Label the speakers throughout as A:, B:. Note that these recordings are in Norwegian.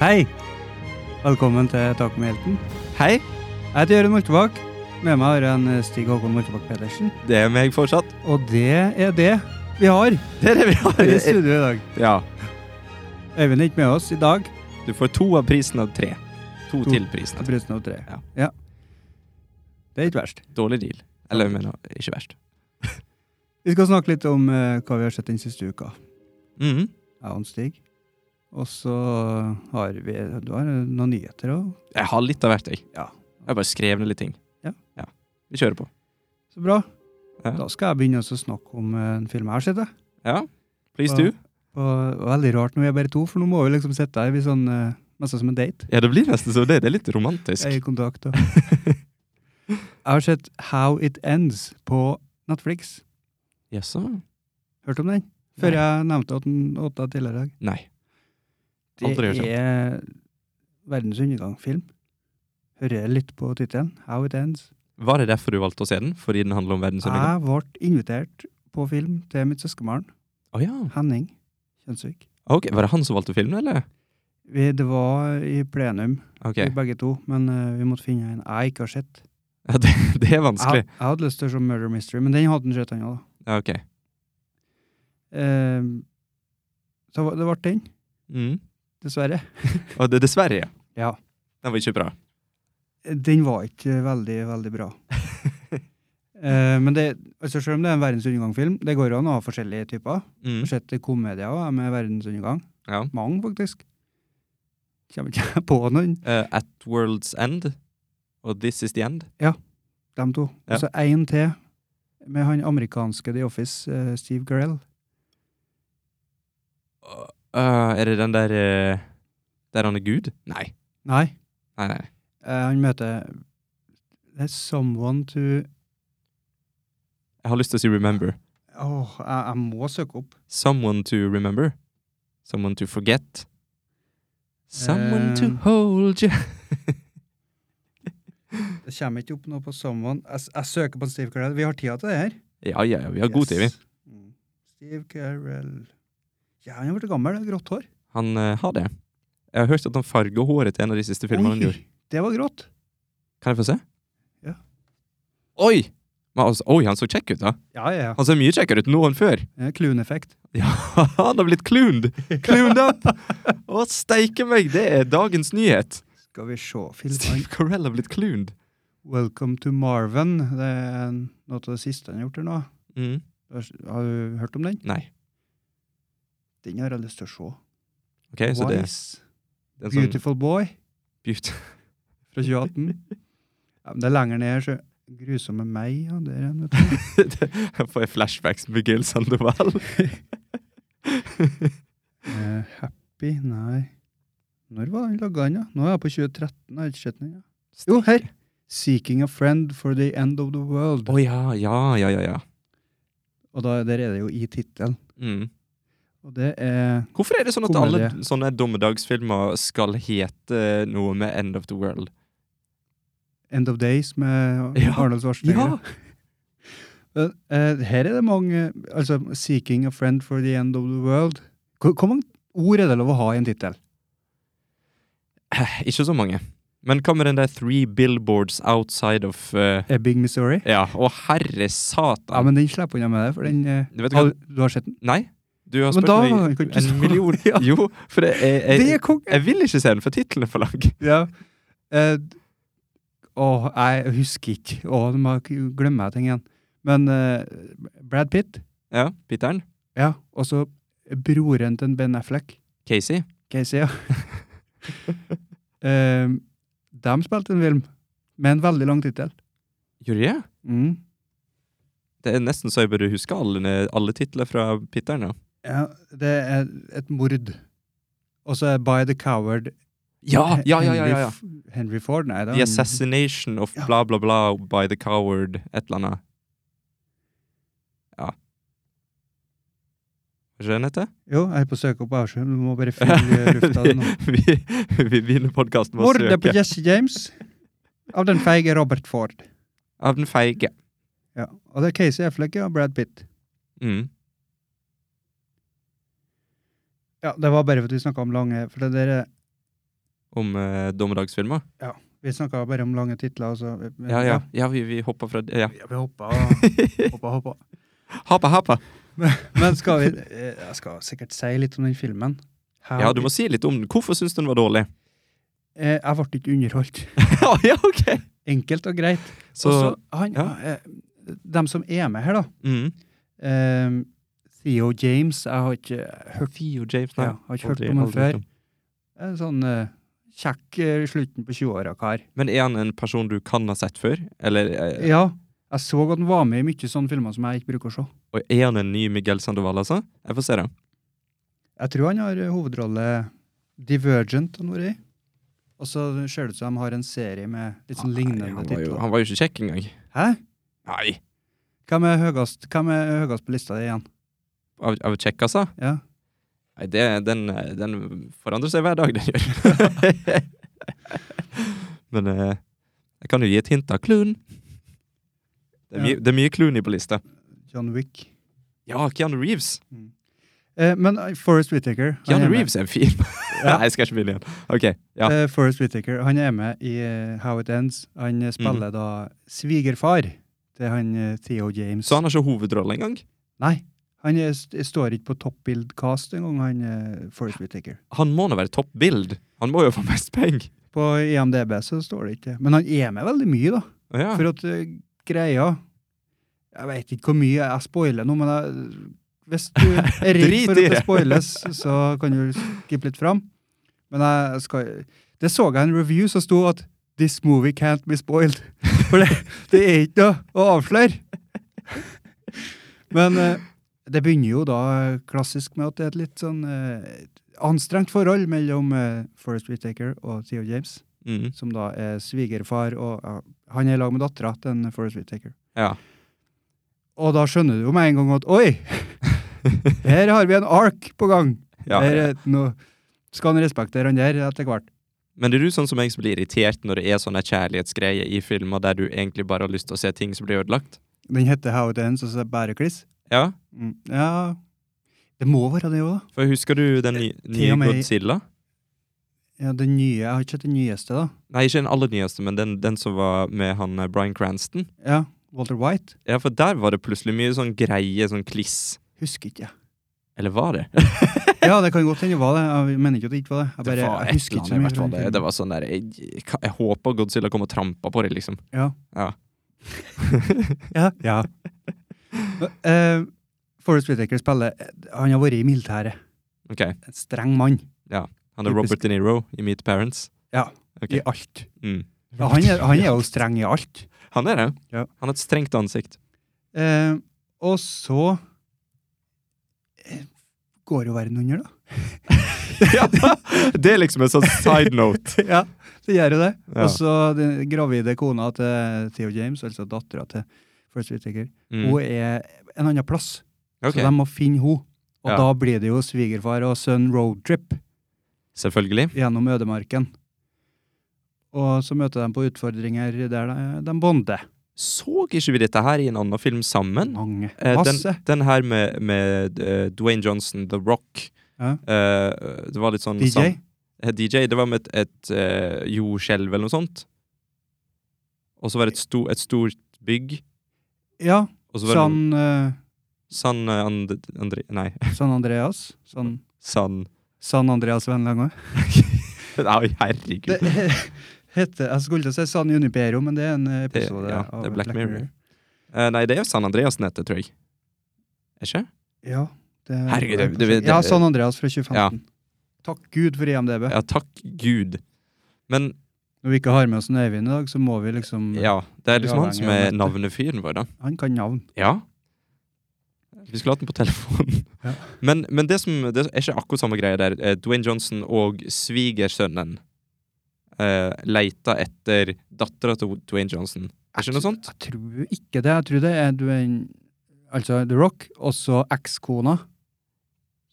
A: Hei! Velkommen til Tak med helten.
B: Hei,
A: Jeg heter Jørund Moltebakk. Med meg har jeg en eh, Stig Håkon Moltebakk Pedersen.
B: det er meg fortsatt.
A: Og det er det vi har
B: Det er det vi
A: i
B: har.
A: studio i dag.
B: Ja,
A: Øyvind er ikke med oss i dag.
B: du får to av prisen av tre. To,
A: To.
B: til prisen
A: Til
B: av tre.
A: Brusen av tre.
B: Ja.
A: Ja. Det er ikke verst.
B: Dårlig deal. Eller, jeg mener, ikke verst.
A: Vi skal snakke litt om eh, hva vi har sett den siste uka.
B: Mhm.
A: Jeg og Stig. Og så har vi du har noen nyheter òg.
B: Jeg har litt av hvert, jeg.
A: Ja.
B: Jeg bare skrev ned litt ting.
A: Ja.
B: Vi kjører på.
A: Så bra.
B: Ja.
A: Da skal jeg begynne også å snakke om eh, en film jeg har sett. jeg.
B: Ja, please
A: Ja.
B: do.
A: Og det var veldig rart når vi er bare to, for nå må vi liksom sitte her vi er sånn, eh, nesten som en date.
B: Ja, det blir nesten så det. Det er litt romantisk.
A: Jeg er i kontakt. Og. jeg har sett How It Ends på Netflix.
B: Jaså?
A: Hørt om den? Før jeg nevnte at den åt deg tidligere i dag.
B: Nei. Aldri hørt om.
A: Det er verdens undergang-film. Hører jeg litt på tittelen. How It Ends.
B: Var det derfor du valgte å se den? Fordi den handler om verdensundergang?
A: Jeg ble invitert på film til mitt søskenbarn
B: Å ja.
A: Henning Kjønsvik.
B: Ok, Var det han som valgte filmen, eller?
A: Vi, det var i plenum,
B: Ok,
A: vi begge to, men eh, vi måtte finne en jeg ikke har sett.
B: ja, det, det er vanskelig.
A: Jeg, jeg hadde lyst til å se Murder Mystery, men den hadde han sett, han òg.
B: Ja, ok.
A: så det ble den,
B: Mm.
A: dessverre.
B: Og det, dessverre, ja.
A: Ja.
B: Den var ikke bra.
A: Den var ikke veldig, veldig bra. Eh, men det, altså selv om det er en verdensundergang-film, det går jo an å ha forskjellige typer. Jeg
B: Mm.
A: har sett komedier også, med verdensundergang.
B: Ja.
A: Mange, faktisk. Kommer ikke jeg på noen,
B: Eh, At World's End og This Is The End.
A: de to.
B: Ja.
A: Og så én til, med han amerikanske The Office, eh, Steve Carell.
B: Eh, er det den der eh, Der han er Gud? Nei.
A: Nei,
B: Nei, nei.
A: eh, han møter Det er someone to
B: Jeg har lyst til å si Remember.
A: Åh, jeg, jeg må søke opp.
B: Someone to remember. Someone to forget. Someone to
A: Eh.
B: hold you.
A: Det kommer ikke opp noe på someone. Jeg, jeg søker på Steve Carell. Vi har tida til det her.
B: Ja, ja, ja. Vi har god tid, vi.
A: Yes. Mm. Steve Carell Ja, han er blitt gammel. det er Grått hår.
B: Han eh, har det. Jeg har hørt at han farger håret til en av de siste filmene han gjorde.
A: det var grått.
B: Kan jeg få se?
A: Ja.
B: Oi! Men altså, oi, han så kjekk ut, da.
A: Ja, ja,
B: Han ser mye kjekkere ut nå enn før.
A: ja. Kluneffekt.
B: Ja, han har blitt clooned! Clooned up! Å, steike meg, det er dagens nyhet.
A: Skal vi se filmen
B: Steve Carell har blitt clooned.
A: Welcome to Marvin. Det er en- noe av det siste han har gjort her nå.
B: Mm.
A: Har har du hørt om den?
B: Nei.
A: Den har jeg lyst til å
B: Ok,
A: se.
B: så det,
A: Wise.
B: det er en sånn
A: Beautiful Boy
B: beauty.
A: fra 2018. Ja, men det er lenger ned, så Grusomme meg, ja. Det er en, vet du.
B: Jeg får flashbacks med Gil Sandoval.
A: Eh, happy, nei Når var den laga den, da? Nå er jeg på 2013. Jeg har ikke sett den ennå. Jo, her! 'Seeking a friend for the end of the world'.
B: Å ja, ja, ja, ja. ja.
A: Og da, der er det jo i tittelen.
B: Mm.
A: Og det er
B: Hvorfor er det sånn at
A: Komedie.
B: alle sånne dommedagsfilmer skal hete eh, noe med End of the World?
A: 'End of Days' med
B: Ja.
A: Arnold Schwarzenegger. Eh, eh, her er det mange Altså, 'Seeking a friend for the end of the world'. Hvor, hvor mange ord er det lov å ha i en tittel?
B: Eh, Ikke så mange. Men hva med den der Three Billboards Outside of eh,
A: Ebbing, Missouri?
B: Ja, å herre
A: Ja,
B: satan.
A: men den slipper unna med det, for den eh,
B: Du vet hva?
A: har, Du har sett den?
B: Nei, du har
A: Men
B: spurt
A: da
B: meg
A: kan ikke
B: en
A: du-
B: million
A: Ja.
B: Jo, for jeg, jeg,
A: Det er
B: jeg,
A: konge!
B: jeg vil ikke se den, for tittelen er for lang.
A: Ja. Eh, åh, jeg husker ikke. Åh, nå må jeg k- glemme ting igjen. Men eh, Brad Pitt,
B: Ja, Pitter'n.
A: ja, og så broren til Ben Affleck,
B: Casey.
A: Casey, ja. eh, de spilte en film med en veldig lang tittel.
B: Gjorde jeg?
A: Mm.
B: Det er nesten så jeg burde huske alle, alle titler fra Pitter'n, ja.
A: Ja, det er et mord. Og så er By the Coward
B: Ja, ja, ja, ja,
A: Henry,
B: ja, ja.
A: F- Henry Ford, nei da.
B: The Assassination of
A: Ja.
B: bla, bla, bla by the coward et eller annet. Ja. Skjønner jeg det?
A: Jo, jeg er på søk opp avskjøm, du må bare fylle lufta av det nå.
B: vi, vi, vi begynner podkasten med å
A: Mordet på
B: søke.
A: Jesse James av den feige Robert Ford.
B: Av den feige.
A: Ja. Og det er Casey Affleck og Brad Pitt.
B: Mm.
A: Ja, Det var bare for at vi snakka om lange For det der er
B: om eh, dommedagsfilmer.
A: Vi snakka bare om lange titler. Altså. Men-
B: Ja, ja. ja vi, vi hoppa fra det. Ja.
A: Ja, Vi hoppa og hoppa, hoppa.
B: Hapa, hapa.
A: Men skal vi eh, Jeg skal sikkert si litt om den filmen. Her-
B: Ja, du må si litt om den. Hvorfor syns du den var dårlig?
A: eh, jeg ble ikke underholdt.
B: ja, ja, ok!
A: Enkelt og greit.
B: Så
A: Også, han,
B: ja.
A: eh, De som er med her, da.
B: mm.
A: Eh, Theo James, jeg har ikke hørt,
B: Theo James,
A: ja,
B: nei.
A: jeg har ikke hørt
B: aldri-
A: om han
B: aldri hørt
A: før.
B: om.
A: En sånn eh, kjekk eh, slutten på 20-åra-kar.
B: Men er han en person du kan ha sett før? Eller eh,
A: Ja. Jeg så at han var med i mye sånne filmer som jeg ikke bruker å se.
B: og er han en ny Miguel Sandoval, altså? Jeg får se, da.
A: Jeg tror han har eh, hovedrolle Divergent han har vært i. Og så ser det ut som de har en serie med litt sånn
B: Nei,
A: lignende
B: Ah, han, var jo,
A: titler.
B: han var jo ikke kjekk engang.
A: Hæ?
B: Nei.
A: Hvem er høyest, hvem er høyest på lista di igjen?
B: Av, av kjekk, altså?
A: Ja.
B: Nei, det, den, eh, den forandrer seg hver dag, den gjør. Men eh, jeg kan jo gi et hint av Clune. Det er, mye-
A: Ja.
B: det er mye Clooney på lista.
A: John Wick.
B: Ja, Keanu Reeves!
A: Eh, men eh, Forrest Whittaker han
B: Keanu
A: er med.
B: Reeves er en fyr.
A: Ja.
B: Nei, jeg skal ikke begynne igjen. Ok, ja.
A: Eh, Forrest Whittaker han er med i eh, How It Ends. Han
B: Mhm.
A: eh, spiller da svigerfar til han eh, Theo James.
B: Så han har ikke hovedrolle engang?
A: Nei, han er, st står ikke på toppbildcast engang, han eh, Forrest Whittaker.
B: Han må nå være topp bild. Han må jo få mest penger.
A: På IMDb så står det ikke det. Men han er med veldig mye, da.
B: Å Ja.
A: For at eh, greia Jeg veit ikke hvor mye jeg spoiler nå, men jeg, hvis du er redd for
B: Drit i
A: at det
B: det.
A: spoiles, så kan du skippe litt fram. Men jeg skal Det så jeg en review som sto at 'This movie can't be spoiled'. For det, det er ikke noe å avsløre. Men eh, det begynner jo da klassisk med at det er et litt sånn eh, anstrengt forhold mellom eh, Forrest Whittaker og Theo James
B: Mm.
A: som da er svigerfar, og ja, han er i lag med dattera til en Forest Whittaker.
B: ja.
A: Og da skjønner du jo med en gang at oi, her har vi en ark på gang!
B: Ja,
A: her
B: ja.
A: er et noe, skal han respektere han der etter hvert?
B: Men er du sånn som jeg som blir irritert når det er sånne kjærlighetsgreier i filmer der du egentlig bare har lyst til å se ting som blir ødelagt?
A: Den heter How It Ends, og så er det bare kliss.
B: Ja,
A: Mm, ja Det må være det òg, da.
B: for husker du den ny-
A: Eh, til
B: nye
A: og med-
B: Godzilla?
A: Ja, den nye, Jeg har ikke sett den nyeste, da.
B: Nei, ikke den aller nyeste, men den, den som var med han eh, Bryan Cranston.
A: Ja, Walter White.
B: Ja, for der var det plutselig mye sånn greie, sånn kliss.
A: Husker ikke, jeg.
B: Eller var det?
A: Ja, det kan godt hende det var det. Jeg mener ikke at det ikke var det. Jeg
B: det
A: bare,
B: var
A: jeg
B: et
A: husker
B: eller
A: ikke så
B: annet, i
A: mye.
B: hvert
A: fra
B: fall.
A: den
B: Det,
A: filmen.
B: det var sånn der jeg, jeg, jeg håper Godzilla kom og trampa på det, liksom.
A: Ja.
B: Ja.
A: ja. ja. Eh, Forrest Whittaker spiller eh, Han har vært i militæret.
B: Ok,
A: En streng mann
B: han er Robert De Niro i Meet Parents.
A: Ja.
B: Ok.
A: i alt.
B: Mm.
A: Ja, han, er, han er jo streng i alt.
B: Han er det.
A: Ja.
B: Han har et strengt ansikt.
A: Eh, og så eh, går jo verden under, da.
B: ja, det er liksom en sånn side note.
A: ja, det gjør jo det.
B: Ja.
A: Og så den gravide kona til Theo James, altså dattera til Forrest Whittaker,
B: Mm.
A: hun er en annen plass.
B: Ok,
A: Så de må finne henne. Og
B: Ja.
A: da blir det jo svigerfar og sønn roadtrip.
B: Selvfølgelig.
A: gjennom ødemarken. Og så møter de på utfordringer der de, de bonder.
B: Så ikke vi dette her i en annen film sammen?
A: Mange.
B: Eh, den,
A: Masse.
B: den her med, med eh, Dwayne Johnson, The Rock
A: Ja.
B: Eh, Det var litt sånn
A: DJ.
B: sam- eh, DJ, det var med et, et eh, jordskjelv eller noe sånt. Og så var det et, sto, et stort bygg.
A: Ja.
B: Og så var det
A: San, eh,
B: noen- San eh, And, Andre... Nei.
A: San Andreas. San,
B: San
A: San Andreas Vennlange.
B: Nei, herregud.
A: Det he- heter Jeg skulle til å si San Junipero, men det er en episode
B: Det- ja,
A: av
B: det er Black Mirror. Eh, nei, det er jo San Andreas-nettet, tror jeg. Er ikke?
A: Ja, det,
B: Herregud, det- det- det-
A: ja, San Andreas fra 2015. Takk Gud for E IMDb.
B: Ja, takk Gud. Men
A: Når vi ikke har med oss en Øyvind i dag, så må vi liksom
B: ja, det er liksom han
A: Uavhengig
B: som
A: av
B: er
A: nettet.
B: navnefyren vår, da.
A: Han kan navn.
B: Ja. Vi skulle hatt den på telefonen.
A: Ja.
B: Men, men det som det er ikke akkurat samme greie der. Eh, Dwayne Johnson og svigersønnen eh, leita etter dattera til Dwayne Johnson. Er ikke noe sånt?
A: Jeg tror ikke det. Jeg tror det er Dwayne Altså The Rock, og så ekskona.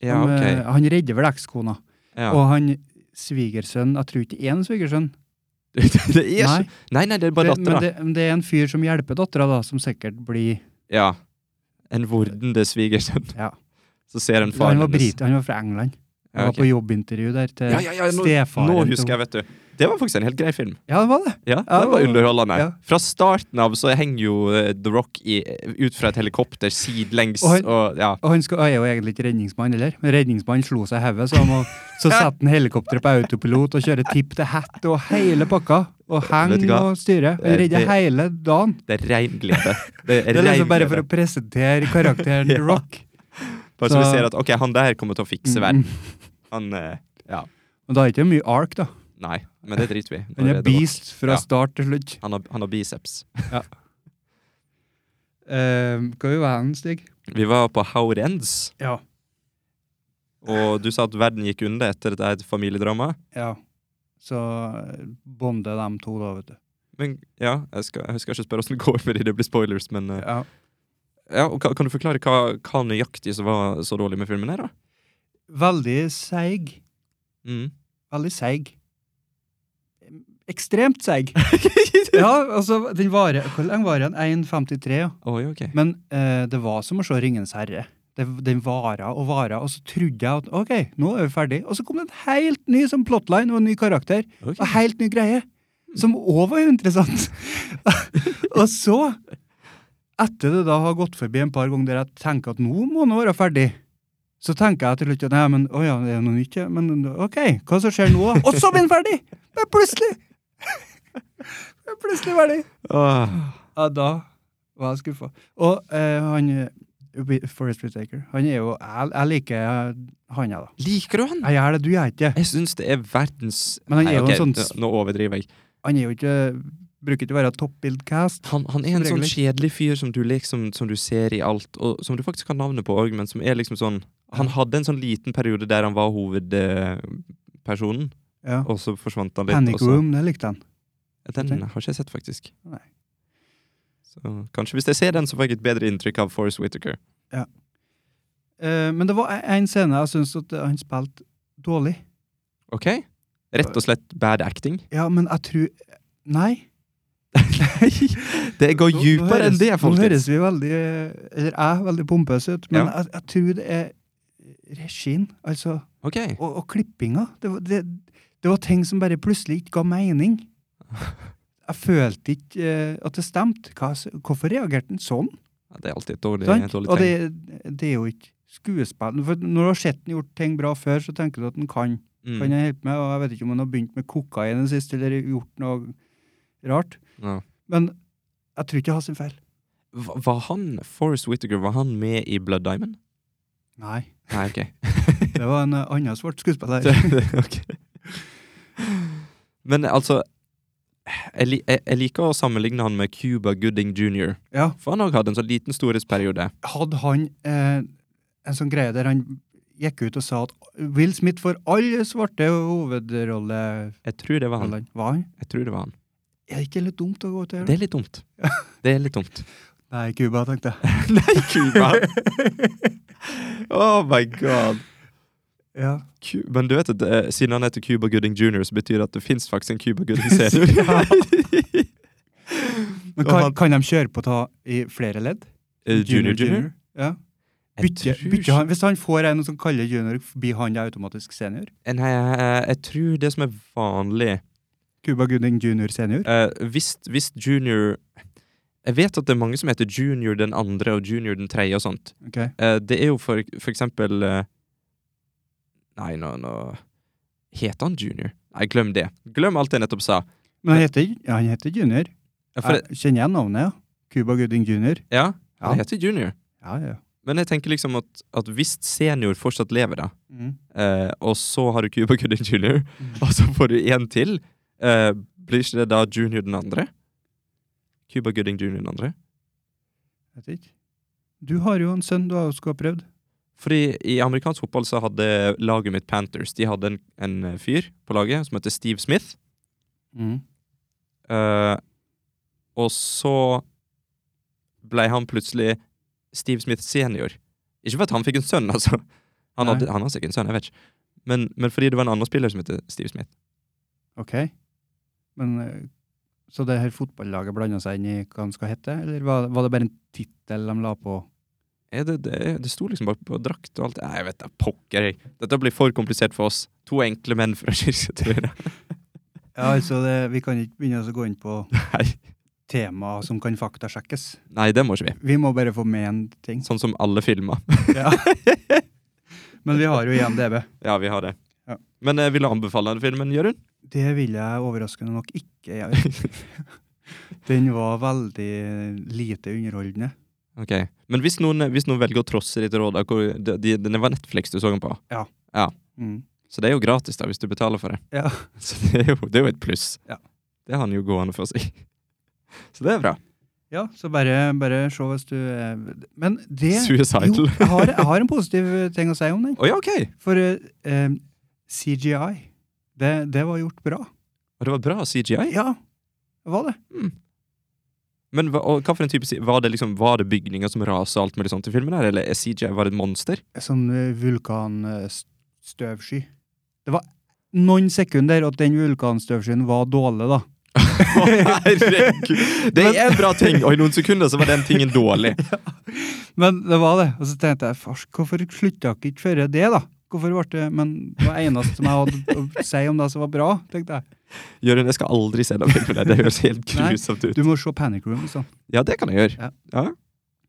B: Ja,
A: han, eh,
B: ok.
A: han redder vel ekskona.
B: Ja.
A: Og han svigersønn Jeg tror ikke det er en svigersønn.
B: det er ikke
A: Nei,
B: Nei, nei, det er bare
A: det, men
B: dattera.
A: det, men det er en fyr som hjelper dattera, da, som sikkert blir
B: Ja. En vordende svigersønn.
A: Ja.
B: Så ser en
A: Han
B: faren
A: var
B: hennes
A: brite, han var fra England. Jeg var på jobbintervju der til
B: ja, ja, ja, nå,
A: stefaren.
B: nå
A: til-
B: husker jeg, vet du. Det var faktisk en helt grei film.
A: Ja, det var det.
B: Ja,
A: Ja,
B: Den var
A: det var-
B: underholdende.
A: ja.
B: Fra starten av så henger jo eh, The Rock i, ut fra et helikopter sidelengs.
A: Og han-
B: Og, ja.
A: Og han, skal, han er jo egentlig ikke redningsmann heller, men redningsmannen slo seg i hodet, så, han må- så setter han helikopteret på autopilot og kjører tipp til hett og hele pakka. Og
B: Vet du
A: henger
B: hva?
A: og styrer. Han
B: Eh,
A: redder
B: det-
A: hele dagen.
B: Det er rein glede. Det er,
A: Det er liksom
B: rein
A: bare
B: glede.
A: for å presentere karakteren til
B: Ja.
A: Rock.
B: Bare så vi
A: Så- Mm,
B: ser at ok, han der kommer til å fikse verden. Han eh, Ja.
A: Og da er det ikke mye ark, da.
B: Nei, men det driter vi i.
A: Han
B: Når
A: er
B: det- det var-
A: beast fra
B: Ja.
A: start til slutt.
B: Han har, han har biceps.
A: Eh, Hva vi var hen, Stig?
B: Vi var på How It Ends,
A: Ja.
B: og du sa at verden gikk under etter dette familiedramaet.
A: ja. Så bonder de to, da, vet du.
B: Men ja, jeg skal, jeg skal ikke spørre åssen det går fordi det blir spoilers, men eh,
A: Ja.
B: ja, og, ka- Kan du forklare hva, hva nøyaktig som var så dårlig med filmen her, da?
A: Veldig seig.
B: Mm.
A: Veldig seig. Ekstremt seig. Ja, altså, den varer Hvor lenge varer den? 1,53, ja.
B: Oi, ok.
A: Men eh, det var som å se Ringens herre. Det, den vara og vara, og så trodde jeg at OK, nå er vi ferdig. Og så kom det en helt ny sånn plotline og en ny karakter.
B: Ok.
A: Og helt ny greie. Som òg var interessant. og så, etter det da har gått forbi en par ganger der jeg tenker at nå må den være ferdig, så tenker jeg til slutt at nei, men å ja, det er noe nytt, ja. Men OK, hva som skjer nå? Og så blir den ferdig! Det er plutselig! det er plutselig ferdig.
B: Åh.
A: Ja, da var jeg skuffa. Og eh, han eh, Forrest Whitaker, han er jo Jeg, jeg liker eh, han, jeg, da.
B: Liker du han?
A: Jeg gjør det, du gjør ikke det.
B: Jeg syns det er verdens
A: Men han er jo
B: ok,
A: en sånn
B: nå- Nå overdriver jeg.
A: Han er jo ikke Bruker ikke å være toppbildcast.
B: Han, han er en
A: Som
B: sånn
A: regel
B: kjedelig fyr som du liksom Som du ser i alt, og som du faktisk kan navnet på òg, men som er liksom sånn Han hadde en sånn liten periode der han var hovedpersonen,
A: Ja.
B: og så forsvant han litt. og
A: Panic
B: så-
A: Room, det likte han.
B: Den har ikke jeg sett, faktisk.
A: Mhm. Nei.
B: Så kanskje hvis jeg ser den, så får jeg et bedre inntrykk av Forest Whittaker.
A: Eh, men det var en scene jeg syns at han spilte dårlig.
B: Ok? Rett og slett bad acting.
A: Ja, men jeg tror Nei.
B: det går
A: Nå- nå
B: dypere
A: høres-
B: enn det,
A: Nå høres
B: folkens.
A: vi veldig eh, Eller jeg veldig pompøs ut, men
B: Ja.
A: jeg, jeg tror det er regien, altså,
B: Ok.
A: og, og klippinga. Det, var- det, det var ting som bare plutselig ikke ga mening. Jeg følte ikke eh, at det stemte. Hva, s- hvorfor reagerte han sånn?
B: Ja, det er alltid et dårlig,
A: sant?
B: dårlig
A: Og
B: tegn.
A: det, det er jo ikke skuespill. For når du har sett han gjort ting bra før, så tenker du at han kan. Kan
B: Mm.
A: jeg hjelpe med? Og jeg vet ikke om han har begynt med kokain i det siste, eller gjort noe rart.
B: Ja.
A: Men jeg tror ikke jeg har sin feil.
B: Va- Var han, Forest Whittaker, var han med i Blood Diamond?
A: Nei.
B: Nei, ok.
A: Det var en eh, annen svart skuespiller.
B: Det- ok. Men altså jeg, li- jeg, jeg liker å sammenligne han med Cuba Gooding jr.
A: Ja.
B: For han òg hadde en sånn liten storhetsperiode.
A: Hadde han eh, en sånn greie der han gikk ut og sa at Will Smith får alle svarte hovedrollene?
B: Jeg tror det var han.
A: Var han?
B: Jeg tror det var han.
A: Er det ikke litt dumt å gå til?
B: Det er litt dumt. Det er litt dumt.
A: Nei, Cuba, tenkte jeg.
B: Nei, Cuba! oh my god.
A: Ja.
B: Cu- Men du vet at eh, siden han heter Cuba Gooding jr., så betyr det at det fins faktisk en Cuba Gooding-serie.
A: Men
B: Og
A: kan,
B: han-
A: kan de kjøre på ta i flere ledd?
B: Eh, junior, junior?
A: Ja.
B: Jeg
A: Bytte,
B: tror
A: bytte han, hvis han får en som kaller junior, blir han da automatisk senior?
B: ikke- Eh, Nei, jeg, jeg tror det som er vanlig
A: Cuba Gooding junior senior?
B: Eh, hvis, hvis junior Jeg vet at det er mange som heter junior den andre og junior den tredje og sånt.
A: Ok.
B: Eh, det er jo for, for eksempel eh, Nei, nå, nå Heter han junior? Nei, glem det. Glem alt jeg nettopp sa.
A: Men han heter, ja, han heter junior.
B: Ja, for,
A: jeg kjenner jeg navnet, ja. Cuba Gooding junior.
B: ja, han
A: Ja.
B: heter junior.
A: Ja, ja.
B: Men jeg tenker liksom at, at hvis senior fortsatt lever, da,
A: Mm.
B: eh, og så har du Cuba Gooding junior, og så får du én til, eh, blir ikke det da junior den andre? Cuba Gooding junior den andre?
A: Vet ikke. Du har jo en sønn du har jo skulle ha prøvd.
B: Fordi i amerikansk fotball så hadde laget mitt Panthers De hadde en, en fyr på laget som heter Steve Smith.
A: Mm.
B: Eh, og så ble han plutselig Steve Smith senior. Ikke for at han fikk en sønn, altså. Han,
A: Nei.
B: hadde, han har sikkert en sønn, jeg vet ikke. Men, men fordi det var en annen spiller som heter Steve Smith.
A: Ok. Men, eh, så det her fotballaget blanda seg inn i hva han skal hete, eller var, var det bare en tittel de la på?
B: Er det, det, er- det sto liksom bare på drakt og alt. Nei, jeg vet da, pokker. jeg. Dette blir for komplisert for oss. To enkle menn fra kirketur.
A: Ja, altså, det, vi kan ikke begynne å gå inn på
B: Nei.
A: temaer som kan faktasjekkes.
B: Nei, det må ikke vi.
A: Vi må bare få med en ting.
B: Sånn som alle filmer.
A: Ja. Men vi har jo IMDb.
B: Ja, vi har det.
A: Ja.
B: Men eh, vil du anbefale den filmen, Jørund?
A: Det vil jeg overraskende nok ikke gjøre. Den var veldig lite underholdende.
B: Ok. Men hvis noen, eh, hvis noen velger å trosse ditt råd, da, hvor- de, de, den var Netflix du så den på,
A: Mm.
B: så det er jo gratis da, hvis du betaler for det.
A: Ja.
B: Så det er jo, det er jo et pluss.
A: Ja.
B: Det har han jo gående for seg. Så det er bra.
A: ja, så bare, bare se hvis du er Men det Jo,
B: Suicidal.
A: jeg har, jeg har en positiv ting å si om den.
B: Å ja, ok!
A: For eh, eh, CGI, det, det var gjort bra.
B: Og det var bra CGI.
A: Ja, det var det.
B: Men hva, og hva for en type si- Var det liksom, var det bygninger som raser og alt mulig sånt i filmen, her, eller er CGI var det et monster?
A: Sånn vulkanstøvsky. Det var noen sekunder at den vulkanstøvskyen var dårlig, da.
B: Å, Herregud! Det er en bra ting, og i noen sekunder så var den tingen dårlig.
A: Men det var det. Og så tenkte jeg, fars, hvorfor slutta dere ikke før det, da? Hvorfor ble det Men det var eneste som jeg hadde å si om det som var bra, tenkte jeg.
B: Jørund, jeg skal aldri se den filmen. der. Det høres helt
A: Nei,
B: grusomt ut.
A: Du må se Panic Room, liksom.
B: Ja, det kan jeg gjøre.
A: Ja.
B: Ja.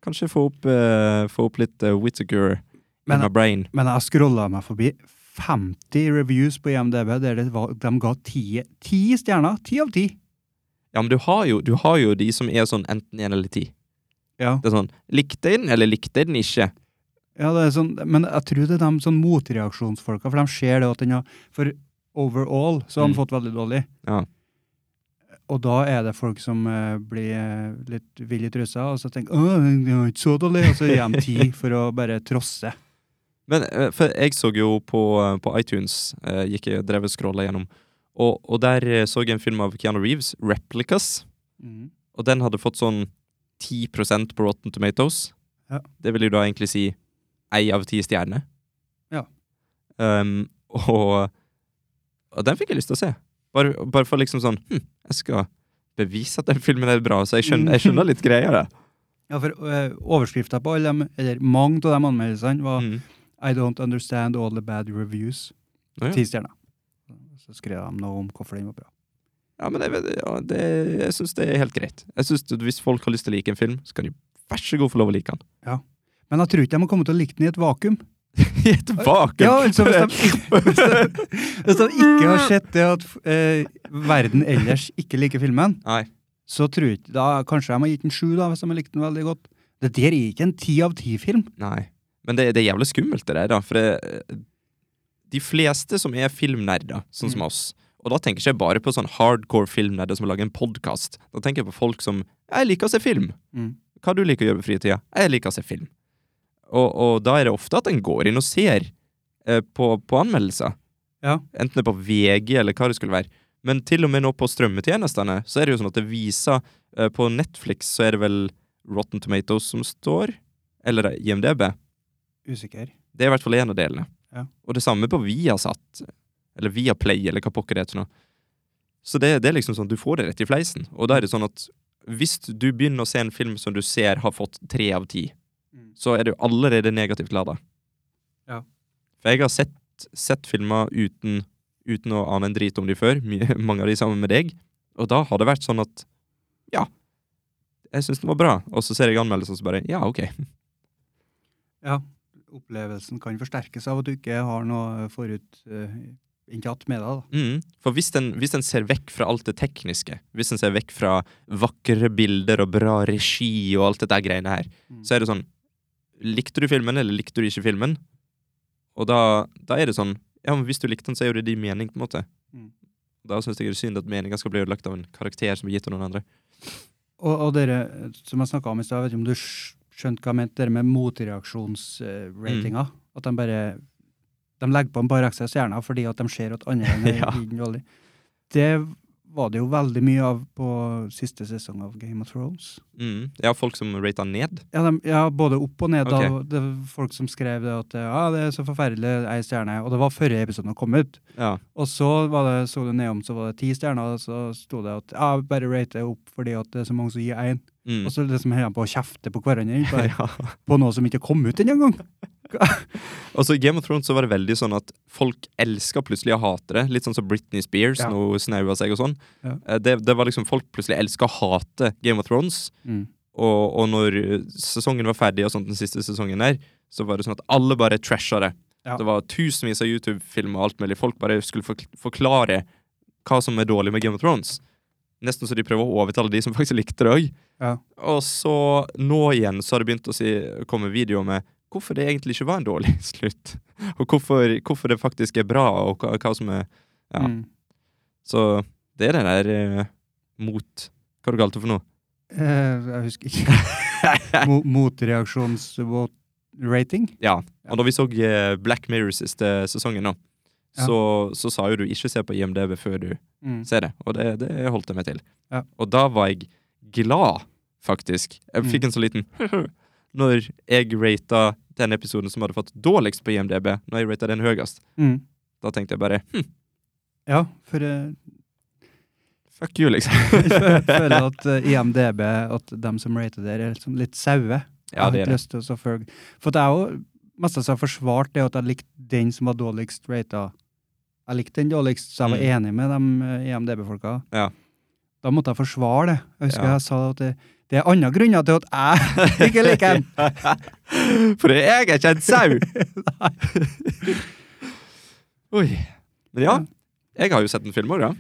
B: Kanskje få opp, eh, få opp litt uh, Whittaker in
A: Men-
B: my brain.
A: Men jeg scrolla meg forbi 50 reviews på IMDb der det var, de ga ti, ti stjerner. Ti av ti.
B: Ja, men du har, jo, du har jo de som er sånn enten én eller ti.
A: Ja.
B: Det er sånn Likte jeg den, eller likte jeg den ikke?
A: Ja, det er sånn, men jeg tror det er de sånn motreaksjonsfolka, for de ser det at den har For overall så har den
B: Mm.
A: fått veldig dårlig.
B: Ja.
A: Og da er det folk som eh, blir eh, litt vill i trusa, og så tenker Åh, den var ikke så dårlig, og så gir de ti for å bare trosse.
B: Men eh, for jeg så jo på, eh, på iTunes, eh, gikk jeg drev og scrolla gjennom, og, og der eh, så jeg en film av Keanu Reeves, 'Replicas',
A: Mm.
B: og den hadde fått sånn 10 på Rotten Tomatoes.
A: Ja.
B: Det vil jo da egentlig si ei av ti stjerner.
A: Ja.
B: Um, og, og den fikk jeg lyst til å se. Bare, bare for liksom sånn hm, Jeg skal bevise at den filmen er bra, så jeg skjønner, jeg skjønner litt greier. da.
A: Ja, for eh, overskrifta på alle dem, eller mange av de anmeldelsene, var
B: Mm.
A: I don't understand all the bad reviews.
B: Å ja.
A: Ti stjerner. Så skrev de noe om hvorfor den var bra.
B: Ja, men jeg, vet- ja, det, jeg syns det er helt greit. Jeg synes at Hvis folk har lyst til å like en film, så kan de vær så god få lov å like den.
A: Men jeg tror ikke de har kommet til å like den i et vakuum.
B: I et vakuum!
A: Ja, altså hvis de, hvis de, hvis de ikke har sett det at eh, verden ellers ikke liker filmen,
B: Nei.
A: så tror jeg ikke da, Kanskje de har gitt den sju, da, hvis de har likt den veldig godt. Det der er ikke en ti av ti-film.
B: Nei. Men det, det er jævlig skummelt, det der, da. For det, de fleste som er filmnerder, sånn som
A: Mm.
B: oss Og da tenker ikke jeg bare på sånn hardcore filmnerder som lager en podkast. Da tenker jeg på folk som Jeg liker å se film.
A: Mm.
B: Hva du liker å gjøre på fritida? Jeg liker å se film. Og, og da er det ofte at en går inn og ser eh, på, på anmeldelser.
A: Ja.
B: Enten det er på VG eller hva det skulle være. Men til og med nå på strømmetjenestene så er det jo sånn at det viser eh, På Netflix så er det vel Rotten Tomatoes som står, eller IMDb.
A: Usikker.
B: Det er i hvert fall en av delene.
A: Ja.
B: Og det samme på Viasat, eller Viaplay, eller hva pokker det heter nå. Så det, det er liksom sånn, du får det rett i fleisen. Og da er det sånn at hvis du begynner å se en film som du ser har fått tre av ti,
A: Mm.
B: så er det jo allerede negativt lada.
A: Ja.
B: For jeg har sett, sett filmer uten, uten å ane en drit om de før, mye, mange av de sammen med deg, og da har det vært sånn at ja, jeg syns den var bra, og så ser jeg anmeldelsen og så bare ja, ok.
A: Ja. Opplevelsen kan forsterkes av at du ikke har noe forut uh, inntatt med deg. da.
B: Mm. For hvis den, hvis den ser vekk fra alt det tekniske, hvis den ser vekk fra vakre bilder og bra regi og alt dette greiene her,
A: Mm.
B: så er det sånn Likte du filmen, eller likte du ikke filmen? Og da, da er det sånn Ja, men hvis du likte den, så er jo det din mening, på en måte.
A: Mm.
B: Da syns jeg det er synd at meninga skal bli ødelagt av en karakter som er gitt av noen andre.
A: Og, og dere eh, som jeg snakka om i stad, jeg vet ikke om du skj- skjønte hva jeg mente, dere med motreaksjonsratinga.
B: Mm.
A: At de bare de legger på en par ekstra stjerner fordi at de ser at andre
B: Ja.
A: er ja. dårlig. Det var det jo veldig mye av på siste sesong av Game of Thrones.
B: Mm. Ja, folk som rata ned?
A: Ja, de, ja både opp og ned. da.
B: Ok.
A: Det var folk som skrev det at ja, det er så forferdelig, ei stjerne. Og det var før episoden kom ut.
B: Ja.
A: Og så var det, så du nedom, så var det ti stjerner, og så sto det at ja, bare rate det opp fordi at det er så mange som gir én.
B: Mm.
A: Og så liksom holder de på å kjefte på hverandre på,
B: ja.
A: på noe som ikke kom ut engang.
B: Og så I Altså, Game of Thrones så var det veldig sånn at folk elsker plutselig å hate det. Litt sånn som Britney Spears
A: Ja.
B: nå snaua seg og sånn.
A: Ja.
B: Eh, Det, det var liksom Folk plutselig elsker å hate Game of Thrones.
A: Mm.
B: Og, og når eh, sesongen var ferdig, og sånt den siste sesongen der, så var det sånn at alle bare trasha det.
A: Ja.
B: Det var tusenvis av YouTube-filmer og alt mulig. Folk bare skulle fork- forklare hva som er dårlig med Game of Thrones. Nesten så de prøver å overtale de som faktisk likte det òg.
A: Ja.
B: Og så nå igjen så har det begynt å si, komme videoer med hvorfor det egentlig ikke var en dårlig slutt. Og hvorfor, hvorfor det faktisk er bra, og hva, hva som er Ja.
A: Mm.
B: Så det er den der eh, mot Hva du kalte det for noe?
A: Eh, jeg husker ikke. Mo Motreaksjons-rating?
B: Ja. Og da vi så eh, Black Mirror siste sesongen nå,
A: Ja.
B: så, så sa jo du ikke se på IMDb før du
A: Mm.
B: ser det, og det, det holdt jeg meg til.
A: Ja.
B: Og da var jeg glad, faktisk. Jeg fikk en så liten Når jeg rata den episoden som hadde fått dårligst på IMDb, når jeg rata den høyest,
A: Mm.
B: da tenkte jeg bare hm,
A: Ja, for eh,
B: fuck you, liksom.
A: jeg føler at eh, IMDb, at dem som rater der, er liksom litt saue.
B: Ja, det
A: jeg
B: er
A: har
B: det.
A: ikke lyst til å følge. For det er jo mest har forsvart det at jeg likte den som var dårligst rata. Jeg likte den dårligst, så jeg var enig med eh, de EMDB-folka.
B: Mm. Ja.
A: Da måtte jeg forsvare det. Jeg husker
B: Ja.
A: jeg sa at det, det er andre grunner til at jeg ikke liker den.
B: For jeg er ikke en sau! Oi. Men ja,
A: Ja.
B: jeg har jo sett en film òg, da.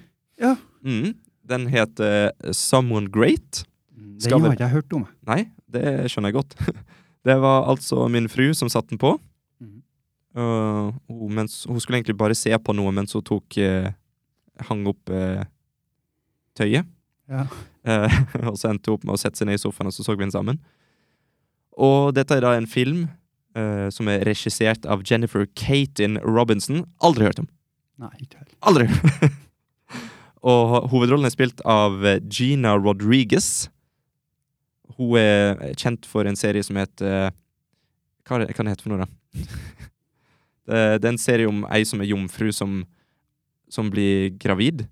A: Ja.
B: Mm. Den heter Someone Great. Skal
A: Mm, Den
B: vi-
A: har ikke jeg hørt om. jeg.
B: Nei, det skjønner jeg godt. Det var altså min fru som satte den på.
A: Mhm.
B: Uh, hun, mens, hun skulle egentlig bare se på noe mens hun tok eh, hang opp eh, tøyet.
A: Ja.
B: Eh, og så endte hun opp med å sette seg ned i sofaen, og så så vi den sammen. Og dette er da en film eh, som er regissert av Jennifer Katin Robinson. Aldri hørt om.
A: Nei, ikke heller.
B: Aldri! og hovedrollen er spilt av eh, Gina Rodriguez. Hun er kjent for en serie som heter eh, Hva er det, hva er det heter for noe, da? det, det er en serie om ei som er jomfru som, som blir gravid.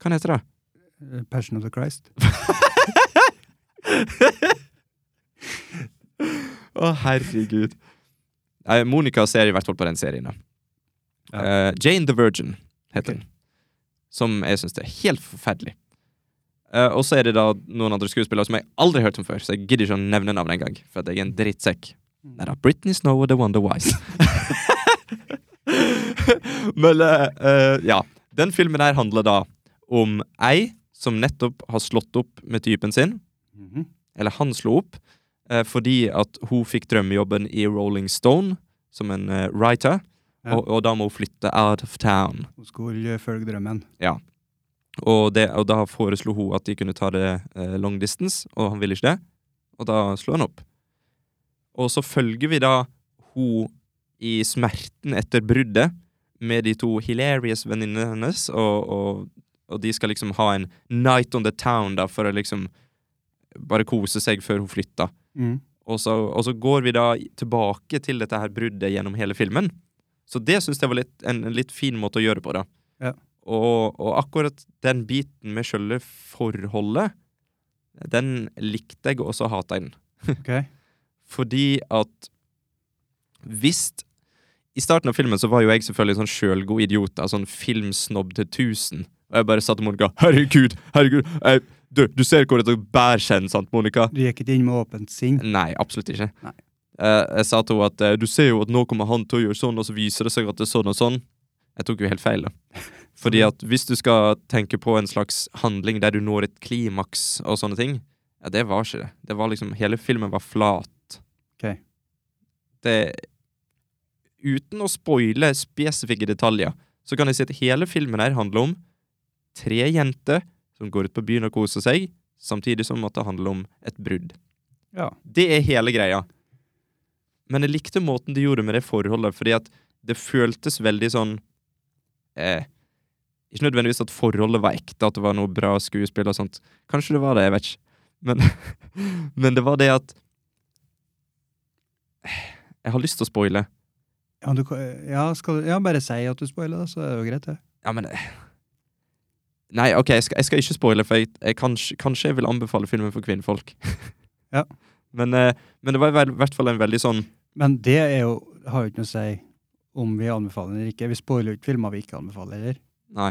B: Hva heter det?
A: Eh, Passion of the Christ.
B: Å, herregud. Nei, Monica ser i hvert fall på den serien. da.
A: Ja.
B: Eh, Jane the Virgin heter
A: Ok.
B: den. Som jeg syns er helt forferdelig. Eh, og så er det da noen andre skuespillere som jeg aldri har hørt om før, så jeg gidder ikke å nevne navn engang, for at jeg er en drittsekk.
A: Mm.
B: Nei da, Britney Snow og The Wonder Wise. Men eh, eh, ja. Den filmen her handler da om ei som nettopp har slått opp med typen sin
A: Mhm.
B: eller han slo opp, eh, fordi at hun fikk drømmejobben i Rolling Stone som en eh, writer,
A: Ja.
B: og, og da må hun flytte out of town.
A: Hun skulle eh, følge drømmen.
B: Og, det, og da foreslo hun at de kunne ta det eh, long distance, og han ville ikke det, og da slo han opp. Og så følger vi da hun i smerten etter bruddet med de to hilarious venninnene hennes, og, og, og de skal liksom ha en night on the town da, for å liksom bare kose seg før hun flytter.
A: Mm.
B: Og så, og så går vi da tilbake til dette her bruddet gjennom hele filmen. Så det syns jeg var litt, en, en litt fin måte å gjøre på, da.
A: Ja.
B: Og, og akkurat den biten med sjølve forholdet, den likte jeg, og så hata jeg den.
A: Ok.
B: Fordi at hvis I starten av filmen så var jo jeg selvfølgelig sånn sjølgod idiot, da, sånn filmsnobb til tusen. Og jeg bare satt til Monica 'Herregud, herregud, eh, du, du ser hvor dette bærer seg, sant, Monica?'
A: Du gikk ikke inn med åpent sinn.
B: Nei, absolutt ikke.
A: Nei.
B: Eh, jeg sa til henne at eh, du ser jo at nå kommer han til å gjøre sånn, og så viser det seg at det er sånn og sånn. Jeg tok jo helt feil, da. Fordi at hvis du skal tenke på en slags handling der du når et klimaks og sånne ting, ja, det var ikke det. Det var liksom Hele filmen var flat.
A: Ok.
B: Det Uten å spoile spesifikke detaljer, så kan jeg si at hele filmen her handler om tre jenter som går ut på byen og koser seg, samtidig som at det handler om et brudd.
A: Ja.
B: Det er hele greia. Men jeg likte måten de gjorde med det forholdet, fordi at det føltes veldig sånn eh, Ikke nødvendigvis at forholdet var ekte, at det var noe bra skuespill og sånt. Kanskje det var det, jeg vet ikke. Men, men det var det at Jeg har lyst til å spoile.
A: Ja, du, kan- ja, skal, du- ja, bare si at du spoiler, da, så er det jo greit, det.
B: Ja, men eh. Nei, ok, jeg skal, jeg skal ikke spoile, for jeg, jeg kanskje, kanskje jeg vil anbefale filmen for kvinnfolk.
A: Ja.
B: Men, eh, men det var i vel- hvert fall en veldig sånn
A: Men det er jo, har jo ikke noe å si om vi anbefaler eller ikke. Vi spoiler jo ikke filmer vi ikke anbefaler, eller?
B: Nei.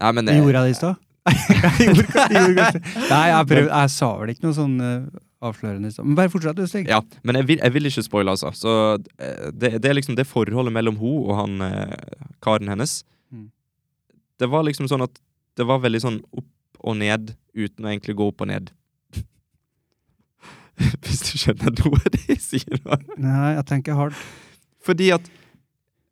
B: Nei, men eh,
A: Vi gjorde jeg det i stad? Jeg gjorde kanskje- jeg gjorde kanskje- Nei, jeg, prøv, jeg sa vel ikke noe sånn eh, avslørende i stad. Men bare fortsett, du, Stig.
B: Ja, men jeg vil, jeg vil ikke spoile, altså. Så eh, det, det er liksom det forholdet mellom hun og han eh, karen hennes.
A: Mm.
B: Det var liksom sånn at det var veldig sånn opp og ned uten å egentlig gå opp og ned. Hvis du skjønner noe av det jeg sier nå.
A: Nei, jeg tenker hardt.
B: Fordi at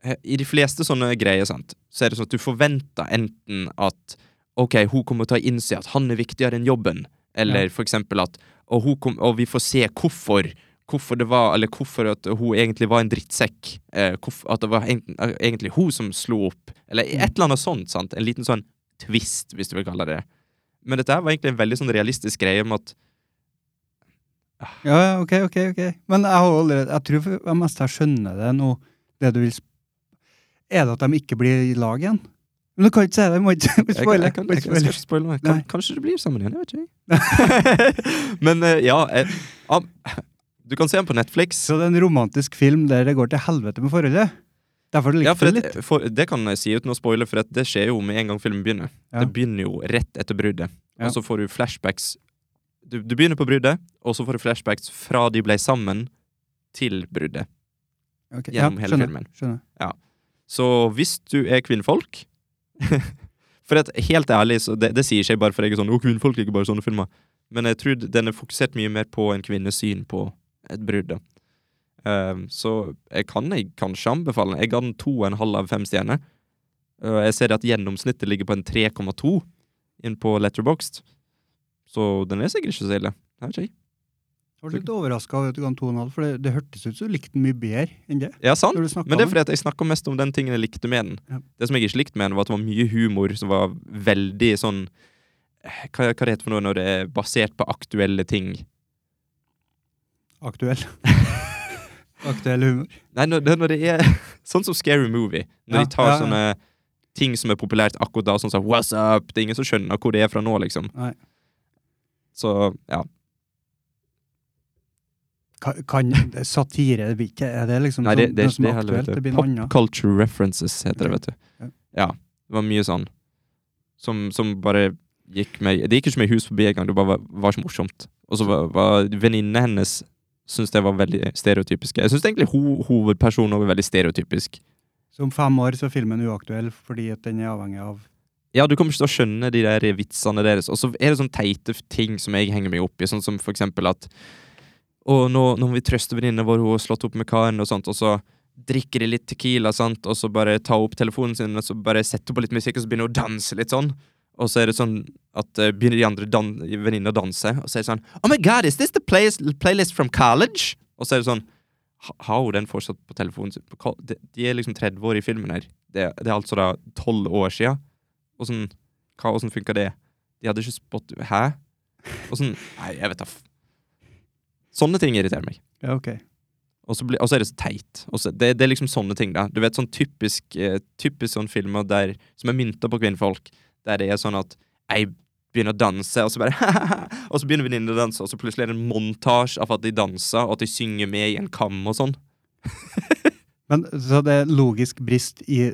B: eh, i de fleste sånne greier, sant, så er det sånn at du forventer enten at OK, hun kommer til å innse at han er viktigere enn jobben, eller for eksempel at og, hun kom, og vi får se hvorfor. Hvorfor det var, eller hvorfor at hun egentlig var en drittsekk. Eh, hvorf- at det var enten- eh, egentlig hun som slo opp. Eller et eller annet sånt. sant? En liten sånn twist, hvis du vil kalle det det. Men dette her var egentlig en veldig sånn realistisk greie om at
A: Ja, ja, ok, ok, ok. Men jeg har jo allerede, jeg tror for det meste jeg skjønner det nå, det du vil sp- Er det at de ikke blir i lag igjen? Men du kan ikke si det, du må ikke
B: Jeg, kan-
A: spoile.
B: jeg, kan-
A: må
B: jeg,
A: ikke
B: kan- jeg
A: spoile.
B: skal ikke spoile noe.
A: Nei.
B: Kan, kanskje det blir sammen igjen, jeg vet ikke. Men eh, ja eh, am- Du kan se den på Netflix.
A: Så det er en romantisk film der det går til helvete med forholdet? Derfor likte
B: Ja, for
A: jeg det litt.
B: det, for, det kan jeg si uten å spoile, for at det skjer jo med en gang filmen begynner.
A: Ja.
B: Det begynner jo rett etter bruddet,
A: Ja.
B: og så får du flashbacks. Du, du begynner på bruddet, og så får du flashbacks fra de ble sammen, til bruddet.
A: Ok,
B: gjennom hele
A: skjønner,
B: filmen.
A: Skjønner.
B: Så hvis du er kvinnfolk For at, helt ærlig, så det, det sier ikke jeg bare for jeg er sånn Å, kvinnfolk liker bare sånne filmer. Men jeg tror den er fokusert mye mer på en kvinnes syn på et brudd. da. Ehm, så jeg kan jeg kanskje anbefale den. Jeg ga den to og en halv av fem stjerner. Og jeg ser at gjennomsnittet ligger på en 3,2 inn på Letterboxd. Så den er sikkert ikke så ille. Jeg vet ikke.
A: Jeg ble litt overraska over at du ga den 2,5, for det, det hørtes ut som du likte den mye bedre enn det.
B: Ja, sant?
A: Når du snakket
B: Men det
A: om
B: er fordi at jeg snakker mest om den tingen jeg likte med den.
A: Ja.
B: Det som jeg ikke likte med den, var at det var mye humor som var veldig sånn eh, Hva, hva det heter det for noe når det er basert på aktuelle ting?
A: Aktuell. Aktuell humor.
B: Nei, når, det- når det er sånn som Scary Movie. Når
A: Ja,
B: de tar
A: ja, ja.
B: sånne ting som er populært akkurat da, sånn som What's up? Det er ingen som skjønner hvor det er fra nå, liksom.
A: Nei.
B: Så ja.
A: Kan, kan satire det blir ikke Er det liksom
B: Nei, det, det er
A: sånn-
B: ikke det
A: som
B: heller.
A: aktuelt? Det
B: vet du.
A: blir noe
B: Pop
A: annet.
B: culture references heter det,
A: Ok.
B: vet du. Ja. Det var mye sånn som, som bare gikk meg Det gikk ikke meg hus forbi engang, det bare var, var ikke morsomt. Og så var, var venninnene hennes Syns det var veldig stereotypiske. Jeg syns egentlig ho hovedpersonen også var veldig stereotypisk.
A: Så om fem år så er filmen uaktuell fordi at den er avhengig av
B: Ja, du kommer ikke til å skjønne de der vitsene deres. Og så er det sånne teite f- ting som jeg henger meg opp i, sånn som for eksempel at Og nå, nå må vi trøste venninna vår, hun har slått opp med karen, og sånt, og så drikker de litt Tequila, sant, og så bare ta opp telefonen sin, og så bare setter på litt musikk, og så begynner hun å danse litt sånn. Og så er det sånn at eh, begynner de andre dan venninna å danse, og så er det sånn Oh my god, is this the play playlist from college? Og så er det sånn "Ha- Har hun den fortsatt på telefonen sin? På kol- De, de er liksom 30 år i filmen her. Det, det er altså da 12 år sia. Åssen hva- åssen funka det? De hadde ikke spott Hæ? Åssen Nei, jeg vet da f... Sånne ting irriterer meg.
A: Ja, ok.
B: Og så blir- og så er det så teit. Og så- det, det er liksom sånne ting, da. Du vet sånn typisk, eh, typisk sånn filmer der, som er mynta på kvinnfolk, der det er sånn at jeg begynner å danse, og så bare Og så begynner venninnene å danse, og så plutselig er det en montasje av at de danser, og at de synger med i en kam og sånn.
A: Men så det er logisk brist i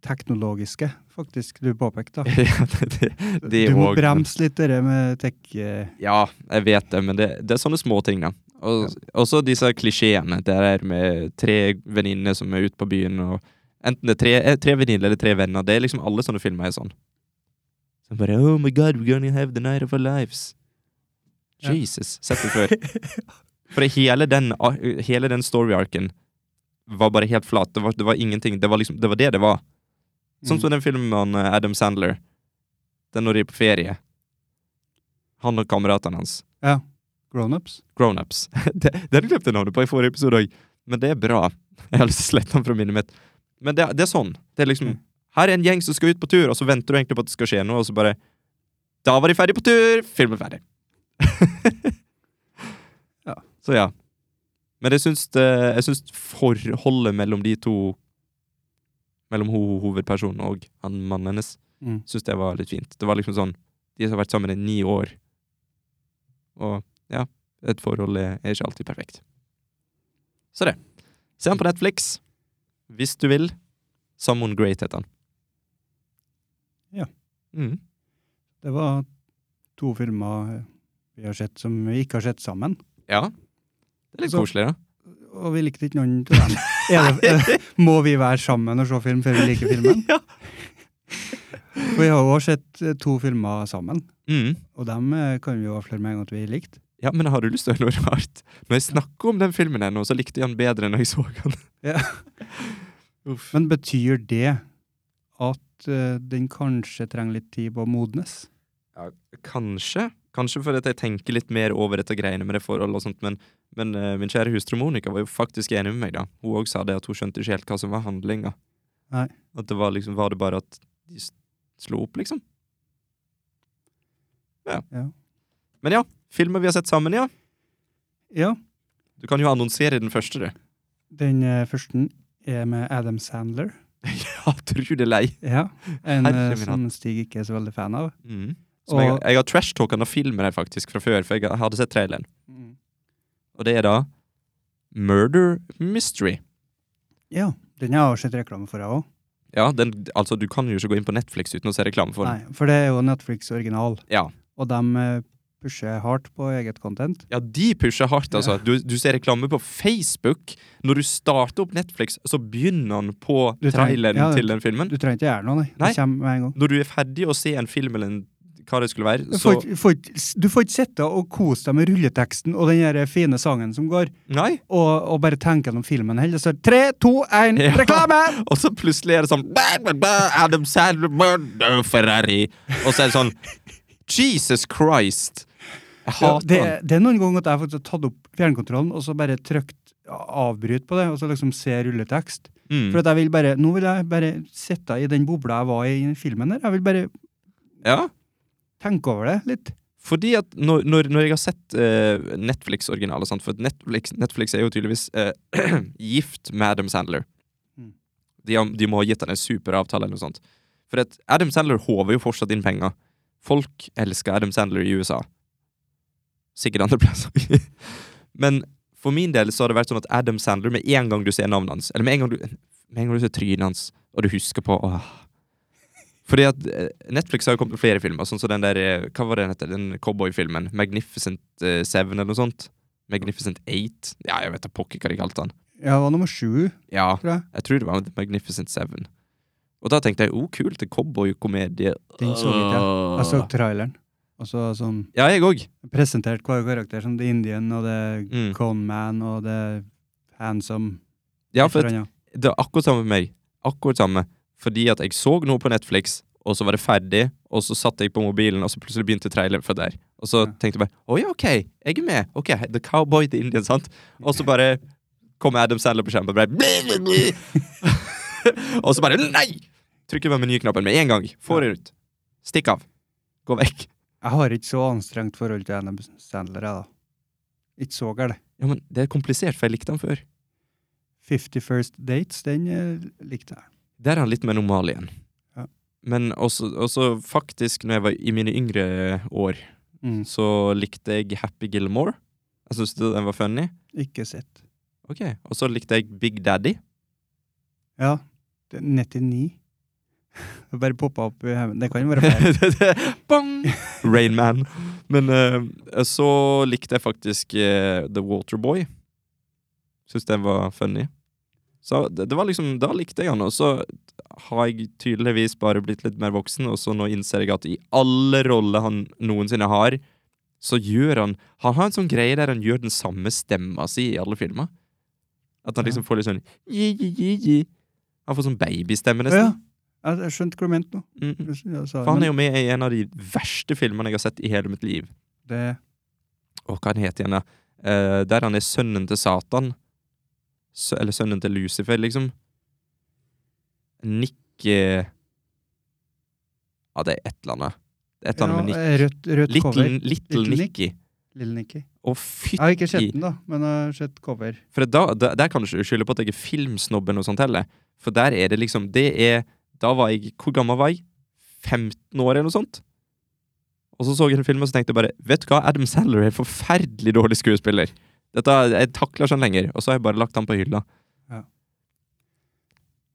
A: teknologiske, faktisk, du påpekte. da.
B: Ja, det, det, det
A: Du må
B: og-
A: bremse litt det der med tech... eh,
B: Ja, jeg vet det, men det, det er sånne små ting, da. Og også disse klisjeene. Det er med tre venninner som er ute på byen, og enten det er tre, eh, tre venninner eller tre venner. Det er liksom alle sånne filmer er sånn. Så bare Oh my God, we're gonna have the night of our lives.
A: Ja.
B: Jesus. Sett det før. For hele den, hele den story-arken var bare helt flat. Det var, det var ingenting. Det var liksom Det var det det var.
A: Mm.
B: Sånn som den filmen med han, eh, Adam Sandler. Den når de er på ferie. Han og kameratene hans.
A: Ja. Grownups.
B: Grownups. Det- Den glemte jeg navnet på i forrige episode òg, men det er bra. Jeg har lyst til å slette den fra minnet mitt. Men det, det er sånn. Det er liksom
A: Mm.
B: Her er en gjeng som skal ut på tur, og så venter du egentlig på at det skal skje noe, og så bare Da var de ferdig på tur! Filmen ferdig.
A: Ja.
B: Så ja. Men jeg syns, det, jeg syns forholdet mellom de to Mellom ho hovedpersonen og han mannen hennes
A: Mm.
B: syns det var litt fint. Det var liksom sånn De har vært sammen i ni år. Og ja, et forhold er, er ikke alltid perfekt. Så det. Se han på Netflix. Hvis du vil. Someone Great heter han.
A: Ja.
B: Mm.
A: Det var to filmer vi har sett som vi ikke har sett sammen.
B: Ja. Det er litt
A: Så-
B: koselig, da.
A: Og vi likte ikke noen av dem. Er det, er det, eh, må vi være sammen og se film før vi liker filmen?
B: Ja.
A: For Vi har jo også sett eh, to filmer sammen,
B: Mm.
A: og dem eh, kan vi jo avsløre med en gang at vi likte.
B: Ja, men har du lyst til å høre noe rart? Når jeg snakker om den filmen her nå, så likte jeg den bedre enn jeg så den.
A: Ja.
B: Uff.
A: Men betyr det at eh, den kanskje trenger litt tid på å modnes?
B: Kanskje. Kanskje fordi at jeg tenker litt mer over dette greiene med det forholdet og sånt, men, men eh, min kjære hustru Monica var jo faktisk enig med meg, da. Hun òg sa det at hun skjønte ikke helt hva som var handlinga.
A: Nei.
B: At det var liksom Var det bare at de s- slo opp, liksom? Ja.
A: Ja.
B: Men ja, filmer vi har sett sammen, ja.
A: Ja,
B: Du kan jo annonsere den første, du.
A: den eh, første er med Adam Sandler.
B: Ja, tror du det er lei.
A: Ja, En eh,
B: Herre min
A: som Stig ikke er så veldig fan av.
B: Mm. Som jeg,
A: Og-
B: jeg har trash-talka av filmen her faktisk fra før, for jeg hadde sett traileren. Og det er da Murder Mystery.
A: Ja, den har jeg også sett reklame for, jeg òg.
B: Ja, den, altså Du kan jo ikke gå inn på Netflix uten å se reklame for den.
A: Nei, for det er jo Netflix original.
B: Ja.
A: Og de eh, pusher hardt på eget content.
B: Ja, de pusher hardt, altså. Du, du ser reklame på Facebook. Når du starter opp Netflix, så begynner han på
A: Du trenger-
B: traileren
A: ja,
B: til den filmen.
A: Du trenger ikke gjøre noe, nei.
B: Nei.
A: Det kommer med en gang.
B: Når du er ferdig å se en film eller en, hva det
A: Du
B: skulle være, så
A: får, ikke- får, ikke s- du får ikke sitte og kose deg med rulleteksten og den der eh, fine sangen som går,
B: Nei!
A: og, og bare tenke gjennom filmen heller. Så tre, to, én,
B: Ja.
A: reklame!
B: Og så plutselig er det sånn bæ, bæ, bæ, Adam Sandler, murder Ferrari. Og så er det sånn Jesus Christ! Jeg
A: Ja,
B: hater
A: det,
B: han.
A: det er noen ganger at jeg faktisk har tatt opp fjernkontrollen og så bare trykt avbryt på det, og så liksom se rulletekst.
B: Mm.
A: For at jeg vil bare, nå vil jeg bare sitte i den bobla jeg var i i filmen der. Jeg vil bare
B: Ja.
A: tenke over det litt.
B: Fordi at når, når, når jeg har sett eh, Netflix-originaler sant? For Netflix, Netflix er jo tydeligvis eh, gift med Adam Sandler.
A: Mm.
B: De, har- de må ha gitt han en superavtale eller noe sånt. For at Adam Sandler håver jo fortsatt inn penger. Folk elsker Adam Sandler i USA. Sikkert andre plasser. Men for min del så har det vært sånn at Adam Sandler, med en gang du ser navnet hans, eller med en gang du, med en gang du ser trynet hans, og du husker på åh. Fordi at eh, Netflix har jo kommet med flere filmer, sånn som den der eh, Hva var det den heter? Den cowboyfilmen? Magnificent eh, Seven, eller noe sånt? Magnificent Eight? Ja, jeg vet da pokker hva de kalte den.
A: Ja, det var nummer sju,
B: Ja,
A: tror jeg.
B: jeg tror det var The Magnificent Seven. Og da tenkte jeg oh, kult, en cowboykomedie.
A: Den så vidt, Jeg Altså- så traileren. Og så sånn
B: Ja, jeg òg.
A: presentert hver karakter som The Indian og The
B: Mm.
A: Con Man og The Handsome
B: Ja,
A: et
B: for
A: eller annet.
B: det er akkurat samme med meg. Akkurat samme. Fordi at jeg så noe på Netflix, og så var det ferdig, og så satt jeg på mobilen, og så plutselig begynte traileren fra der. Og så
A: Ja.
B: tenkte jeg bare Å ja, OK, jeg er med. Ok, The Cowboy, The Indian, sant? Og så bare kom Adam Sandler på skjermen og bare bli, bli, bli. Og så bare Nei! Trykker på menyknappen med en gang. Får det ut. Stikk av. Gå vekk.
A: Jeg har ikke så anstrengt forhold til Adam Sandler, jeg, da. Ikke så gæren.
B: Ja, men det er komplisert, for jeg likte han før.
A: Fifty First Dates, den eh, likte jeg.
B: Der er han litt mer normal igjen.
A: Ja.
B: Men også, også faktisk, når jeg var i mine yngre år
A: Mm.
B: så likte jeg Happy Gilmore. Jeg syntes den var funny.
A: Ikke sett.
B: Ok, Og så likte jeg Big Daddy.
A: Ja. det er 99. Det bare poppa opp i haugen. Det kan jo være flere.
B: Bang! Rain Man. Men eh, så likte jeg faktisk eh, The Waterboy. Syns den var funny. Så det, det var liksom, Da likte jeg han, og så har jeg tydeligvis bare blitt litt mer voksen, og så nå innser jeg at i alle roller han noensinne har, så gjør han Han har en sånn greie der han gjør den samme stemma si i alle filmer. At han
A: Ja.
B: liksom får litt sånn «Ji, ji, ji, ji». Han får sånn babystemme,
A: Å Ja,
B: nesten.
A: jeg jeg skjønte hva du mente nå.
B: Mm, mm.
A: Jeg sa det,
B: For han
A: men
B: er jo med i en av de verste filmene jeg har sett i hele mitt liv.
A: det,
B: Og hva han heter igjen, da? Eh, der han er sønnen til Satan. Sø eller sønnen til Lucifer, liksom. Nick eh, Ja, det er et eller annet. Det er et eller
A: Ja,
B: annet med
A: eh, rødt, rødt
B: Nick. Little,
A: cover.
B: little
A: Little Nick.
B: Nicky.
A: Lille Nicky.
B: Å,
A: Jeg har ikke
B: fytti
A: sett den, da, men jeg har sett cover.
B: For da, da, der kan du ikke skylde på at jeg er filmsnobben og sånt heller. For der er det liksom Det er Da var jeg Hvor gammel var jeg? 15 år, eller noe sånt? Og så så jeg en film og så tenkte jeg bare Vet du hva, Adam Sandler er en forferdelig dårlig skuespiller. Dette, Jeg takler ikke han lenger. Og så har jeg bare lagt han på hylla.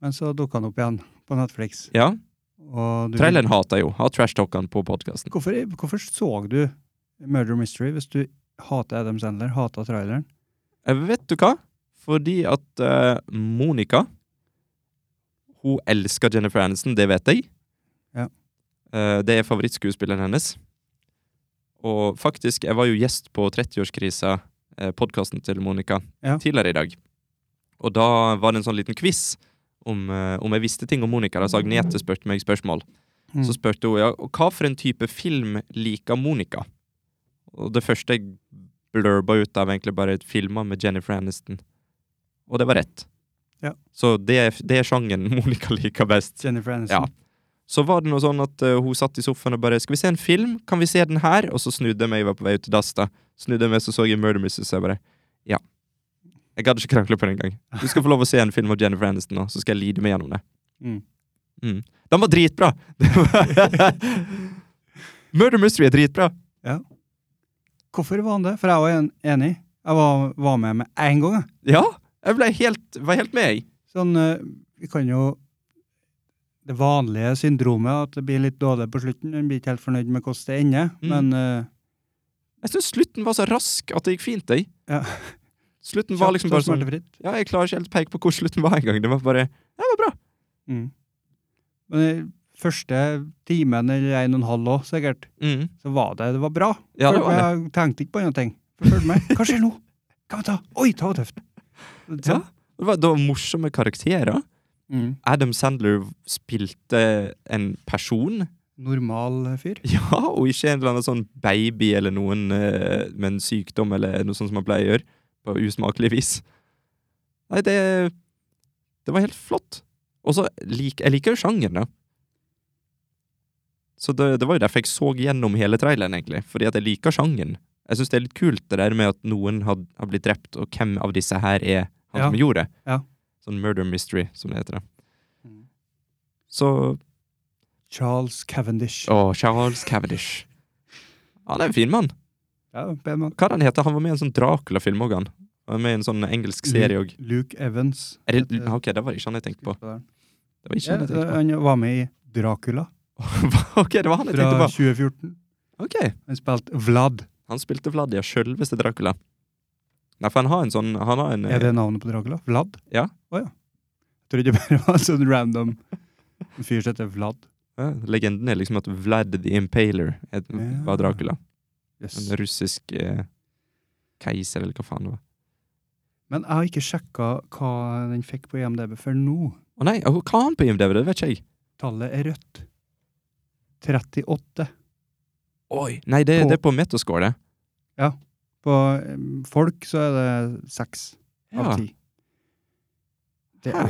A: Men så dukka han opp igjen på Netflix.
B: Ja,
A: Og du,
B: traileren hater jeg jo. Har trash-talkene på podkasten.
A: hvorfor, hvorfor så du Murder Mystery hvis du hater Adam Sandler, hater traileren?
B: Eh, Vet du hva? Fordi at eh, Monica Hun elsker Jennifer Aniston, det vet jeg.
A: Ja.
B: Eh, det er favorittskuespilleren hennes. Og faktisk, jeg var jo gjest på 30-årskrisa, uh, podkasten til Monica,
A: Ja.
B: tidligere i dag. Og da var det en sånn liten quiz om, eh, om jeg visste ting om Monica. Da, så Agnete spurte meg spørsmål.
A: Mm.
B: Så spurte hun ja, og hva for en type film liker Monica? Og det første jeg blurba ut av, egentlig bare filmer med Jennifer Aniston. Og det var rett.
A: Ja.
B: Så det er, det er sjangen Monica liker best.
A: Jennifer Aniston.
B: Ja. Så var det noe sånn at eh, hun satt i sofaen og bare 'Skal vi se en film? Kan vi se den her?' Og så snudde jeg meg, jeg var på vei ut til dass, da. Snudde jeg meg, så så jeg Murder Mystery, så jeg bare Ja. Jeg gadd ikke krangle på det engang. Du skal få lov å se en film av Jennifer Aniston nå, så skal jeg lide meg gjennom det.
A: Mm.
B: Den var dritbra! Det var- Murder Mystery er dritbra.
A: Hvorfor var han det? For jeg var en, enig. Jeg var, var med med én gang. jeg.
B: Ja, jeg ble helt, var helt med, jeg.
A: Sånn, eh, vi kan jo Det vanlige syndromet, at det blir litt dårlig på slutten. En blir ikke helt fornøyd med hvordan det ender,
B: Mm.
A: men eh,
B: Jeg syns slutten var så rask at det gikk fint, jeg.
A: Ja.
B: Slutten var
A: kjapt
B: liksom
A: og
B: bare sånn
A: smertefritt.
B: Ja, jeg klarer ikke helt å peke på hvor slutten var engang. Det var bare
A: Mm. Men den første timen eller en og en halv òg, sikkert,
B: mm.
A: så var det det var bra.
B: Ja, det
A: For
B: var det.
A: Jeg tenkte ikke på andre ting. Følg med. Hva skjer nå? Hva må vi ta? Oi, det var tøft.
B: Ja. Det var, det var morsomme karakterer.
A: Mm.
B: Adam Sandler spilte en person.
A: Normal fyr.
B: Ja, og ikke en eller annen sånn baby eller noen eh, med en sykdom eller noe sånt som man pleier å gjøre. På usmakelig vis. Nei, det Det var helt flott. Og så lik, Jeg liker jo sjangeren, da. Så det, det var jo derfor jeg så gjennom hele traileren, egentlig. Fordi at jeg liker sjangeren. Jeg syns det er litt kult det der med at noen har, har blitt drept, og hvem av disse her er han
A: Ja.
B: som gjorde det.
A: Ja. Mm.
B: Sånn murder mystery, som det heter. da. Så
A: Charles Cavendish.
B: Å, Charles Cavendish. Han er en fin mann.
A: Ja, pen mann.
B: Hva er det han heter? Han var med i en sånn Dracula-film òg, han. Han var med i en sånn
A: Mm.
B: engelsk serie òg.
A: Luke Evans.
B: Er det,
A: heter
B: ok, det var ikke han jeg tenkte på.
A: skuespilleren.
B: Det var ikke
A: Ja,
B: han jeg tenkte
A: han var med i Dracula
B: på. ok, det var han jeg
A: fra
B: tenkte på.
A: 2014.
B: Ok,
A: Han spilte Vlad.
B: Han spilte Vladia, sjølveste Dracula. Nei, for han har en sånn Han har en
A: Er det navnet på Dracula? Vlad?
B: Ja.
A: Å ja. Jeg trodde det bare var en sånn random fyr som heter Vlad.
B: eh, Legenden er liksom at Vlad the Impaler er-
A: Ja.
B: var Dracula.
A: Yes.
B: En russisk eh, keiser, eller hva faen det var.
A: Men jeg har ikke sjekka hva den fikk på IMDb før nå.
B: Å nei, hva har han på IMDb? Det vet ikke jeg.
A: Tallet er rødt. 38
B: Oi, Nei, det,
A: På-
B: det er på Metascore, det.
A: På em, folk så er det 6
B: Ja,
A: av 10. Det,
B: Hæ.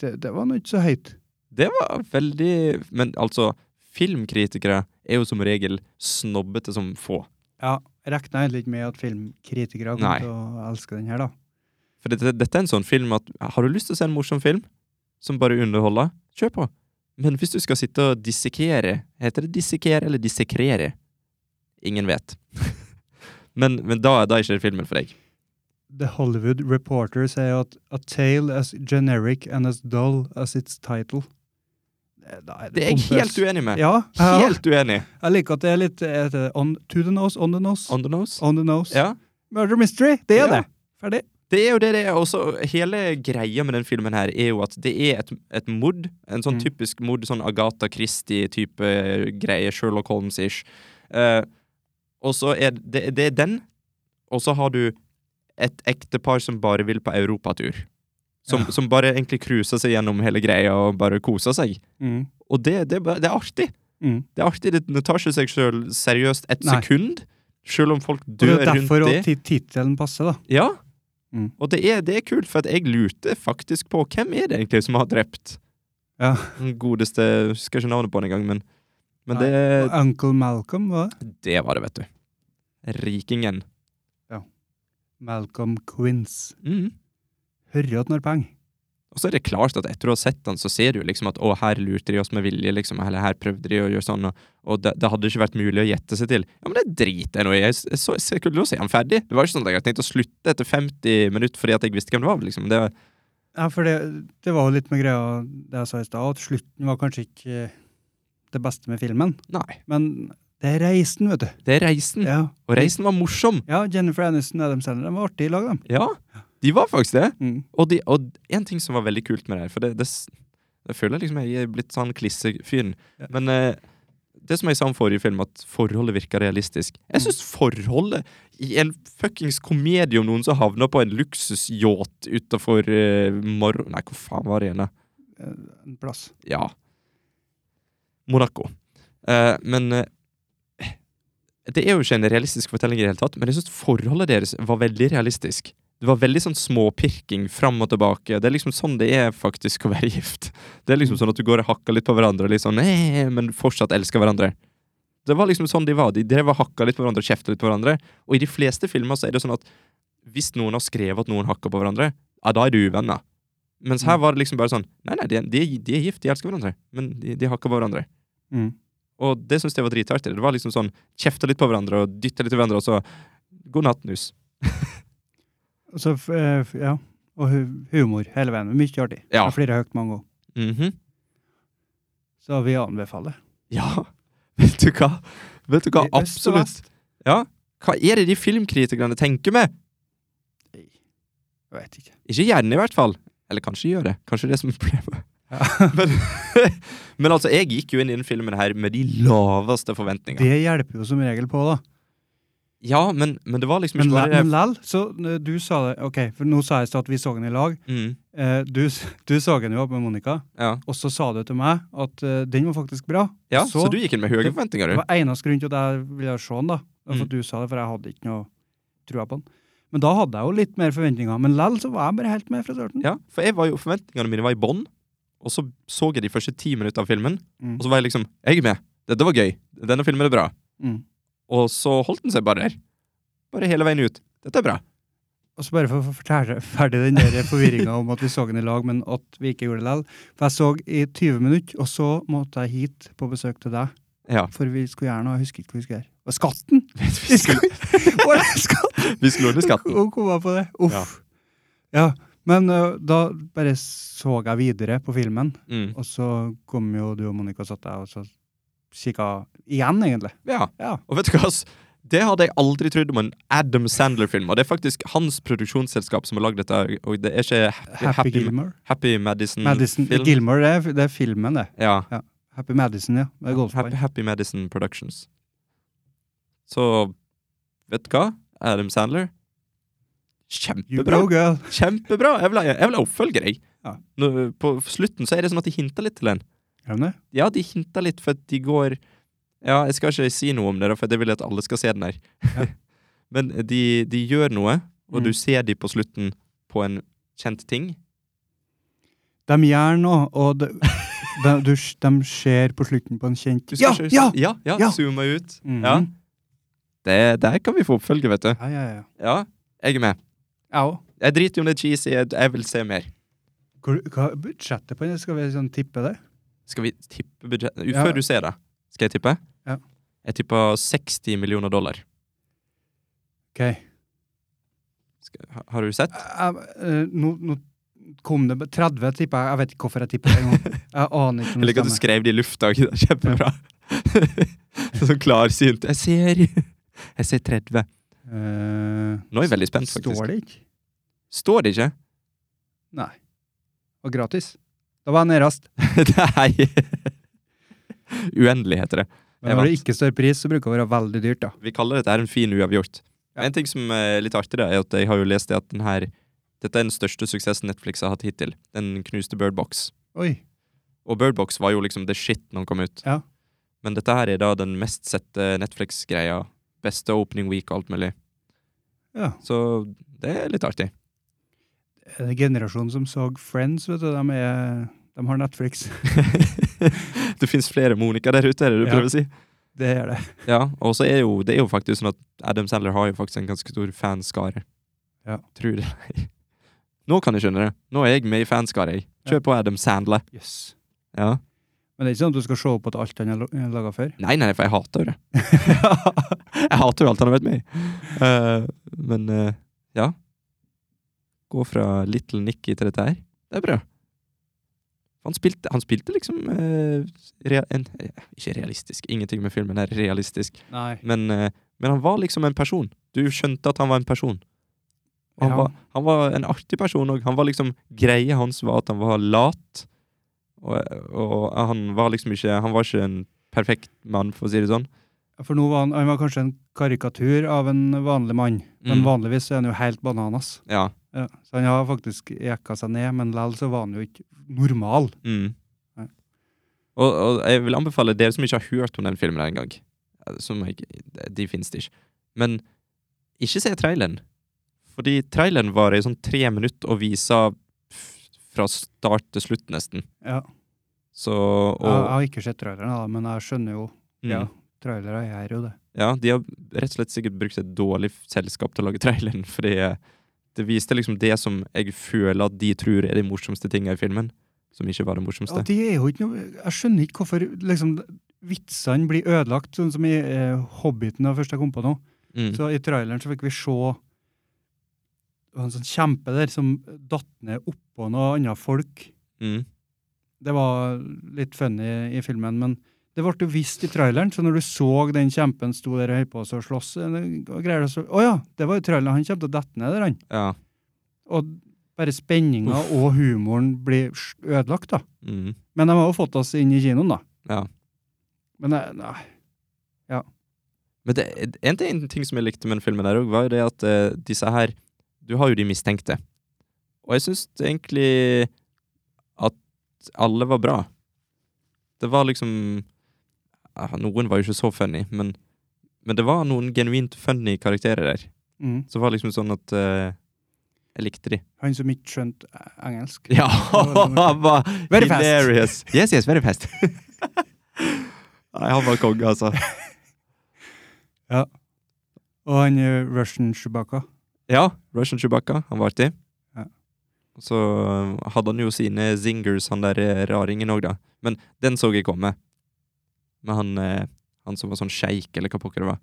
A: det, det var nå ikke så høyt.
B: Det var veldig Men altså, filmkritikere er jo som regel snobbete som få.
A: Ja, regna egentlig ikke med at filmkritikere kom
B: Nei.
A: til å elske den her, da.
B: For dette, dette er en sånn film at har du lyst til å se en morsom film som bare underholder, kjør på. Men hvis du skal sitte og dissekere Heter det dissekere eller dissekrere? Ingen vet. men men da, da er ikke det filmen for deg.
A: The Hollywood Reporter sier at a tale as generic and as dull as its title. Eh, Da er det,
B: Det er jeg helt
A: pompøst.
B: uenig med.
A: Ja, jeg,
B: Helt uenig.
A: jeg liker at det er litt eh, det er on, to the nose, on the nose. On,
B: On the nose.
A: the nose.
B: Ja.
A: Murder mystery, det er
B: Ja.
A: det. Ferdig.
B: Det er jo det det er. Også, hele greia med den filmen her er jo at det er et, et mord. En sånn
A: Mm.
B: typisk mord, sånn Agatha Christie-type eh, greie. Sherlock Holmes-ish. Eh, og så er det, det er den, og så har du et ektepar som bare vil på europatur. Som,
A: Ja.
B: som bare egentlig cruiser seg gjennom hele greia og bare koser seg.
A: Mm.
B: Og det, det, er bare- det er artig.
A: Mm.
B: Det er artig, det, det tar ikke seg sjøl seriøst et
A: Nei.
B: sekund. Sjøl om folk
A: Og det
B: dør
A: er
B: rundt
A: derfor
B: det.
A: at ti- tittelen passer, da.
B: Ja.
A: Mm.
B: Og det er, det er kult, for at jeg lurte faktisk på hvem er det egentlig som har drept
A: Ja.
B: den godeste Husker ikke navnet på han engang, men Men
A: Nei.
B: det,
A: Uncle Malcolm, hva?
B: det var det, vet du. Rikingen.
A: Malcolm Quince.
B: Mm.
A: Hører at når penger.
B: Og så er det klart at etter du har sett den, så ser du liksom at å, her lurte de oss med vilje, liksom, eller her prøvde de å gjøre sånn, og, og det, det hadde ikke vært mulig å gjette seg til. Ja, men det driter jeg nå i. Jeg, s- jeg, så- jeg skulle jo se han ferdig. Det var ikke sånn at jeg hadde tenkt å slutte etter 50 minutter fordi at jeg visste hvem det var, liksom. Det,
A: Ja, for det, det var jo litt med greia det jeg sa i stad, at slutten var kanskje ikke eh, det beste med filmen.
B: nei.
A: Men det er reisen, vet du.
B: Det er reisen.
A: Ja,
B: Og reisen var morsom.
A: ja Jennifer Aniston og Adam Sandler de var artige i lag, dem.
B: Ja, de var faktisk det.
A: Mm.
B: Og, de, og en ting som var veldig kult med det her, for det, det, s- jeg føler liksom jeg er blitt sånn klissefyren,
A: Ja.
B: men eh, det som jeg sa om forrige film, at forholdet virker realistisk. Jeg synes forholdet i en fuckings komedie om noen som havner på en luksusyacht utenfor eh, Mar... Nei, hvor faen var det igjen da?
A: En plass.
B: Ja. Monaco. Eh, men eh, Det er jo ikke en realistisk fortelling i det hele tatt, men jeg syns forholdet deres var veldig realistisk. Det var veldig sånn småpirking fram og tilbake. Det er liksom sånn det er faktisk å være gift. Det er liksom sånn at du går og hakker litt på hverandre, og litt sånn, «Eh», men fortsatt elsker hverandre. Det var liksom sånn de var. De drev og hakka litt på hverandre og kjefta litt på hverandre. Og i de fleste filmer så er det sånn at hvis noen har skrevet at noen hakker på hverandre, ja, da er du uvenner. Mens her var det liksom bare sånn Nei, nei, de, de, de er gift, de elsker hverandre, men de, de hakker på hverandre.
A: Mm.
B: Og det syns jeg var dritartig. Det var liksom sånn kjefta litt på hverandre og dytta litt i hverandre, og så God natt, nus.
A: Og Så, f- eh, f- ja. Og hu humor hele veien. Mye artig.
B: Ja.
A: Jeg flirer høyt mange ganger.
B: Mhm.
A: Så vi anbefaler.
B: Ja, vet du hva? Vet du hva?
A: I øst og
B: Absolutt. Ja. Hva er det de filmkritikerne tenker med?
A: Jeg vet ikke.
B: Ikke gjerne, i hvert fall. Eller kanskje gjør det. Kanskje det er som er problemet.
A: Ja.
B: Men, men altså, jeg gikk jo inn i den filmen her med de laveste forventninger.
A: Det hjelper jo som regel på, da.
B: Ja, men, men det var liksom
A: Men
B: ikke bare det.
A: lell, så eh, du sa det OK, for nå sa jeg i stad at vi så den i lag.
B: Mm,
A: Eh, Du, s- du så den jo opp med Monica,
B: ja.
A: og så sa du til meg at eh, den var faktisk bra.
B: ja,
A: Og
B: så, du gikk inn med høye
A: det-
B: forventninger,
A: Det
B: du.
A: var eneste grunn til at jeg ville se den, da. Det
B: Mm.
A: var For at du sa det, for jeg hadde ikke noe trua på den. Men da hadde jeg jo litt mer forventninger. Men lell så var jeg bare helt med fra starten.
B: Ja, for jeg var jo, forventningene mine var i bånn, og så så jeg de første ti minutter av filmen,
A: Mm.
B: og så var jeg liksom Jeg er med. Dette var gøy. Denne filmen er bra.
A: Mm.
B: Og så holdt den seg bare der. Bare hele veien ut. Dette er bra.
A: Og så bare for å fortelle ferdig den der forvirringa om at vi så den i lag, men at vi ikke gjorde det likevel. For jeg så i 20 minutter, og så måtte jeg hit på besøk til deg.
B: Ja.
A: For vi skulle gjerne ha Jeg husker ikke hva vi skulle gjøre. Og skatten!
B: Vi skulle,
A: Var det skatten?
B: vi skulle ordne skatten.
A: Hun kom på det. Uff. Ja. Men ø, da bare så jeg videre på filmen,
B: Mm.
A: og så kom jo du og Monica og satt der og så kikka igjen, egentlig.
B: Ja.
A: Ja.
B: Og vet du hva, ass? Det hadde jeg aldri trodd om en Adam Sandler-film. Og det er faktisk hans produksjonsselskap som har lagd dette. Og det er ikke Happy, Mm,
A: Happy,
B: Happy,
A: Gilmore.
B: Happy Madison-film.
A: Madison, Gilmore, det er, det er filmen, det.
B: ja.
A: Happy Madison, ja. Det er
B: Happy,
A: golfball.
B: Happy Madison Productions. Så vet du hva? Adam Sandler
A: You
B: Kjempebra!
A: go, girl.
B: Kjempebra! Jeg vil ha, jeg vil ha oppfølger, jeg.
A: Ja.
B: Nå, På slutten så er det sånn at de hinter litt til en.
A: Er de det?
B: Ja, de hinta litt, for at de går Ja, jeg skal ikke si noe om det, da, for jeg vil at alle skal se den her.
A: Ja.
B: Men de, de gjør noe, og
A: Mm.
B: du ser de på slutten på en kjent ting.
A: De gjør noe, og de, de, du, de ser på slutten på en kjent
B: Du
A: Ja!
B: skal ikke-
A: Ja!
B: ja! Ja,
A: Ja.
B: zooma ut.
A: Mhm.
B: Ja. Det, der kan vi få oppfølge, vet du.
A: ja, ja, ja.
B: Ja, jeg er med.
A: Jeg òg.
B: Jeg driter i om det er cheesy, jeg, jeg vil se mer.
A: Hvor- Hva er budsjettet på den? Skal vi sånn tippe det?
B: Skal vi tippe budsjettet?
A: Ja.
B: Før du ser det, skal jeg tippe?
A: Ja.
B: Jeg tipper 60 millioner dollar.
A: Ok.
B: Skal, har- har du sett?
A: Jeg, eh, nå, nå kom det 30, tipper jeg. Jeg vet ikke hvorfor jeg tipper det engang. Jeg aner ikke om
B: Jeg
A: det
B: liker at du
A: stemmer.
B: skrev det i lufta. ikke sant? Kjempebra. sånn klarsynt. Jeg ser Jeg ser 30.
A: Eh,
B: Nå er jeg veldig spent, faktisk.
A: Står det ikke?
B: Står det ikke?
A: Nei. Og gratis. Da var jeg nærmest.
B: Nei. Uendelig heter det.
A: Men når det ikke står pris, så bruker det å være veldig dyrt, da.
B: Vi kaller dette her en fin uavgjort.
A: Ja.
B: En ting som er litt artig, da, er at jeg har jo lest det at den her dette er den største suksessen Netflix har hatt hittil. Den knuste Birdbox.
A: Oi.
B: Og Birdbox var jo liksom the shit når den kom ut.
A: Ja.
B: Men dette her er da den mest sette Netflix-greia. Beste opening week og alt mulig.
A: Ja.
B: Så det er litt artig.
A: Er det generasjonen som så Friends, vet du. De er De har Netflix.
B: det fins flere Monica der ute, er det du
A: Ja.
B: prøver å si?
A: Det er det.
B: Ja, og så er jo, det er jo faktisk sånn at Adam Sandler har jo faktisk en ganske stor fanskare.
A: Ja.
B: Tror det. Nå kan jeg skjønne det. Nå er jeg med i fanskare, jeg. Kjør på Adam Sandler.
A: Yes.
B: Ja.
A: Men det er ikke sånn at du skal se opp at alt han har la- laga før?
B: Nei, nei, for jeg hater jo det. jeg hater jo alt han har vært med i. Eh, men eh, ja. Gå fra Little Nicky til dette her. Det er bra. Han spilte, han spilte liksom eh, rea, en, eh, Ikke realistisk. Ingenting med filmen er realistisk.
A: Nei.
B: Men, eh, men han var liksom en person. Du skjønte at han var en person. Og Han,
A: Ja.
B: var, han var en artig person òg. Han var liksom Greia hans var at han var lat. Og, og han var liksom ikke Han var ikke en perfekt mann, for å si det sånn.
A: For nå var han, han var kanskje en karikatur av en vanlig mann, men
B: Mm.
A: vanligvis er han jo helt bananas.
B: Ja.
A: Ja. Så han har faktisk jekka seg ned, men likevel så var han jo ikke normal.
B: Mm.
A: Nei.
B: Og, og jeg vil anbefale dere som ikke har hørt om den filmen her engang eh, Som jeg, De finnes det ikke. Men ikke se traileren. Fordi traileren varer i sånn tre minutter og viser f- fra start til slutt, nesten.
A: Ja.
B: Så
A: Jeg, jeg
B: og,
A: har ikke sett traileren, da, men jeg skjønner jo
B: mm.
A: Ja, trailere gjør jo det.
B: Ja, de har rett og slett sikkert brukt et dårlig f- selskap til å lage traileren, fordi eh, det viste liksom det som jeg føler at de tror er de morsomste tinga i filmen, som ikke var det
A: Ja,
B: morsomste.
A: det er jo ikke noe Jeg skjønner ikke hvorfor liksom, vitsene blir ødelagt, sånn som i eh, Hobbiten, det første jeg kom på nå.
B: Mm.
A: Så i traileren så fikk vi se det var en sånn kjempe der som datt ned oppå noe annet folk.
B: Mm.
A: Det var litt funny i filmen, men det ble jo vist i traileren, så når du så den kjempen sto der og holdt på å slåss og greier, så Å ja, det var jo traileren. Han kommer til å dette ned der, han.
B: Ja.
A: Og bare spenninga
B: Uff.
A: og humoren blir sj- ødelagt, da.
B: Mm.
A: Men de har jo fått oss inn i kinoen, da.
B: Ja.
A: Men jeg- nei.
B: Men det, en, ting, en ting som jeg likte med den filmen der òg, var jo det at eh, disse her Du har jo de mistenkte. Og jeg syns egentlig at alle var bra. Det var liksom ah, Noen var jo ikke så funny, men, men det var noen genuint funny karakterer der.
A: Mm.
B: Så det var liksom sånn at eh, jeg likte de.
A: Han som ikke skjønte eh, engelsk.
B: Ja, han var
A: Very fast.
B: hilarious. Yes, yes, very fast. Nei, han var konge, altså.
A: Og han eh, Russian Shubaka.
B: Ja, Russian Chewbacca, han var artig.
A: Ja.
B: Så eh, hadde han jo sine zingers, han der eh, raringen òg, da. Men den så jeg komme. Med han, eh, han som var sånn sjeik, eller hva pokker det var.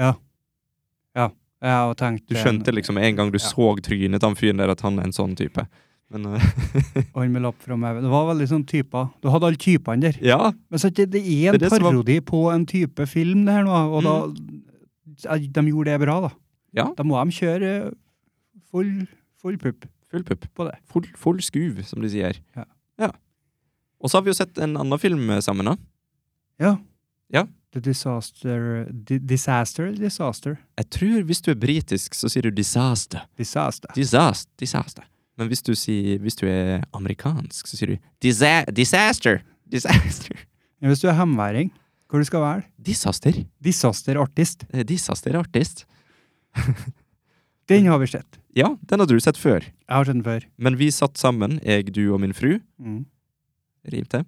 A: Jeg har tenkt
B: Du skjønte liksom en gang du
A: Ja.
B: så trynet til han fyren der, at han er en sånn type. Men eh,
A: Og han med lapp fra maven. Det var veldig sånn typer. Du hadde alle typene der.
B: ja,
A: Men så, er det, det er en
B: Det er det som var- Mm.
A: parodi på en type film, det her nå. Og da eh, De gjorde det bra, da.
B: Ja.
A: Da må de kjøre eh, full, full pupp.
B: full pupp.
A: På det.
B: Full, full skuv, som de sier.
A: Ja.
B: ja. Og så har vi jo sett en annen film eh, sammen, da.
A: Ja.
B: Ja.
A: The disaster di Disaster eller disaster?
B: Jeg tror hvis du er britisk, så sier du disaster.
A: Disaster.
B: Disaster. disaster. Men hvis du, sier, hvis du er amerikansk, så sier du disa disaster. Disaster.
A: Ja, Hvis du er hemværing, hvor du skal være?
B: Disaster.
A: Disasterartist.
B: Eh, Disaster artist. Mm.
A: Den har vi sett.
B: Ja, den hadde du sett før.
A: Jeg har sett den før.
B: Men vi satt sammen, jeg, du og min fru,
A: Mm.
B: rimte,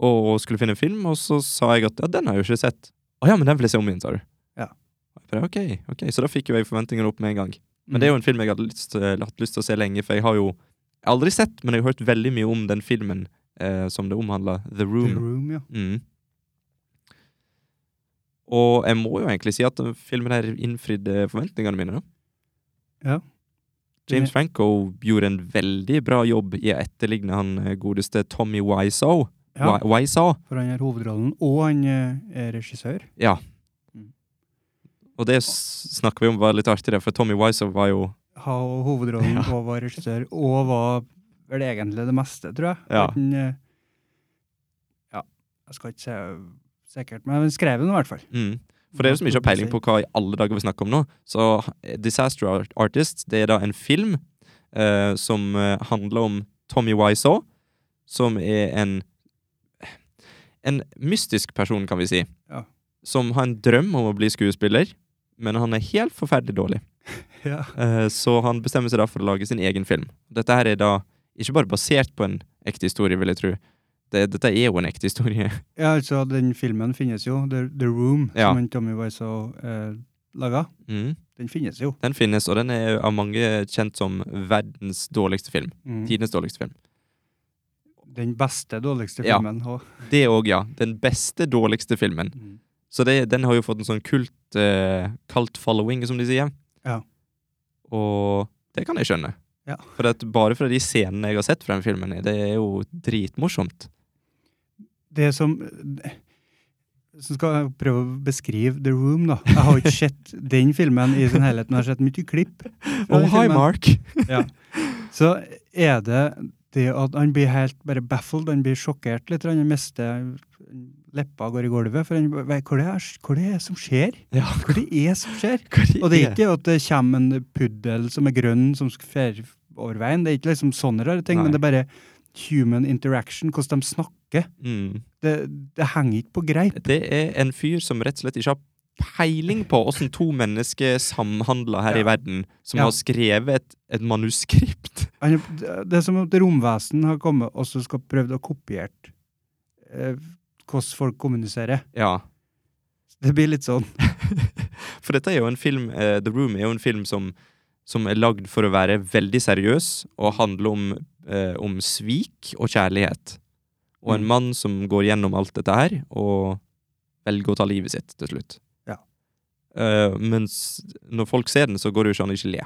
B: og skulle finne en film, og så sa jeg at ja, den har jeg jo ikke sett. Å ja, men den vil jeg se om igjen, sa du.
A: Ja.
B: Jeg bare, ok, ok, Så da fikk jo jeg forventningene opp med en gang. Men det
A: Mm.
B: er jo en film jeg hadde lyst, eh, hatt lyst til å se lenge, for jeg har jo jeg har aldri sett, men jeg har hørt veldig mye om den filmen eh, som det omhandler, The Room.
A: The Room, ja.
B: Mm. Og jeg må jo egentlig si at den filmen her innfridde forventningene mine. da.
A: Ja.
B: James Franco gjorde en veldig bra jobb i å etterligne han eh, godeste Tommy Wiseau.
A: ja.
B: Wi- Wiseau.
A: For han har hovedrollen, og han eh, er regissør.
B: Ja.
A: Mm.
B: Og det s- snakker vi om var litt artig, der, for Tommy Wiseau var jo
A: Har hovedrollen og var regissør, og var vel egentlig det meste, tror jeg.
B: Ja.
A: At Han, eh, ja, jeg skal ikke si sikkert, men han skrev den i hvert fall.
B: mm. For dere som ikke har peiling på hva i alle dager vi snakker om nå, så eh, Disaster Art- Artist det er da en film eh, som eh, handler om Tommy Wiseau, som er en en mystisk person, kan vi si,
A: Ja.
B: som har en drøm om å bli skuespiller, men han er helt forferdelig dårlig.
A: Ja.
B: Eh, så han bestemmer seg da for å lage sin egen film. Dette her er da ikke bare basert på en ekte historie, vil jeg tro. Det, dette er jo en ekte historie.
A: Ja, altså, den filmen finnes jo, The, The Room,
B: Ja.
A: som han Tommy Wiseau eh, laga.
B: Mm.
A: Den finnes jo.
B: Den finnes, og den er av mange kjent som verdens dårligste film.
A: Mm.
B: Tidenes dårligste film.
A: Den beste, dårligste
B: Ja.
A: filmen. og-
B: Det òg, ja. Den beste dårligste filmen.
A: Mm.
B: Så det, den har jo fått en sånn kult, eh, kult following, som de sier.
A: Ja.
B: Og det kan jeg skjønne.
A: Ja.
B: For at bare fra de scenene jeg har sett fra den filmen, det er jo dritmorsomt.
A: Det som eh, så skal jeg prøve å beskrive The Room, da. Jeg har ikke sett den filmen i sin helhet, men jeg har sett mye klipp. fra
B: Oh,
A: den
B: hi,
A: filmen.
B: Mark!
A: Så er det det at han blir helt bare baffled, han blir sjokkert litt, han mister leppa går i gulvet, for han bare, "Hva- hva det er hva det er som skjer?
B: Ja,
A: Hva det er som skjer?
B: hva er det?
A: Og det er ikke at det kommer en puddel som er grønn som fer over veien, det er ikke liksom sånne rare ting, men det
B: Nei.
A: er bare human interaction, hvordan de snakker.
B: mm.
A: Det, det henger ikke på greip.
B: Det er en fyr som rett og slett ikke har peiling på åssen to mennesker samhandler her
A: Ja.
B: i verden, som
A: Ja.
B: har skrevet et, et manuskript.
A: Han, er- det er som at romvesen har kommet og så skal prøvd å kopiere eh, hvordan folk kommuniserer.
B: Ja.
A: Det blir litt sånn.
B: For dette er jo en film eh, The Room er jo en film som, som er lagd for å være veldig seriøs og handle om, eh, om svik og kjærlighet. Og en
A: Mm.
B: mann som går gjennom alt dette her og velger å ta livet sitt til slutt.
A: Ja.
B: Eh, mens når folk ser den, så går det jo ikke an å ikke le.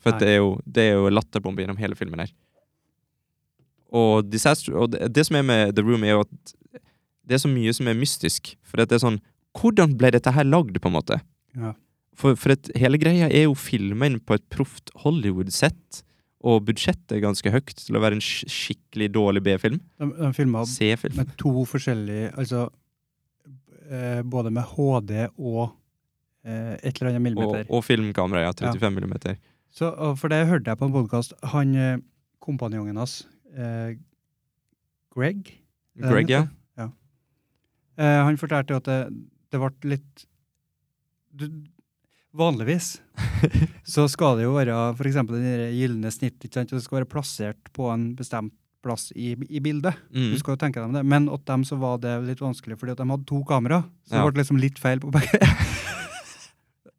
B: For
A: Nei.
B: at det er, jo, det er jo latterbombe gjennom hele filmen her. Og, disaster, og det, det som er med The Room, er jo at det er så mye som er mystisk. For at det er sånn Hvordan ble dette her lagd, på en måte? For, for at hele greia er jo filma inn på et proft Hollywood-sett, og budsjettet er ganske høyt til å være en sk skikkelig dårlig B-film.
A: De, de filma
B: C-film.
A: med to forskjellige Altså eh, både med HD og eh, et eller annet
B: Og,
A: millimeter.
B: og filmkamera, ja. 35 millimeter.
A: Så, og for det hørte jeg på en podkast. Han eh, kompanjongen hans, eh, Greg den
B: Greg, ja.
A: heter? Eh, han fortalte jo at det, det ble litt du, Vanligvis så skal det jo være for eksempel den der gylne snitt, ikke sant? og det skal være plassert på en bestemt plass i, i bildet.
B: Mm.
A: Du skal jo tenke deg om det. Men at dem så var det litt vanskelig fordi at de hadde to kamera, så
B: Ja.
A: det ble liksom litt feil på begge.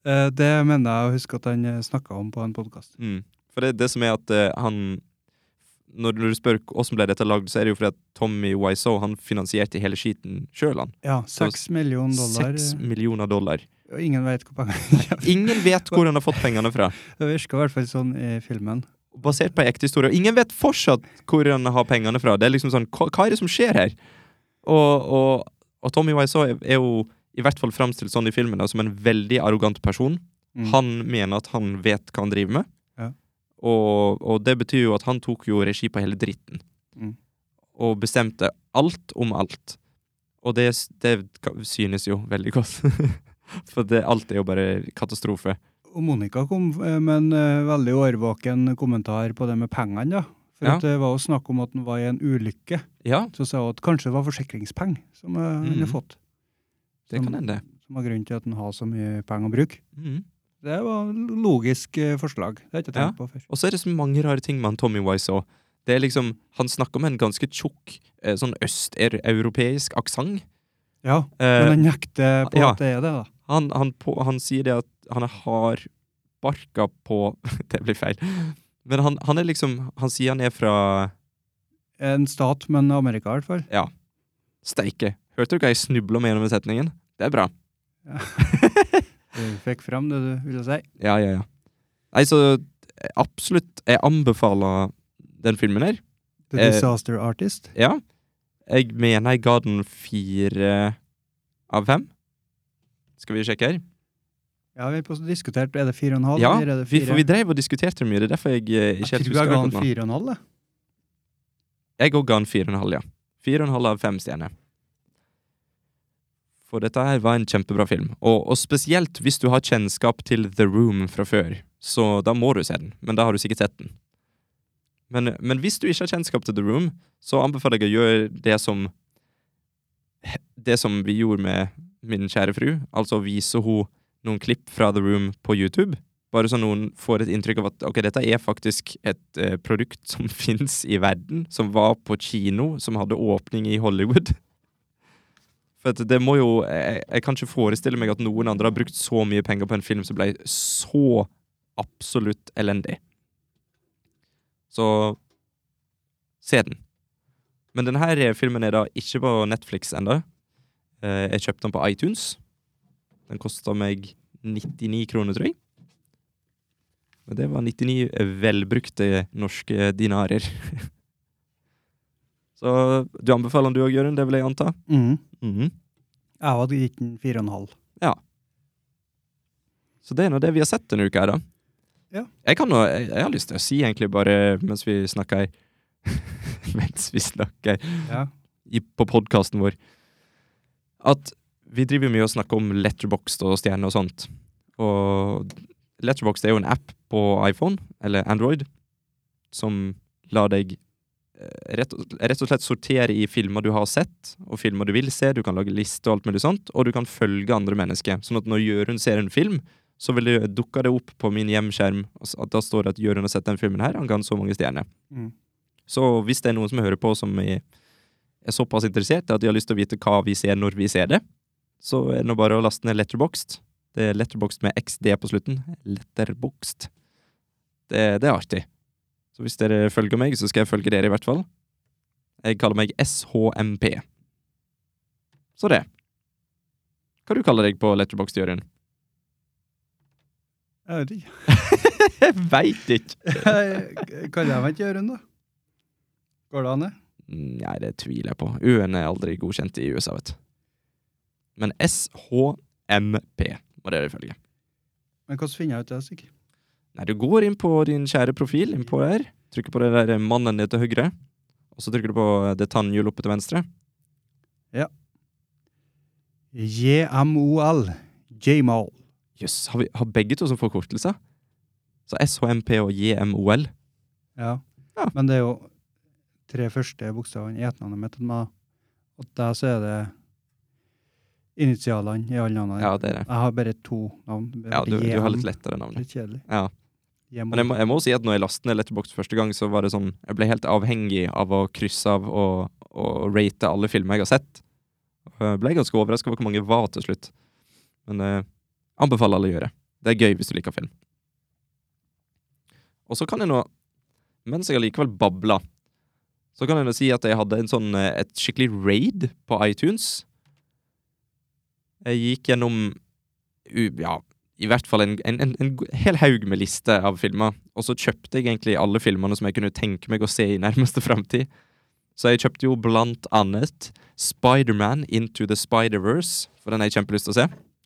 A: Eh, det mener jeg å huske at han snakka om på en podkast.
B: Mm. For det, det som er at eh, han når, når du spør hvordan ble dette lagd, så er det jo fordi at Tommy Wiseau han finansierte hele skiten sjøl, han.
A: Ja, seks millioner dollar. eh.
B: Seks millioner dollar.
A: Og ingen veit hvor pengene kommer.
B: Ingen vet hvor han har fått pengene fra.
A: Det virka i hvert fall sånn i filmen.
B: Basert på en ekte historie. Og ingen vet fortsatt hvor han har pengene fra. Det er liksom sånn, hva, hva er det som skjer her? Og, og, og Tommy Wiseau er, er jo i hvert fall framstilt sånn i filmen, da, som en veldig arrogant person.
A: Mm.
B: Han mener at han vet hva han driver med.
A: Ja.
B: Og, og det betyr jo at han tok jo regi på hele dritten.
A: Mm.
B: Og bestemte alt om alt. Og det, s- det ka- synes jo veldig godt. For det, alt er jo bare katastrofe.
A: Og Monica kom eh, med en eh, veldig årvåken kommentar på det med pengene, da. For
B: Ja.
A: at det var jo snakk om at han var i en ulykke.
B: Ja,
A: Så sa hun at kanskje det var forsikringspenger som eh, han
B: Mhm.
A: hadde fått.
B: det kan hende.
A: Som var grunnen til at han har så mye penger å bruke.
B: Mm.
A: Det var logisk eh, forslag. Det har jeg ikke
B: Ja.
A: tenkt på før.
B: Og så er det så mange rare ting med han Tommy Wiseau. Det er liksom, Han snakker med en ganske tjukk eh, sånn østeuropeisk aksent.
A: Ja, men han nekter på
B: Eh, ja.
A: at det er det, da.
B: han, han, på, han sier det at han er hardbarka på Det blir feil. Men han, han er liksom Han sier han er fra
A: En stat, men Amerika i hvert fall.
B: Steike. Hørte du hva jeg snubla med gjennom den setningen? Det er bra.
A: Du fikk fram det du ville si.
B: Ja, ja, ja. Nei, så eh, absolutt. Jeg anbefaler den filmen her.
A: The
B: Eh,
A: Disaster Artist.
B: Ja. Jeg mener jeg ga den fire av fem. Skal vi sjekke her?
A: Ja, vi har også diskutert er det fire og en halv,
B: Ja,
A: eller er det
B: Vi,
A: fire?
B: for vi drev og diskuterte mye. Det er derfor jeg eh,
A: jeg
B: ikke helt
A: tror jeg
B: husker
A: ga han
B: akkurat nå.
A: fire og en halv, jeg.
B: Jeg òg ga den fire og en halv, ja. Fire og en halv av fem stjerner. For dette her var en kjempebra film, og, og spesielt hvis du har kjennskap til The Room fra før, så da må du se den, men da har du sikkert sett den. Men, men hvis du ikke har kjennskap til The Room, så anbefaler jeg å gjøre det som Det som vi gjorde med min kjære fru, altså vise henne noen klipp fra The Room på YouTube, Bare så noen får et inntrykk av at ok, dette er faktisk et eh, produkt som fins i verden, som var på kino, som hadde åpning i Hollywood. For at det må jo jeg, jeg kan ikke forestille meg at noen andre har brukt så mye penger på en film som ble så absolutt elendig. Så se den. Men denne her filmen er da ikke på Netflix ennå. Eh, Jeg kjøpte den på iTunes. Den kosta meg 99 kroner, tror jeg. Og det var 99 velbrukte norske dinarer. Så du anbefaler den du òg, Jørund? Det vil jeg anta?
A: Mm.
B: Mhm.
A: Jeg hadde gitt den fire og en halv.
B: Så det er nå det vi har sett denne uka her, da.
A: Ja.
B: Jeg, kan nå, jeg, jeg har lyst til å si egentlig bare mens vi snakker Mens vi snakker
A: Ja.
B: i, på podkasten vår at vi driver mye og snakker om Letterboxd og stjerner og sånt. Og Letterboxd er jo en app på iPhone, eller Android, som lar deg eh, rett og, rett og slett sortere i filmer du har sett, og filmer du vil se. Du kan lage liste og alt mulig sånt, og du kan følge andre mennesker. Sånn at når Jørund ser en film, så vil det, dukker det opp på min hjemskjerm og s- at da står det at Jørund har sett den filmen her, han ga den så mange stjerner.
A: Mm.
B: Så hvis det er noen som hører på som er, er såpass interessert at de har lyst til å vite hva vi ser når vi ser det, så er det nå bare å laste ned Letterboxd. Det er Letterboxd med XD på slutten. Letterboxd. Det, det er artig. Så hvis dere følger meg, så skal jeg følge dere i hvert fall. Jeg kaller meg SHMP. Så det. Hva du kaller deg på Letterboxd, Jørund?
A: Jeg vet ikke.
B: Jeg veit ikke.
A: Kaller jeg meg ikke Jørund, da? Går det an, det?
B: Nei, det tviler jeg på. U-en er aldri godkjent i USA, vet du. Men SHMP må dere følge.
A: Men hvordan finner jeg ut det? Stig?
B: Nei, du går inn på din kjære profil, inn på der, trykker på den der eh, mannen ned til høyre, og så trykker du på eh, det tannhjulet oppe til venstre.
A: JMOL. JMOL.
B: Jøss, har, vi- har begge to som forkortelser? Så SHMP og JMOL.
A: Ja.
B: Ja.
A: Men det er jo tre første bokstavene i etternavnet mitt. men Og der så er det initialene i alle navnene.
B: Ja, det er det.
A: Jeg har bare to navn. Det er
B: Ja, du, du har litt
A: JM.
B: lettere navn.
A: Litt kjedelig.
B: Ja.
A: JMOL.
B: Men jeg må, jeg må si at når jeg lastet ned Letterboxd første gang, så var det sånn Jeg ble helt avhengig av å krysse av og, og rate alle filmer jeg har sett. Jeg ble ganske overraska over hvor mange var til slutt. Men eh, anbefaler alle å gjøre. Det er gøy hvis du liker film. Og så kan jeg nå, mens jeg allikevel babler, så kan jeg nå si at jeg hadde en sånn, eh, et skikkelig raid på iTunes. Jeg gikk gjennom u- ja, i hvert fall en, en, en, en g- hel haug med liste av filmer. Og så kjøpte jeg egentlig alle filmene som jeg kunne tenke meg å se i nærmeste framtid. Så jeg kjøpte jo blant annet Spiderman Into the Spider-Verse, for den har jeg kjempelyst til å se.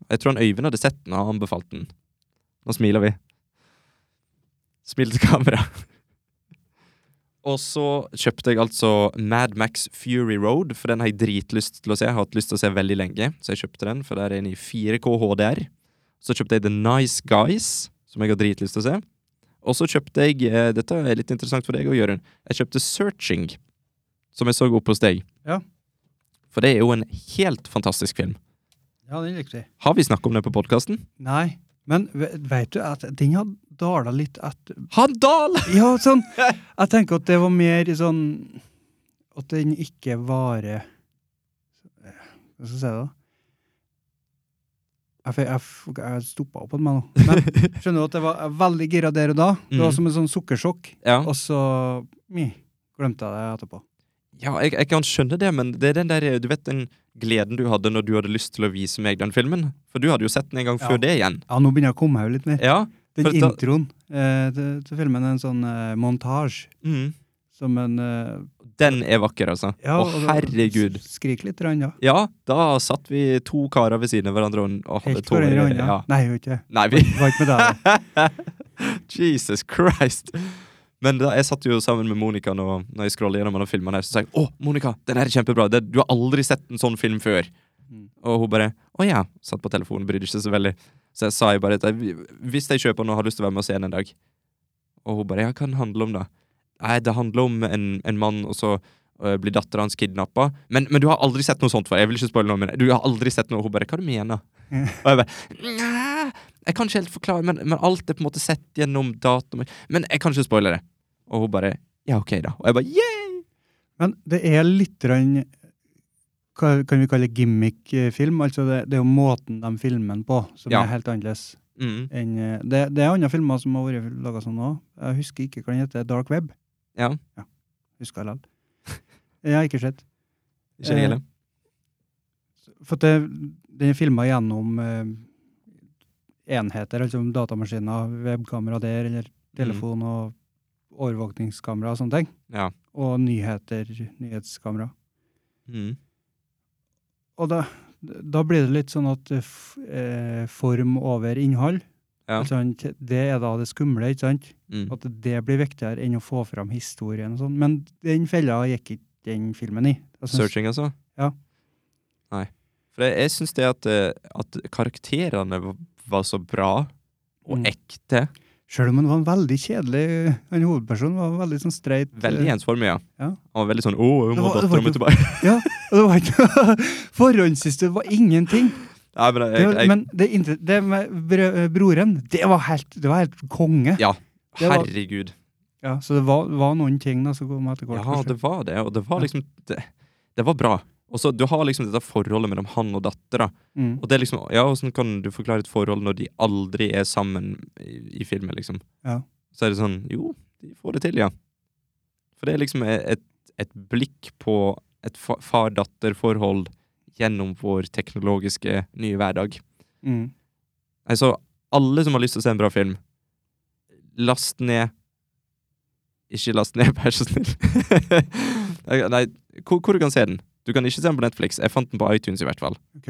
B: Jeg tror han Øyvind hadde sett den og anbefalt den. Nå smiler vi. Smil til kamera. Og så kjøpte jeg altså Mad Max Fury Road, for den har jeg dritlyst til å se. Jeg har hatt lyst til å se veldig lenge, så jeg kjøpte den, for der er den i 4K HDR. Så kjøpte jeg The Nice Guys, som jeg har dritlyst til å se. Og så kjøpte jeg eh, Dette er litt interessant for deg òg, Jørund. Jeg kjøpte Searching, som jeg så opp hos deg.
A: Ja.
B: For det er jo en helt fantastisk film.
A: Ja, den likte vi.
B: Har vi snakket om det på podkasten?
A: Nei. Men ve- vet du at den har dala litt etter
B: Han dal!
A: Ja, sånn. Jeg tenker at det var mer i sånn At den ikke varer Eh, Hva skal jeg si da? Jeg, fe- jeg, f- jeg stoppa opp på meg nå. Men skjønner du at jeg var jeg var veldig gira der og da. Det var
B: Mhm.
A: som en sånn sukkersjokk.
B: Ja,
A: Og så mi, glemte jeg det etterpå.
B: ja jeg, jeg kan skjønne det, men det er den der Du vet den gleden du hadde når du hadde lyst til å vise meg den filmen? For du hadde jo sett den en gang
A: Ja.
B: før det igjen.
A: Ja, nå begynner jeg å komme meg litt mer.
B: Ja.
A: Den
B: for da-
A: introen eh, til, til filmen er en sånn eh, montasje
B: Mm.
A: som en eh,
B: Den er vakker, altså.
A: Ja,
B: Å,
A: og da-
B: herregud.
A: Skrik litt, rann, ja.
B: Ja, da satt vi to karer ved siden av hverandre og, og hadde
A: Helt på den
B: tårer i
A: rann,
B: øyet.
A: ja.
B: Ja.
A: Nei, gjør ikke det.
B: Nei, vi
A: Var ikke med deg.
B: Jesus Christ! Men da, jeg satt jo sammen med Monica nå, når jeg scroller gjennom alle filmene her, så sa jeg 'Å, Monica, den her er kjempebra! Det, du har aldri sett en sånn film før!'
A: Mm.
B: Og hun bare 'Å ja', satt på telefonen, brydde ikke så veldig. Så jeg sa jeg bare at jeg, 'Hvis jeg kjøper den og har lyst til å være med og se den en dag' Og hun bare 'Ja, hva den handler om, da?' Nei, det handler om en, en mann, og så øh, blir dattera hans kidnappa. Men, men du har aldri sett noe sånt før. Jeg vil ikke spoile noe, men du har aldri sett noe. Hun bare 'Hva du mener Og jeg bare Næ, Jeg kan ikke helt forklare, men, men alt er på en måte sett gjennom datoen. Men jeg kan ikke spoile det. Og hun bare Ja, OK, da. Og jeg bare Yeah!
A: Men det er litt grann, hva kan vi kalle gimmick-film? Altså det, det er jo måten de filmer den på, som
B: Ja.
A: er helt annerledes.
B: Mm.
A: enn eh, det, det er andre filmer som har vært laga sånn òg. Jeg husker ikke hva den heter. Dark Web.
B: Ja.
A: Husker jeg likevel. Jeg har ikke sett.
B: Ikke jeg heller.
A: For at det, den er filma gjennom eh, enheter, altså datamaskiner, webkamera der, eller telefon og overvåkningskamera og sånne ting.
B: Ja.
A: Og nyheter, nyhetskamera.
B: Mm.
A: Og da, da blir det litt sånn at eh, f, eh, form over innhold.
B: Ja.
A: Altså, han- det er da det skumle, ikke sant?
B: Mm.
A: At det blir viktigere enn å få fram historien og sånn. Men den fella gikk ikke den filmen i. Jeg synes-
B: Searching, altså?
A: Ja.
B: Nei. For jeg, jeg syns det at, eh, at karakterene v- var så bra og
A: Mm.
B: ekte.
A: Selv om han var en veldig kjedelig Han hovedpersonen var en veldig sånn streit
B: Veldig
A: eh,
B: ensformig, ja.
A: Ja.
B: Han var veldig sånn 'Å, jeg
A: Det
B: må
A: var- det var
B: dattera mi
A: ikke-
B: tilbake'.
A: og Det var ikke forhåndssiste, det var ingenting.
B: Nei, men jeg,
A: Det, var-
B: jeg,
A: men det, inter- det med br broren, det var helt, det var helt konge.
B: Ja.
A: det var-
B: Herregud.
A: Ja, så det var, var noen ting da som kom etter hvert.
B: Ja, det var det, og det var
A: Ja.
B: liksom Det, det var bra. Og så Du har liksom dette forholdet mellom han og dattera.
A: Mm.
B: Og det er liksom, ja, Hvordan kan du forklare et forhold når de aldri er sammen i, i filmen? liksom?
A: Ja.
B: Så er det sånn Jo, de får det til, ja. For det er liksom et, et blikk på et fa- far-datter-forhold gjennom vår teknologiske nye hverdag.
A: Mm.
B: Altså, alle som har lyst til å se en bra film, last ned Ikke last ned, vær så snill. Nei, Nei, hvor, hvor du kan se den? Du kan ikke se den på Netflix. Jeg fant den på iTunes, i hvert fall.
A: Ok.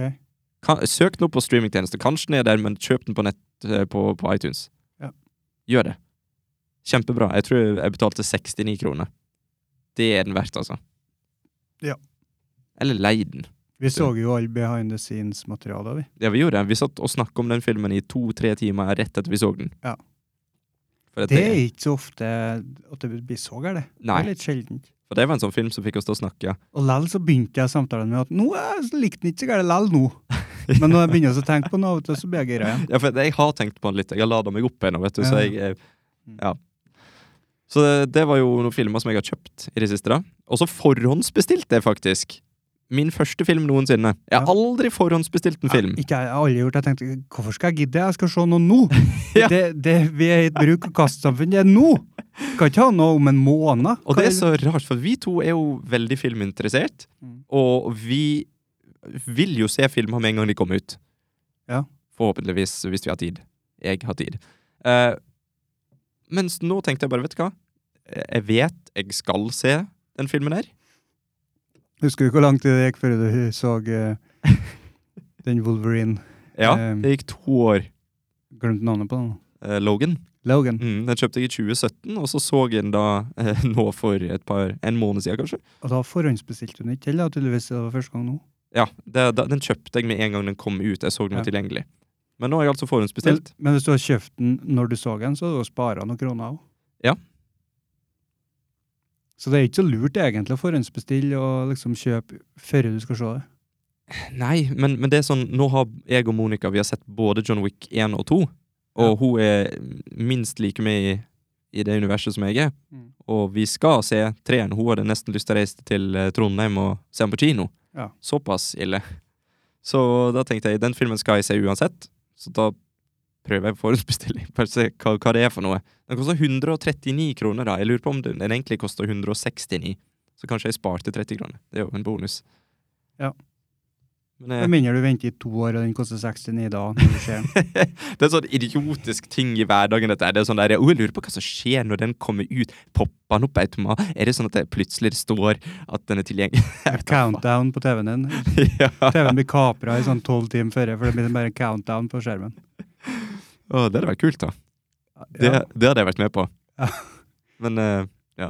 B: Kan, søk den opp på streamingtjeneste. Kanskje den er der, men kjøp den på, nett, eh, på, på iTunes.
A: Ja.
B: Gjør det. Kjempebra. Jeg tror jeg betalte 69 kroner. Det er den verdt, altså.
A: Ja.
B: Eller lei den.
A: Vi så jo all behind the scenes-materialet, vi.
B: Ja, vi gjorde det. Vi satt og snakka om den filmen i to-tre timer rett etter vi så den.
A: Ja.
B: For at
A: Det er
B: det,
A: ikke så ofte at det blir så gærent. Det
B: nei,
A: er litt sjeldent.
B: for det var en sånn film som fikk oss til å snakke.
A: Og lell så begynte jeg samtalen med at nå jeg likte den ikke så gærent lell nå. Men når jeg begynner å tenke på den av og til, så blir jeg gira igjen.
B: Ja, for jeg har tenkt på den litt. Jeg har lada meg opp ennå, vet du.
A: Ja.
B: Så jeg eh, Ja. Så det, det var jo noen filmer som jeg har kjøpt i det siste, da. Og så forhåndsbestilte jeg faktisk. Min første film noensinne. Jeg har
A: Ja.
B: aldri forhåndsbestilt en film.
A: Ja, ikke jeg, jeg har aldri gjort det. Jeg tenkte hvorfor skal jeg gidde, jeg skal se noe nå.
B: Ja.
A: det, det, vi er i et bruk- og kastsamfunn, det er nå! Kan ikke ha noe om en måned.
B: Og det er så rart, for vi to er jo veldig filminteressert,
A: Mm.
B: og vi vil jo se filmer med en gang de kommer ut.
A: Ja.
B: Forhåpentligvis, hvis vi har tid. Jeg har tid. Eh, mens nå tenkte jeg bare, vet du hva? Jeg vet jeg skal se den filmen her.
A: Husker du hvor lang tid det gikk før du så eh, den Wolverine?
B: Ja,
A: Um.
B: det gikk to år.
A: Glemte navnet på den.
B: Eh, Logan.
A: Logan.
B: Mm, den kjøpte jeg i 2017, og så så jeg den da eh, nå for et par, en måned siden, kanskje.
A: Og da forhåndsbestilte hun ikke, eller tydeligvis det var første gang nå.
B: Ja, det, da, Den kjøpte jeg med en gang den kom ut. Jeg så den var
A: Ja.
B: tilgjengelig. Men nå har jeg altså
A: Men,
B: forhåndsbestilt.
A: men hvis du har kjøpt den når du så den, så har du spara noen kroner òg.
B: Ja.
A: Så det er ikke så lurt egentlig å forhåndsbestille og liksom kjøpe før du skal se det.
B: Nei, men, men det er sånn, nå har jeg og Monica vi har sett både John Wick 1 og 2, og
A: Ja.
B: hun er minst like med i, i det universet som jeg er.
A: Mm.
B: Og vi skal se treen. Hun hadde nesten lyst til å reise til eh, Trondheim og se den på kino.
A: Ja.
B: Såpass ille. Så da tenkte jeg den filmen skal jeg se uansett, så da prøver jeg forhåndsbestilling. Bare se hva, hva det er for noe. Den koster 139 kroner, da. Jeg lurer på om den, den egentlig koster 169. Så kanskje jeg sparte 30 kroner. Det er jo en bonus.
A: Ja.
B: Men, eh,
A: Med mindre du venter i to år, og den koster 69 da. Når du ser den.
B: det er en sånn idiotisk ting i hverdagen. Dette. her. Det er sånn der, «Å, Jeg lurer på hva som skjer når den kommer ut. Popper den opp i automat? Er det sånn at det plutselig står at den er tilgjengelig?
A: Countdown på TV-en din.
B: ja.
A: TV-en blir kapra i sånn tolv timer før, for det blir bare countdown på skjermen.
B: Å, det hadde vært kult, da. Det,
A: Ja.
B: det hadde jeg vært med på.
A: Ja.
B: Men eh, ja.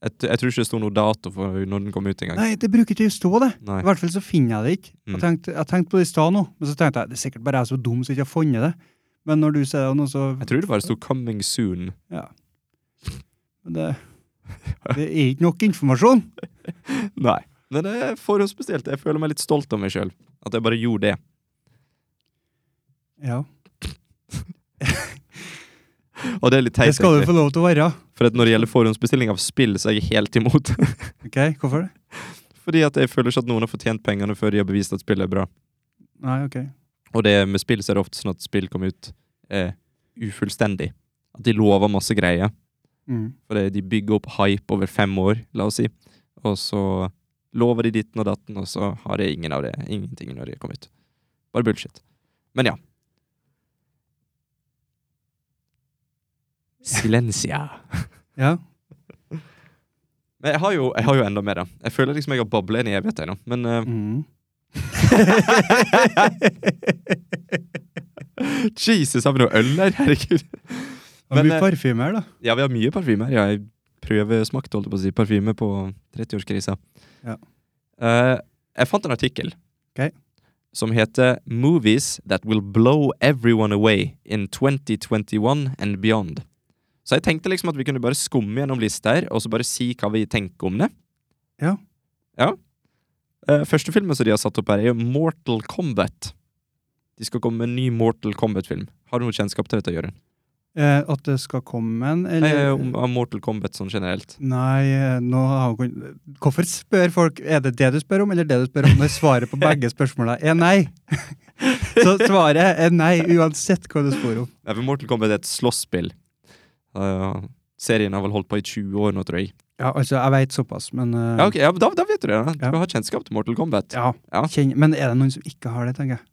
B: Jeg, t- jeg tror ikke det sto noe dato for når den kom ut engang.
A: Nei, det bruker ikke å stå, det.
B: Nei.
A: I hvert fall så finner jeg det ikke.
B: Mm.
A: Jeg tenkte, jeg tenkte på det i stad nå, men så tenkte jeg det er sikkert bare jeg som er dum som ikke har funnet det. Men når du ser det nå, så
B: Jeg tror det bare sto 'coming soon'.
A: det, det er ikke nok informasjon.
B: Nei. Men det er forhåndsbestilt. Jeg føler meg litt stolt av meg sjøl. At jeg bare gjorde det.
A: Ja.
B: Og det er litt teit,
A: Det skal du
B: egentlig.
A: få lov til å være.
B: For at når det gjelder forhåndsbestilling av spill, så er jeg helt imot.
A: Ok, Hvorfor det?
B: Fordi at jeg føler ikke at noen har fortjent pengene før de har bevist at spillet er bra.
A: Nei, ok.
B: Og det med spill så er det ofte sånn at spill kommer ut eh, ufullstendig. At de lover masse greier.
A: Mm.
B: For det- de bygger opp hype over fem år, la oss si. Og så lover de ditten og datten, og så har de ingen av det. Ingenting når de kommer ut. Bare bullshit. Men ja. Silencia.
A: Ja.
B: Men jeg har jo, jeg har jo enda mer, da. Jeg føler liksom jeg har bablet en evighet ennå, men eh,
A: Mm.
B: Jesus, har vi noe øl her? Herregud.
A: Og
B: Men,
A: mye
B: eh,
A: parfyme her, da.
B: Ja, vi har mye parfymer. Ja, jeg prøvesmakte holdt jeg på å si, parfyme på 30-årskrisa.
A: Ja.
B: Eh, jeg fant en artikkel
A: Ok.
B: som heter 'Movies that will blow everyone away in 2021 and beyond'. Så jeg tenkte liksom at vi kunne bare skumme gjennom lista her, og så bare si hva vi tenker om det.
A: Ja.
B: Ja. Eh, første filmen som de har satt opp her, er jo 'Mortal Kombat'. De skal komme med en ny Mortal Kombat-film. Har du noe kjennskap til dette, Jørund?
A: Eh, at det skal komme en,
B: Nei, eh,
A: eller
B: om om Mortal Kombat sånn generelt.
A: Nei, eh, nå har hun kun- Hvorfor spør folk Er det det du spør om, eller det du spør om? Når svaret på begge spørsmåla er nei. Så svaret er nei, uansett hva du spør om.
B: Nei, for Mortal Kombat er et slåsspill. Uh, serien har vel holdt på i 20 år nå, tror jeg.
A: Ja, altså, jeg veit såpass, men eh,
B: Ja, ok, ja, men da, da vet du det. Da. Du
A: Ja.
B: har kjennskap til Mortal Kombat.
A: ja,
B: Ja.
A: kjenn- Men er det noen som ikke har det, tenker jeg?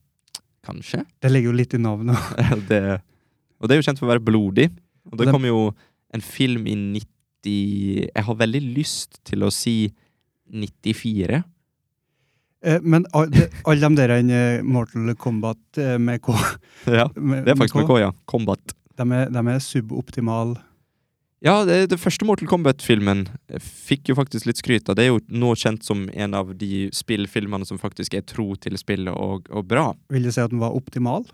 B: Kanskje.
A: Det ligger jo litt i navnet.
B: det, og det er jo kjent for å være blodig. Og det
A: Den-
B: kom jo en film i 90 Jeg har veldig lyst til å si 94.
A: Eh, Men alle de, all de der eh, Mortal Kombat eh, med K
B: Ja,
A: med-
B: det er faktisk
A: K,
B: med K, ja. Combat.
A: De er, de er suboptimale.
B: Ja, det, det første Mortal Kombat-filmen fikk jo faktisk litt skryt av. Det er jo nå kjent som en av de spillfilmene som faktisk er tro til spillet og, og bra.
A: Vil du si at den var optimal?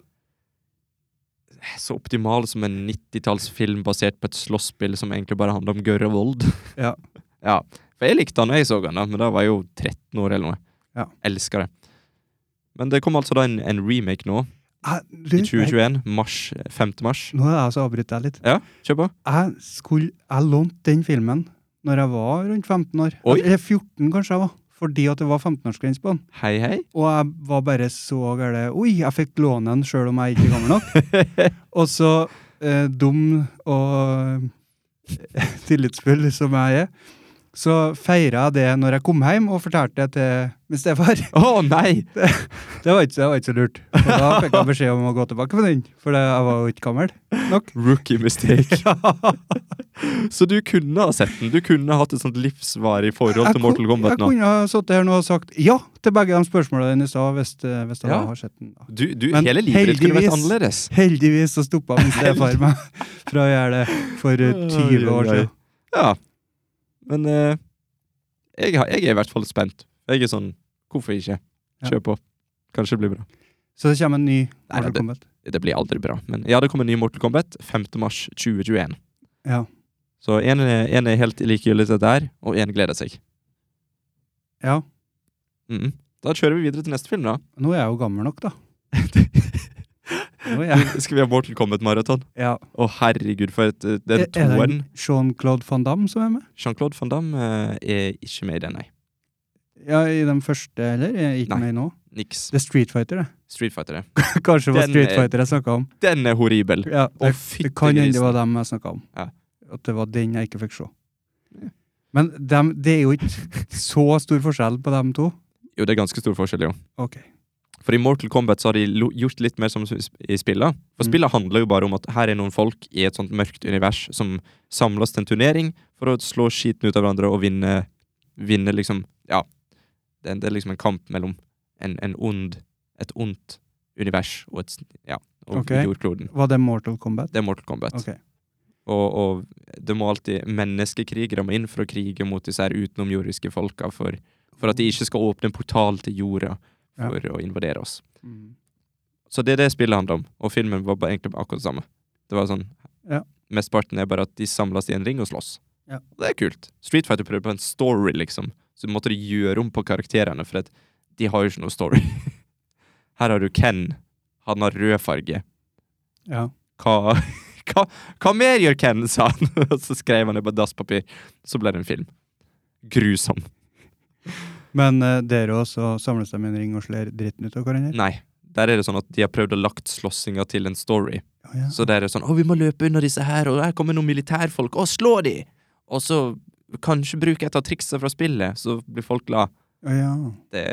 B: så optimal som en 90-tallsfilm basert på et slåsspill som egentlig bare handler om gørr og vold.
A: Ja.
B: ja. For jeg likte han da jeg så han, da, men da var jeg jo 13 år eller noe.
A: Ja.
B: Elsker det. Men det kom altså da en, en remake nå,
A: Eh,
B: i
A: du, jeg,
B: 2021. Mars, 5. mars.
A: nå er jeg så avbryter jeg litt.
B: Ja, kjør på.
A: jeg skulle, jeg lånte den filmen når jeg var rundt 15 år.
B: Oi.
A: Eller 14 kanskje jeg var, fordi at det var 15-årsgrense på den.
B: Hei, hei.
A: Og jeg var bare så gære, oi, jeg fikk låne den selv om jeg ikke er gammel nok. og så eh, dum og eh, tillitsfull som jeg er, så feiret jeg det når jeg kom hjem og fortalte det til min stefar.
B: Å nei!
A: Det var ikke, det var ikke så lurt. Og da fikk jeg beskjed om å gå tilbake på den, for det- jeg var jo ikke gammel nok.
B: Rookie mistake. Så du kunne ha sett den. Du kunne hatt et sånt livsvarig forhold
A: Jeg
B: til Mortal
A: kun-
B: Kombat nå.
A: Jeg kunne ha sittet her nå og sagt ja til begge de spørsmålene dine i stad, hvis, eh, hvis jeg
B: Ja.
A: da har sett den. da.
B: Du, du,
A: Men
B: hele livet ditt skulle vært
A: heldigvis-
B: annerledes.
A: Heldigvis så stoppa min stefar meg fra å gjøre det for eh, 20 år
B: Oi, oi, oi.
A: siden.
B: Ja. Men eh, jeg, har- jeg er i hvert fall spent. Jeg er sånn Hvorfor ikke?
A: Ja.
B: Kjør på. Kanskje det blir bra.
A: Så det kommer en ny
B: Nei,
A: Mortal
B: det-
A: Kombat.
B: Det blir aldri bra. Men ja, det kommer en ny Mortal Kombat 5. mars 2021.
A: Ja.
B: Så én er, en er helt likegyldig til dette her, og én gleder seg.
A: ja.
B: Mhm. Da kjører vi videre til neste film, da.
A: Nå er jeg jo gammel nok, da. Nå er jeg.
B: Skal vi ha Mortal Kombat-maraton?
A: Ja.
B: Å, herregud, for et, det er
A: E- Er- er det
B: toeren.
A: Jean-Claude van Damme som er med?
B: Jean-Claude van Damme eh, er ikke med i den, nei.
A: Ja, I den første, eller? Jeg er ikke
B: Nei.
A: med nå.
B: Niks.
A: Det er Street Fighter, det.
B: Street Fighter, det.
A: Kanskje det var
B: Den
A: Street
B: er-
A: Fighter jeg snakka om.
B: Den er horribel.
A: Ja,
B: Å,
A: det,
B: fytti
A: det kan hende det
B: grisen.
A: var dem jeg snakka om.
B: Ja.
A: At det var den jeg ikke fikk se.
B: Ja.
A: Men dem, det er jo ikke så stor forskjell på dem to.
B: Jo, det er ganske stor forskjell, jo.
A: Ok.
B: For i Mortal Kombat så har de lo- gjort litt mer som s- i spillet.
A: Mm.
B: For spillet handler jo bare om at her er noen folk i et sånt mørkt univers som samles til en turnering for å slå skiten ut av hverandre og vinne, vinne liksom Ja. Det er, det er liksom en kamp mellom en, en ond, et ondt univers og et s- Ja, og
A: Ok.
B: jordkloden.
A: Var det Mortal Kombat?
B: Det er Mortal Kombat.
A: Ok.
B: Og, og det må alltid menneskekrigere må inn for å krige mot disse her utenomjordiske folka for, for at de ikke skal åpne en portal til jorda
A: Ja.
B: for å invadere oss.
A: Mm.
B: Så det er det spillet handler om, og filmen var bare egentlig akkurat det samme. Det var sånn
A: Ja.
B: Mesteparten er bare at de samles i en ring og slåss.
A: Ja.
B: Og det er kult. Street Fighter prøvde på en story, liksom. Så måtte de gjøre om på karakterene, for at de har jo ikke noe story. Her har du Ken, Han har rød farge.
A: Ja.
B: Hva, hva, hva mer gjør Ken, sa han. Og så skrev han det på dasspapir. Så ble det en film. Grusom.
A: Men eh, dere også samles dem i en ring og slår dritten ut av hverandre?
B: Nei. Der er det sånn at de har prøvd å lagt slåssinga til en story.
A: Ja, ja.
B: Så der er det sånn 'Å, vi må løpe unna disse her, og her kommer noen militærfolk. Å, slå de!' Og så kanskje bruke et av triksa fra spillet, så blir folk glad.
A: Å, ja.
B: Det,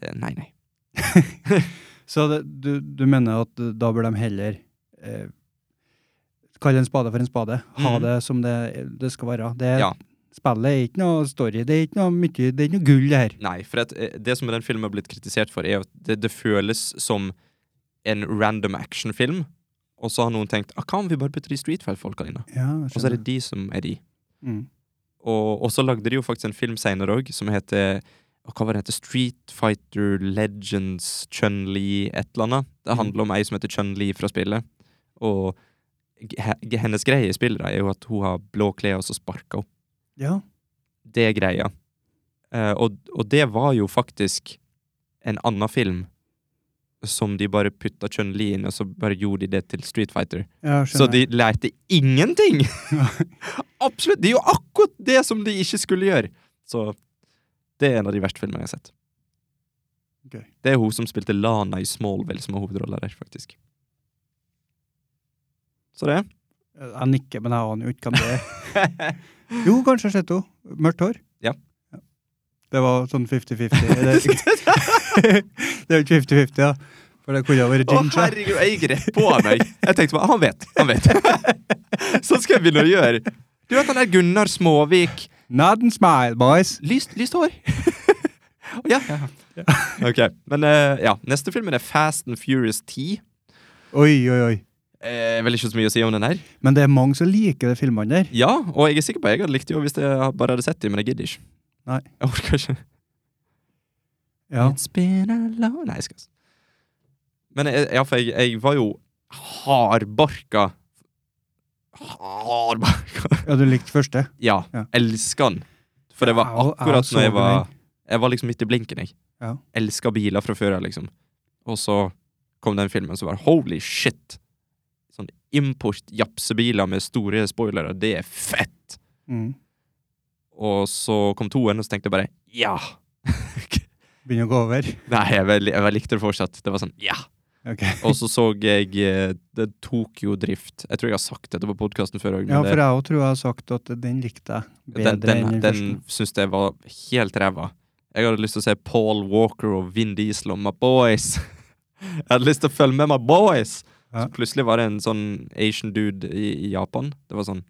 B: det Nei, nei.
A: Så det, du, du mener at eh, da bør de heller eh, kalle en spade for en spade? Ha
B: Mhm.
A: det som det, det skal være. Det,
B: Ja.
A: Spillet er ikke noe story, det er ikke noe, mye, det er ikke noe gull, det her.
B: Nei, for at, eh, det som den filmen har blitt kritisert for, er at det, det føles som en random actionfilm, og så har noen tenkt ah, 'Kan vi bare putte de Street Fight-folka inne?'
A: Ja, jeg
B: Og så
A: skjønner.
B: er det de som er de.
A: Mm.
B: Og, og så lagde de jo faktisk en film senere òg, som heter og hva var det heter? Street Fighter Legends Chun-Li et eller annet. Det
A: Mhm.
B: handler om ei som heter Chun-Li fra spillet. Og g- he- hennes greie i spillet da, er jo at hun har blå klær, og så sparker hun.
A: Ja.
B: Det er greia. Eh, og, og det var jo faktisk en annen film som de bare putta Chun-Li inn, og så bare gjorde de det til Street Fighter.
A: Ja,
B: Så
A: skjønner.
B: de lærte ingenting!
A: Ja.
B: Absolutt! Det er jo akkurat det som de ikke skulle gjøre. Så det er en av de verste filmene jeg har sett.
A: Gøy.
B: Det er hun som spilte Lana i Smallville, som har hovedrolla der, faktisk. Så det.
A: Jeg nikker, men jeg aner jo ikke hvem det er. Jo, kanskje jeg har sett henne. Mørkt hår.
B: Ja.
A: Det var sånn 50-50. Det, det er jo ikke 50-50, da. For det kunne ha vært
B: Å,
A: Jinja.
B: herregud, jeg gikk rett på han. Jeg, jeg tenkte bare, han vet, han vet. Sånn skal jeg begynne å gjøre. Du vet han der Gunnar Småvik.
A: Not and smile, boys.
B: Lyst, lyst hår. ja. Ok, men eh, ja. Neste filmen er Fast and Furious 10.
A: Oi, oi, oi.
B: Eh, vel ikke så mye å si om den her.
A: Men det er mange som liker de filmene der.
B: Ja, og jeg er sikker på at jeg hadde likt det jo hvis jeg bare hadde sett det, men jeg gidder ikke.
A: Nei.
B: Jeg orker ikke.
A: Ja.
B: It's been a long... Nei, jeg skal ikke. Men jeg, ja, for jeg, jeg var jo hardbarka. Hardbarka.
A: ja, du likte første.
B: Ja,
A: Ja.
B: elsker den. For det var
A: Ja, og- jeg
B: akkurat
A: så
B: når jeg
A: den
B: var... Jeg var liksom midt i blinken, jeg.
A: Ja.
B: Elska biler fra før, jeg, liksom. Og så kom den filmen som var holy shit! Sånn import-japsebiler med store spoilere, det er fett!
A: Mm.
B: Og så kom toen, og så tenkte jeg bare ja!
A: Begynner å gå over.
B: Nei, jeg, vel, jeg likte det fortsatt. Det var sånn ja!
A: Ok.
B: Og så så jeg eh, The Tokyo Drift. Jeg tror jeg har sagt dette på podkasten før òg.
A: Ja, for jeg òg tror jeg har sagt at den likte jeg bedre
B: den, den,
A: enn den
B: den
A: første.
B: syns jeg var helt ræva. Jeg hadde lyst til å se Paul Walker og Vin Diesel og My Boys. Jeg hadde lyst til å følge med My Boys!
A: Ja.
B: Så plutselig var det en sånn Asian dude i, i Japan. Det var sånn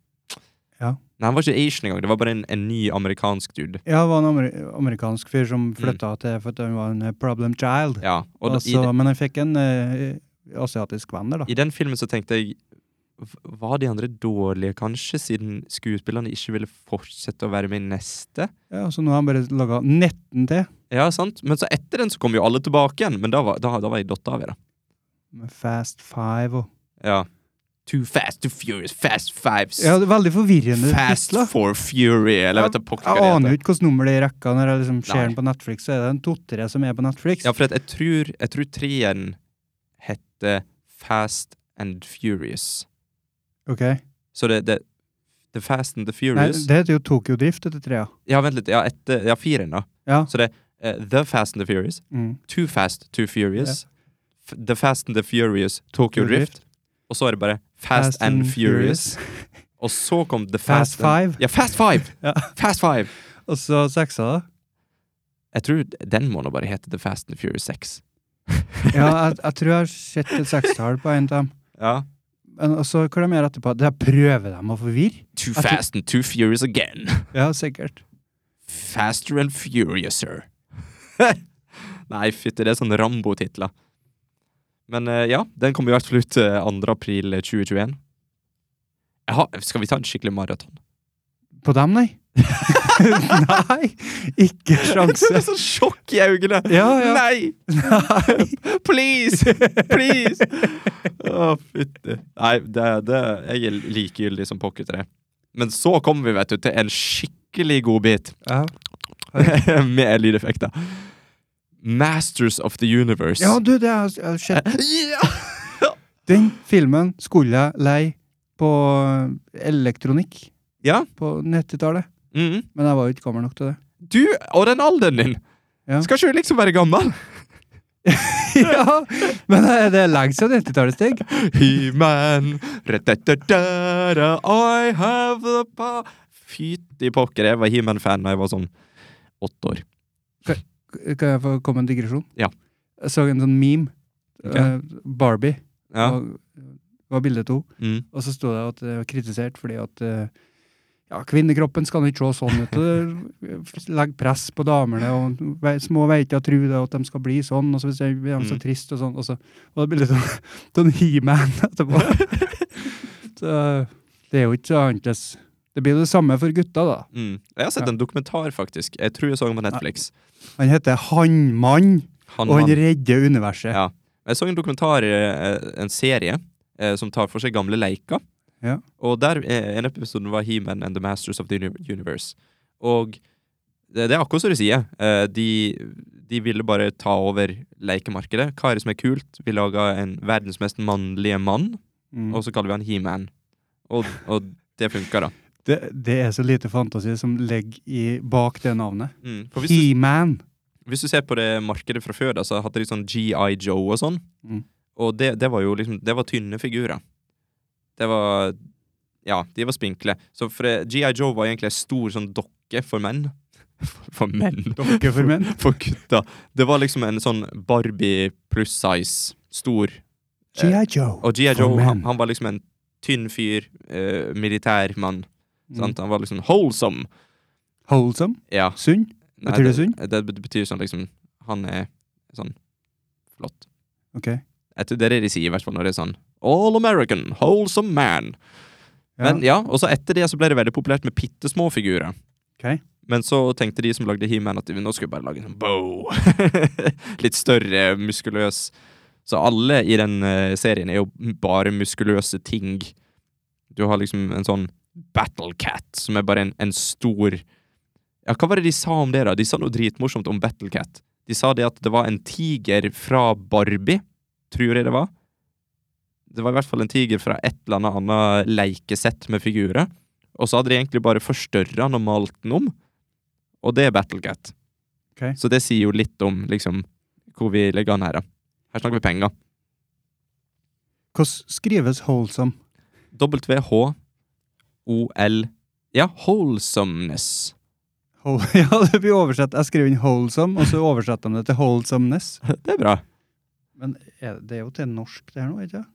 A: Ja.
B: Nei, han var ikke Asian engang. Det var bare en, en ny amerikansk dude.
A: Ja, det var en amer amerikansk fyr som flytta til for at han var en eh, problem child.
B: Ja, og da-
A: altså, men han fikk en eh, asiatisk venn der, da.
B: i, I den filmen så tenkte jeg "V- Var de andre dårlige, kanskje, siden skuespillerne ikke ville fortsette å være med i neste?
A: Ja, så nå har han bare laga 19 til.
B: Ja, sant? Men så etter den så kom jo alle tilbake igjen, men da var, da, da var jeg datt av i det.
A: Med Fast Five og
B: Ja. Too fast, too furious, fast fives,
A: Ja, det er veldig forvirrende
B: fast
A: titler.
B: for fury, eller jeg vet ikke hva
A: Jeg
B: det
A: aner
B: heter.
A: jo ikke hvilket nummer det er i rekka når jeg liksom ser
B: Nei.
A: den på Netflix, så er det en to-tre som er på Netflix.
B: Ja, for at jeg tror, jeg tror treen heter Fast and Furious.
A: Ok.
B: Så det, det The Fast and the
A: Nei,
B: Furious.
A: det heter jo Tokyo Drift, dette trea.
B: Ja, vent litt. Ja, etter, ja firen, da.
A: Ja.
B: Så det er The Fast and the Furious,
A: Mm.
B: Too Fast, Too Furious, F- The Fast and the Furious, Tokyo
A: Tokyo
B: Drift, og så er det bare Fast, and, Furious.
A: Furious.
B: og så kom The Fast,
A: Fast
B: and-
A: Five.
B: Ja, Fast Five!
A: Ja.
B: Fast Five!
A: Og så seksa, da.
B: Jeg tror den må nå bare hete The Fast and the Furious 6.
A: Ja, jeg, jeg tror jeg har sett et sekstall på en av dem.
B: Ja.
A: Men så hva de gjør etterpå? Der prøver de å forvirre.
B: Too
A: Jeg tror-
B: fast and too furious again.
A: Ja, sikkert.
B: Faster and furiouser. Nei, fytti, det er sånn Rambo-titler. Men eh, ja, den kommer i hvert fall ut eh, 2. april 2021. Jeg har, skal vi ta en skikkelig maraton?
A: På dem, nei? nei! Ikke
B: Det
A: sjanse.
B: er sånn sjokk i øynene!
A: Ja, ja.
B: Nei!
A: Nei.
B: Please! Please! Å, fytti. Nei, det, det, jeg er likegyldig som pokker til det. Men så kommer vi, vet du, til en skikkelig godbit
A: Ja.
B: med lydeffekter. Masters of the Universe.
A: Ja, du, det har jeg- jeg har sett.
B: Ja!
A: Den filmen skulle jeg leie på eh, elektronikk
B: Ja.
A: på 90-tallet.
B: Mhm.
A: Men jeg var jo ikke gammel nok til det.
B: Du og den alderen din!
A: Ja.
B: Skal ikke du liksom være gammel?
A: ja, Men det det er lenge siden 90-tallet, Stig.
B: He-Man ra-da-da-da-da, I have the power Fytti pokker, jeg var He-Man-fan da jeg var sånn åtte år.
A: Kan jeg få komme med en digresjon?
B: Ja.
A: Jeg så en sånn meme.
B: Ok.
A: Eh, Barbie
B: Ja.
A: var, var bildet til henne.
B: Mm.
A: Og så sto det at det var kritisert fordi at eh, ja, kvinnekroppen skal nå ikke se sånn ut. og Legge press på damene, og ve- små veiter tror det at de skal bli sånn, og så hvis de blir de så
B: Mm.
A: trist og sånn. Og så var det bildet av Don He-Man etterpå. så det er jo ikke så annerledes. Det blir jo det samme for gutta, da.
B: Mm. Jeg har sett
A: Ja.
B: en dokumentar, faktisk. Jeg tror jeg så den på Netflix.
A: Han heter Hannmann,
B: Han,
A: og han
B: han.
A: redder universet.
B: Ja. Jeg så en dokumentar, eh, en serie, eh, som tar for seg gamle leker.
A: Ja.
B: Og der eh, en episode var He-Man and the Masters of the Uni- Universe. Og det, det er akkurat som du sier. Eh, de, de ville bare ta over lekemarkedet. Hva er det som er kult? Vi laga en verdens mest mannlige mann,
A: Mm.
B: og så kaller vi han He-Man. Og, og det funka, da.
A: Det, det er så lite fantasi som ligger i, bak det navnet.
B: Mm. For hvis du
A: He-Man.
B: hvis du ser på det markedet fra før, da, så hadde de sånn GI Joe og sånn.
A: Mm.
B: Og det, det var jo liksom Det var tynne figurer. Det var Ja, de var spinkle. Så for eh, GI Joe var egentlig ei stor sånn dokke for menn. For, for menn?
A: Dokke for menn.
B: For gutta. Det var liksom en sånn Barbie pluss size. Stor.
A: G.I. Joe.
B: Og GI
A: For
B: Joe, han,
A: menn.
B: han var liksom en tynn fyr. Eh, militær mann.
A: Mm.
B: Sant? Han var liksom wholesome.
A: Wholesome.
B: Ja.
A: Sunn.
B: Nei,
A: Betyr det sunn?
B: Det, det betyr sånn liksom Han er sånn flott.
A: Ok.
B: Jeg tror det er det de sier, i hvert fall når det er sånn All American, wholesome man.
A: Ja.
B: Men ja, og så etter det så ble det veldig populært med bitte små figurer.
A: Ok.
B: Men så tenkte de som lagde He-Man at nå skal vi bare lage en sånn bow. Litt større, muskuløs. Så alle i den eh, serien er jo bare muskuløse ting. Du har liksom en sånn Battle Cat, som er bare en, en stor Ja, hva var det de sa om det, da? De sa noe dritmorsomt om Battle Cat. De sa det at det var en tiger fra Barbie, tror jeg det var. Det var i hvert fall en tiger fra et eller annet annet leikesett med figurer. Og så hadde de egentlig bare forstørra den og malt den om. Og det er Battle Cat.
A: Ok.
B: Så det sier jo litt om liksom, hvor vi legger an her, da. Her snakker vi penger.
A: Hvordan skrives wholesome?
B: W-H-O-L Ja, wholesomeness.
A: Hol ja, det blir oversett. Jeg skriver inn wholesome, og så oversetter de det til wholesomeness.
B: Det er bra.
A: Men er, det er jo til norsk det her nå, ikke sant?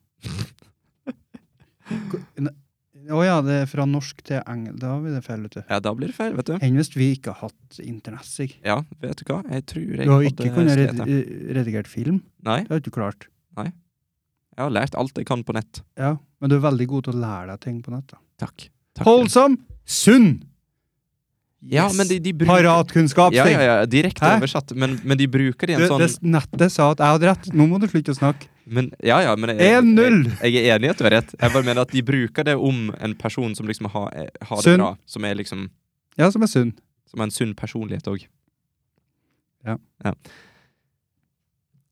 A: Å ja, det er fra norsk til engel. Da blir det feil, vet du.
B: Ja, da blir det feil, vet du.
A: Enn hvis vi ikke har hatt internett, Sig.
B: Ja, vet du hva? Jeg tror jeg
A: Du har ikke
B: hadde
A: kunnet
B: slet
A: red
B: det.
A: redigert film.
B: Nei,
A: Det har du ikke klart.
B: jeg har lært alt jeg kan på nett.
A: Ja, men du er veldig god til å lære deg ting på nett. da.
B: Takk. Takk.
A: Wholesome! Sunn!
B: Ja,
A: Yes.
B: men de, de bruker
A: Paratkunnskap,
B: Ja,
A: Stig.
B: ja, ja, direkte
A: Hæ?
B: oversatt, men, men de bruker det i
A: Det,
B: en sånn
A: det nettet sa at jeg hadde rett. Nå må du slutte å snakke.
B: Men, ja, ja, men jeg,
A: 1-0.
B: Jeg, jeg er enig i at du har rett. Jeg bare mener at de bruker det om en person som liksom har, eh, har det
A: Sunn.
B: bra. Som er liksom
A: Ja, som er sunn.
B: Som har en sunn personlighet òg.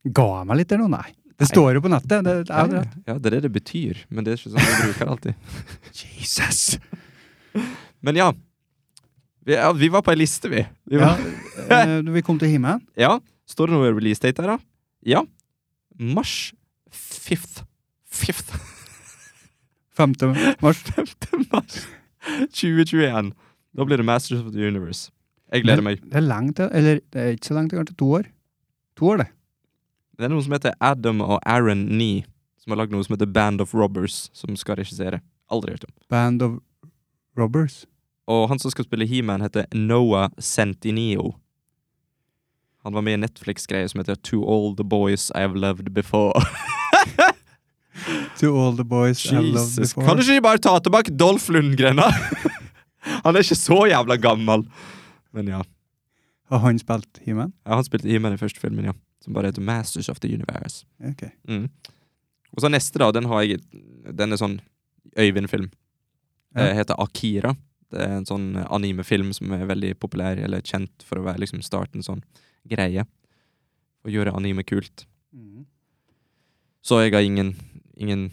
A: Ga jeg meg litt der nå? Nei. Det
B: Nei.
A: står jo på nettet. Det, jeg hadde
B: ja,
A: rett.
B: ja, det er det det betyr, men det er ikke sånn vi bruker det alltid.
A: Jesus!
B: Men ja. Vi, ja, vi var på ei liste, vi. vi
A: Ja,
B: var,
A: eh, vi kom til himmelen.
B: ja. Står det noe release date der, da? Ja. Mars 5th. 5th.
A: 5. mars.
B: 5. mars 2021. Da blir det Masters of the Universe. Jeg gleder meg.
A: Det er lenge til. Eller det er ikke så lenge til, kanskje to år. To år, det.
B: Det er noen som heter Adam og Aaron Nee, som har lagd noe som heter Band of Robbers, som skal regissere. Aldri hørt om.
A: Band of Robbers.
B: Og han som skal spille He-Man, heter Noah Centineo. Han var med i en Netflix-greie som heter To All The Boys I've Loved Before.
A: To all the boys I loved
B: Jesus,
A: before.
B: Kan du ikke bare ta tilbake Dolph Lundgren, da? han er ikke så jævla gammel. Men ja.
A: Har han spilt himmelen?
B: ja han spilte He-Man i første filmen, ja. Som bare heter Masters of the Universe.
A: Ok.
B: Mm. Og så neste, da. Den har jeg Den er sånn Øyvind-film.
A: Ja.
B: Eh, heter Akira. Det er en sånn animefilm som er veldig populær, eller kjent for å være liksom starten sånn greie. å gjøre anime kult. Mm. Så jeg har ingen, ingen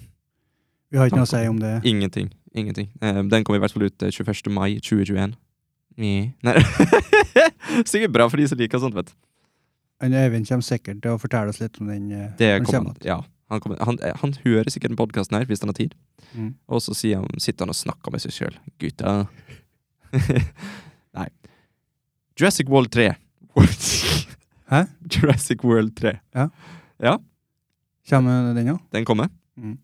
A: Vi har ikke noe å si om det.
B: Ingenting. Ingenting. Eh, den kommer i hvert fall ut eh, 21. mai 2021. Nje. Nei Sikkert bra for de som liker sånt, vet du.
A: Men Øyvind kommer sikkert til å fortelle oss litt om den. eh,
B: Det
A: når den
B: kommer,
A: kommer.
B: ja, han, kommer, han, eh, han hører sikkert den podkasten her, hvis han har tid.
A: Mm.
B: Og så sier han, sitter han og snakker med seg sjøl. Gutta. Nei. Jurassic World 3.
A: Hæ?
B: Jurassic World 3.
A: Kommer den òg?
B: Den kommer.
A: Mm.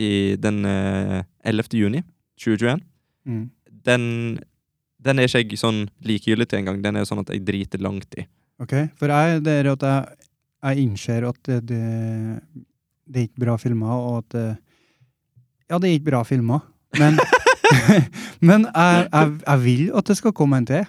B: I den eh, 11. juni 2021.
A: Mm.
B: den Den er ikke jeg sånn likegyldig til engang. Den er sånn at jeg driter langt i.
A: Ok, for jeg, det er at jeg, jeg innser at det, det, det er ikke bra filmer, og at eh, Ja, det er ikke bra filmer, men, men jeg, jeg, jeg vil at det skal komme en til.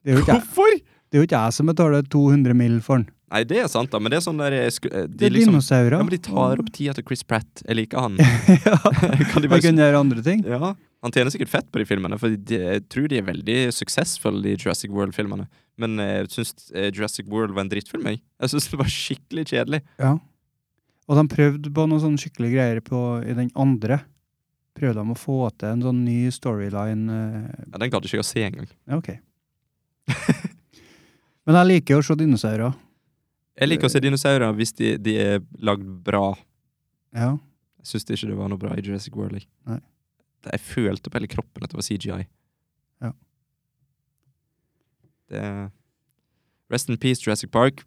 A: Det er jo ikke jeg, det er jo ikke jeg som betaler 200 mill. for den.
B: Nei, det er sant, da, men det er sånn der jeg sku- eh,
A: Det
B: De,
A: er
B: liksom,
A: dinosaurer.
B: ja, men de tar opp tida til Chris Pratt. Jeg liker han.
A: ja,
B: kan de
A: jeg
B: bare,
A: kunne gjøre andre ting.
B: ja, han tjener sikkert fett på de filmene, for de, jeg tror de er veldig suksessfulle, de Jurassic World-filmene. Men eh, jeg syns eh, Jurassic World var en drittfilm, jeg. Jeg syns det var skikkelig kjedelig.
A: Ja. Og de prøvde på noen sånne skikkelige greier på, i den andre. Prøvde de å få til en sånn ny storyline. eh,
B: Ja, Den gadd ikke jeg å se engang.
A: Ja, ok. Men jeg liker jo å se dinosaurer.
B: Jeg liker å se dinosaurer hvis de, de er lagd bra.
A: Ja.
B: Jeg syns ikke det var noe bra i Jurassic World. Jeg,
A: Nei.
B: Det- jeg følte på hele kroppen at det var CGI.
A: Ja.
B: Det Rest in peace, Jurassic Park.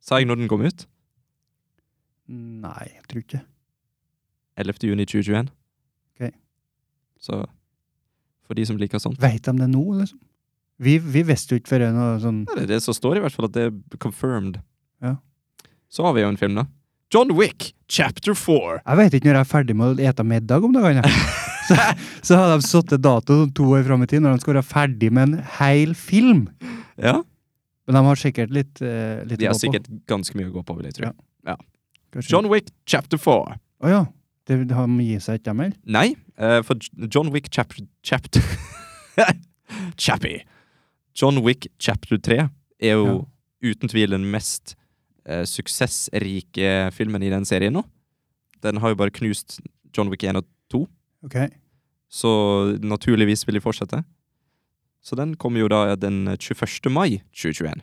B: Sa jeg når den kom ut?
A: Nei, jeg tror ikke.
B: 11. juni 2021.
A: Ok.
B: Så for de som liker sånt
A: Veit de det nå, liksom? Vi, vi visste jo ikke før noe sånn
B: Nei, Det er det som står, i hvert fall, at det er confirmed.
A: Ja.
B: Så har vi jo en film, da. John Wick, chapter four.
A: Jeg veit ikke når jeg er ferdig med å ete middag om dagene. jeg. Så, så hadde de satt en dato sånn to år fram i tid, når de skal være ferdig med en hel film.
B: Ja.
A: Men de har sikkert litt, eh, litt
B: De har
A: å gå på,
B: sikkert ganske mye å gå på, vil jeg tro.
A: Ja. kanskje.
B: John Wick, chapter four.
A: Å ja. Det, de gir seg ikke, dem heller?
B: Nei, eh, for J- John Wick chapter... chapter Chappy! John Wick chapter 3 er jo uten tvil den mest eh, suksessrike filmen i den serien nå. Den har jo bare knust John Wick 1 og 2,
A: Ok.
B: så naturligvis vil de fortsette. Så den kommer jo da den 21. mai 2021.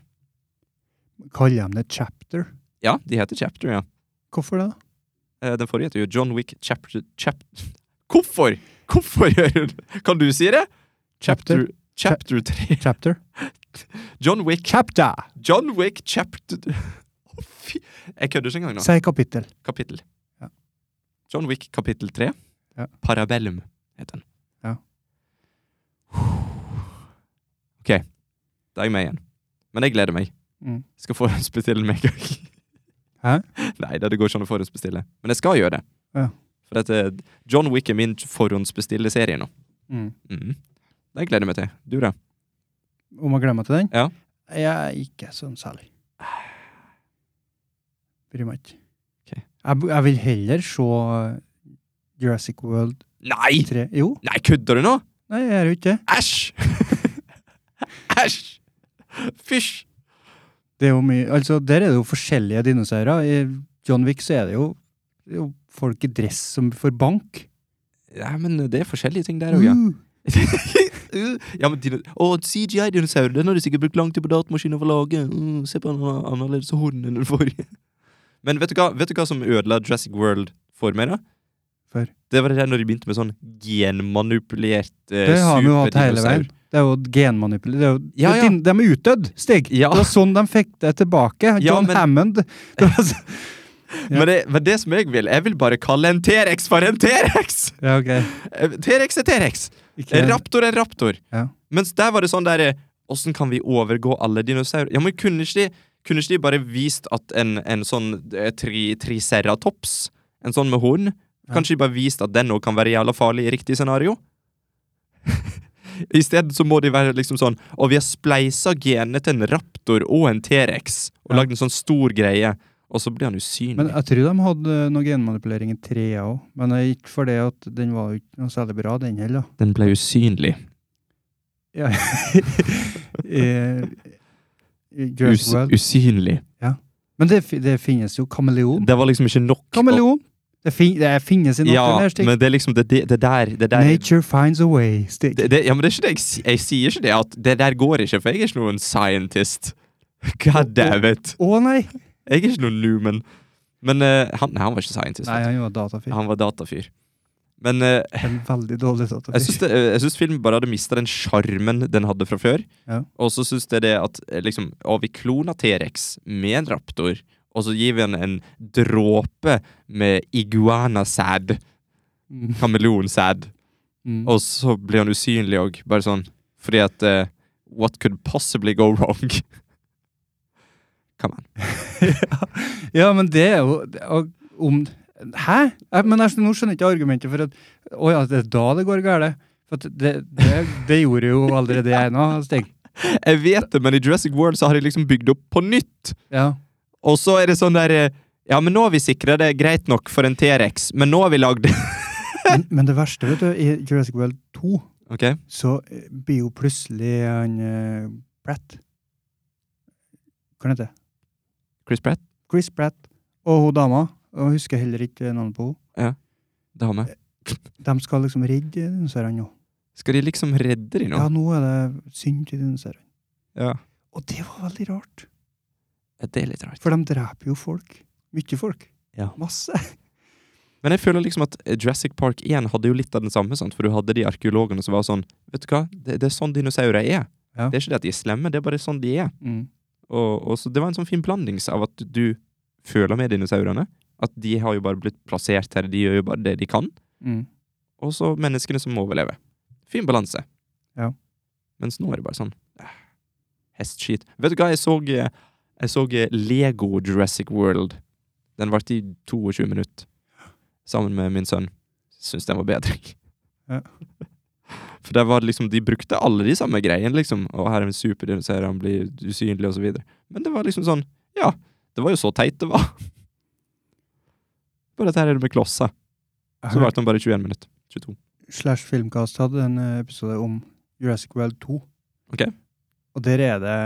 A: Kaller de det chapter?
B: Ja, de heter chapter, ja.
A: Hvorfor det? da?
B: Eh, den forrige heter jo John Wick chapter... Chap Hvorfor?! Hvorfor, Jørund? Kan du si det? Chapter, chapter 3.
A: Chapter?
B: John Wick
A: Chapter!
B: John Wick chapter Å, fy Jeg kødder ikke engang nå.
A: Si kapittel.
B: Kapittel.
A: Ja.
B: John Wick kapittel 3.
A: Ja.
B: Parabellum heter den.
A: Ja.
B: OK. Da er jeg med igjen. Men jeg gleder meg.
A: Mm.
B: Jeg skal forhåndsbestille med en gang.
A: Hæ?
B: Nei, det det går ikke an å forhåndsbestille. Men jeg skal gjøre det.
A: Ja.
B: For dette, John Wick er min forhåndsbestille serie nå.
A: Mm.
B: Mhm. Det gleder jeg meg til. Du, da?
A: Om å glemme til den?
B: Ja.
A: Jeg er ikke sånn særlig. Bryr meg ikke.
B: Ok.
A: Jeg, b- jeg vil heller se eh, Jurassic World
B: Nei!
A: 3. Jo,
B: Nei, kødder du nå?
A: nei, jeg gjør jo ikke det.
B: Æsj! Æsj! Fysj!
A: Det er jo mye, altså Der er det jo forskjellige dinosaurer. I John Wick så er det jo, det er jo folk i dress som får bank.
B: Ja, men det er forskjellige ting der òg, ja.
A: Uh,
B: Uh, ja men dino Å, CGI-dinosaurer, den har de sikkert brukt lang tid på datamaskinen for å lage. Uh, se på den han har annerledes horn enn den forrige. Men vet du, hva, vet du hva som ødela Jurassic World for meg, da?
A: For?
B: Det var det der når de begynte med sånn genmanipulert eh,
A: det har vi jo hatt hele
B: superdinosaur.
A: veien. Det er jo genmanipulert. Det er jo,
B: Ja,
A: det er din- De er utdødd, Stig!
B: Ja.
A: Det var sånn de fikk det tilbake.
B: Ja,
A: John
B: men-
A: Hammond. Det var, så- Ja.
B: Men, det, men det som jeg vil, jeg vil bare kalle en T-rex for en T-rex!
A: ja, ok.
B: Eh, T-rex er T-rex!
A: Ikke,
B: En raptor er en raptor.
A: Ja.
B: Mens der var det sånn der eh, Åssen kan vi overgå alle dinosaurer? Ja, men kunne ikke de, kunne ikke de bare vist at en, en sånn eh, tri, triceratops, en sånn med horn
A: Ja.
B: Kanskje de bare vist at den òg kan være jævla farlig i riktig scenario? I stedet så må de være liksom sånn Og vi har spleisa genene til en raptor og en T-rex og
A: Ja.
B: lagd en sånn stor greie, og så blir han usynlig.
A: Men jeg tror de hadde noe genmanipulering i trea òg. Men det er ikke fordi at den var jo ikke noe særlig bra, den heller.
B: den ble usynlig.
A: Ja. Eh, Girls
B: Us
A: World.
B: usynlig.
A: Men det, fi- det finnes jo kameleon.
B: Det var liksom ikke nok. å-
A: Kameleon! Det, fin det finnes i
B: Ja,
A: naturen. her, Stig.
B: men det er liksom det, det, det der, det der
A: Nature finds a way, Stig.
B: det, det, Ja, men det er ikke det jeg, si- jeg sier ikke det at det der går ikke, for jeg er ikke noen scientist. God damn it.
A: Å nei!
B: Jeg er ikke noen lumen. Men eh, han, nei, han var ikke scientist.
A: Nei,
B: vet
A: han var datafyr.
B: du. Han var datafyr. Men eh,
A: En veldig dårlig
B: jeg syns
A: datafyr.
B: det- eh, jeg syns filmen bare hadde mista den sjarmen den hadde fra før.
A: Ja.
B: Og så syns jeg det at eh, liksom, å, vi klona T-rex med en raptor, og så gir vi han en dråpe med iguanasæd,
A: Mm.
B: kameleonsæd,
A: Mm.
B: og så blir han usynlig òg, bare sånn fordi at eh, What could possibly go wrong? Come on.
A: Ja, men det er jo det- og om, Hæ? Jeg, men jeg, skjønner- nå skjønner jeg ikke argumentet for at Å ja, det er da det går galt. For at det, det, det gjorde jo allerede jeg nå, Stig.
B: Jeg vet det, men i Jurassic World så har de liksom bygd opp på nytt.
A: Ja.
B: Og så er det sånn der eh, Ja, men nå har vi sikra det greit nok for en T-rex, men nå har vi lagd
A: Men, men det verste, vet du, i Jurassic World 2
B: Ok,
A: så eh, blir jo plutselig han eh, Pratt Hva heter det?
B: Chris Pratt,
A: Chris Pratt og hun dama. Og jeg husker heller ikke navnet på henne.
B: dame.
A: De skal liksom redde dinosaurene nå.
B: Skal de liksom redde de nå?
A: Ja, nå er det synd til dinosaurene.
B: Ja.
A: Og det var veldig rart.
B: ja. Det er litt rart.
A: For de dreper jo folk. Mye folk.
B: Ja.
A: Masse.
B: Men jeg føler liksom at Jurassic Park 1 hadde jo litt av den samme, sant? for du hadde de arkeologene som var sånn Vet du hva, det, det er sånn dinosaurer er.
A: Ja.
B: Det er ikke det at de er slemme, det er bare sånn de er. Og, og så Det var en sånn fin blandings av at du føler med dinosaurene. At de har jo bare blitt plassert her, de gjør jo bare det de kan. Og så menneskene som overlever. Fin balanse.
A: Ja.
B: Mens nå er det bare sånn eh, Hestskit. Vet du hva, jeg så, eh, jeg så eh, Lego Jurassic World. Den varte i 22 minutter. Sammen med min sønn. Syns den var bedre.
A: Ja.
B: For der var det liksom, de brukte alle de samme greiene, liksom. Og her er en superdinosaur, han blir usynlig, og så videre. Men det var liksom sånn Ja, det var jo så teit det var. Bare at her er det med klosser. Så varte den bare 21 minutter. 22.
A: Slash Filmkast hadde en eh, episode om Jurassic World 2.
B: Ok.
A: Og der er det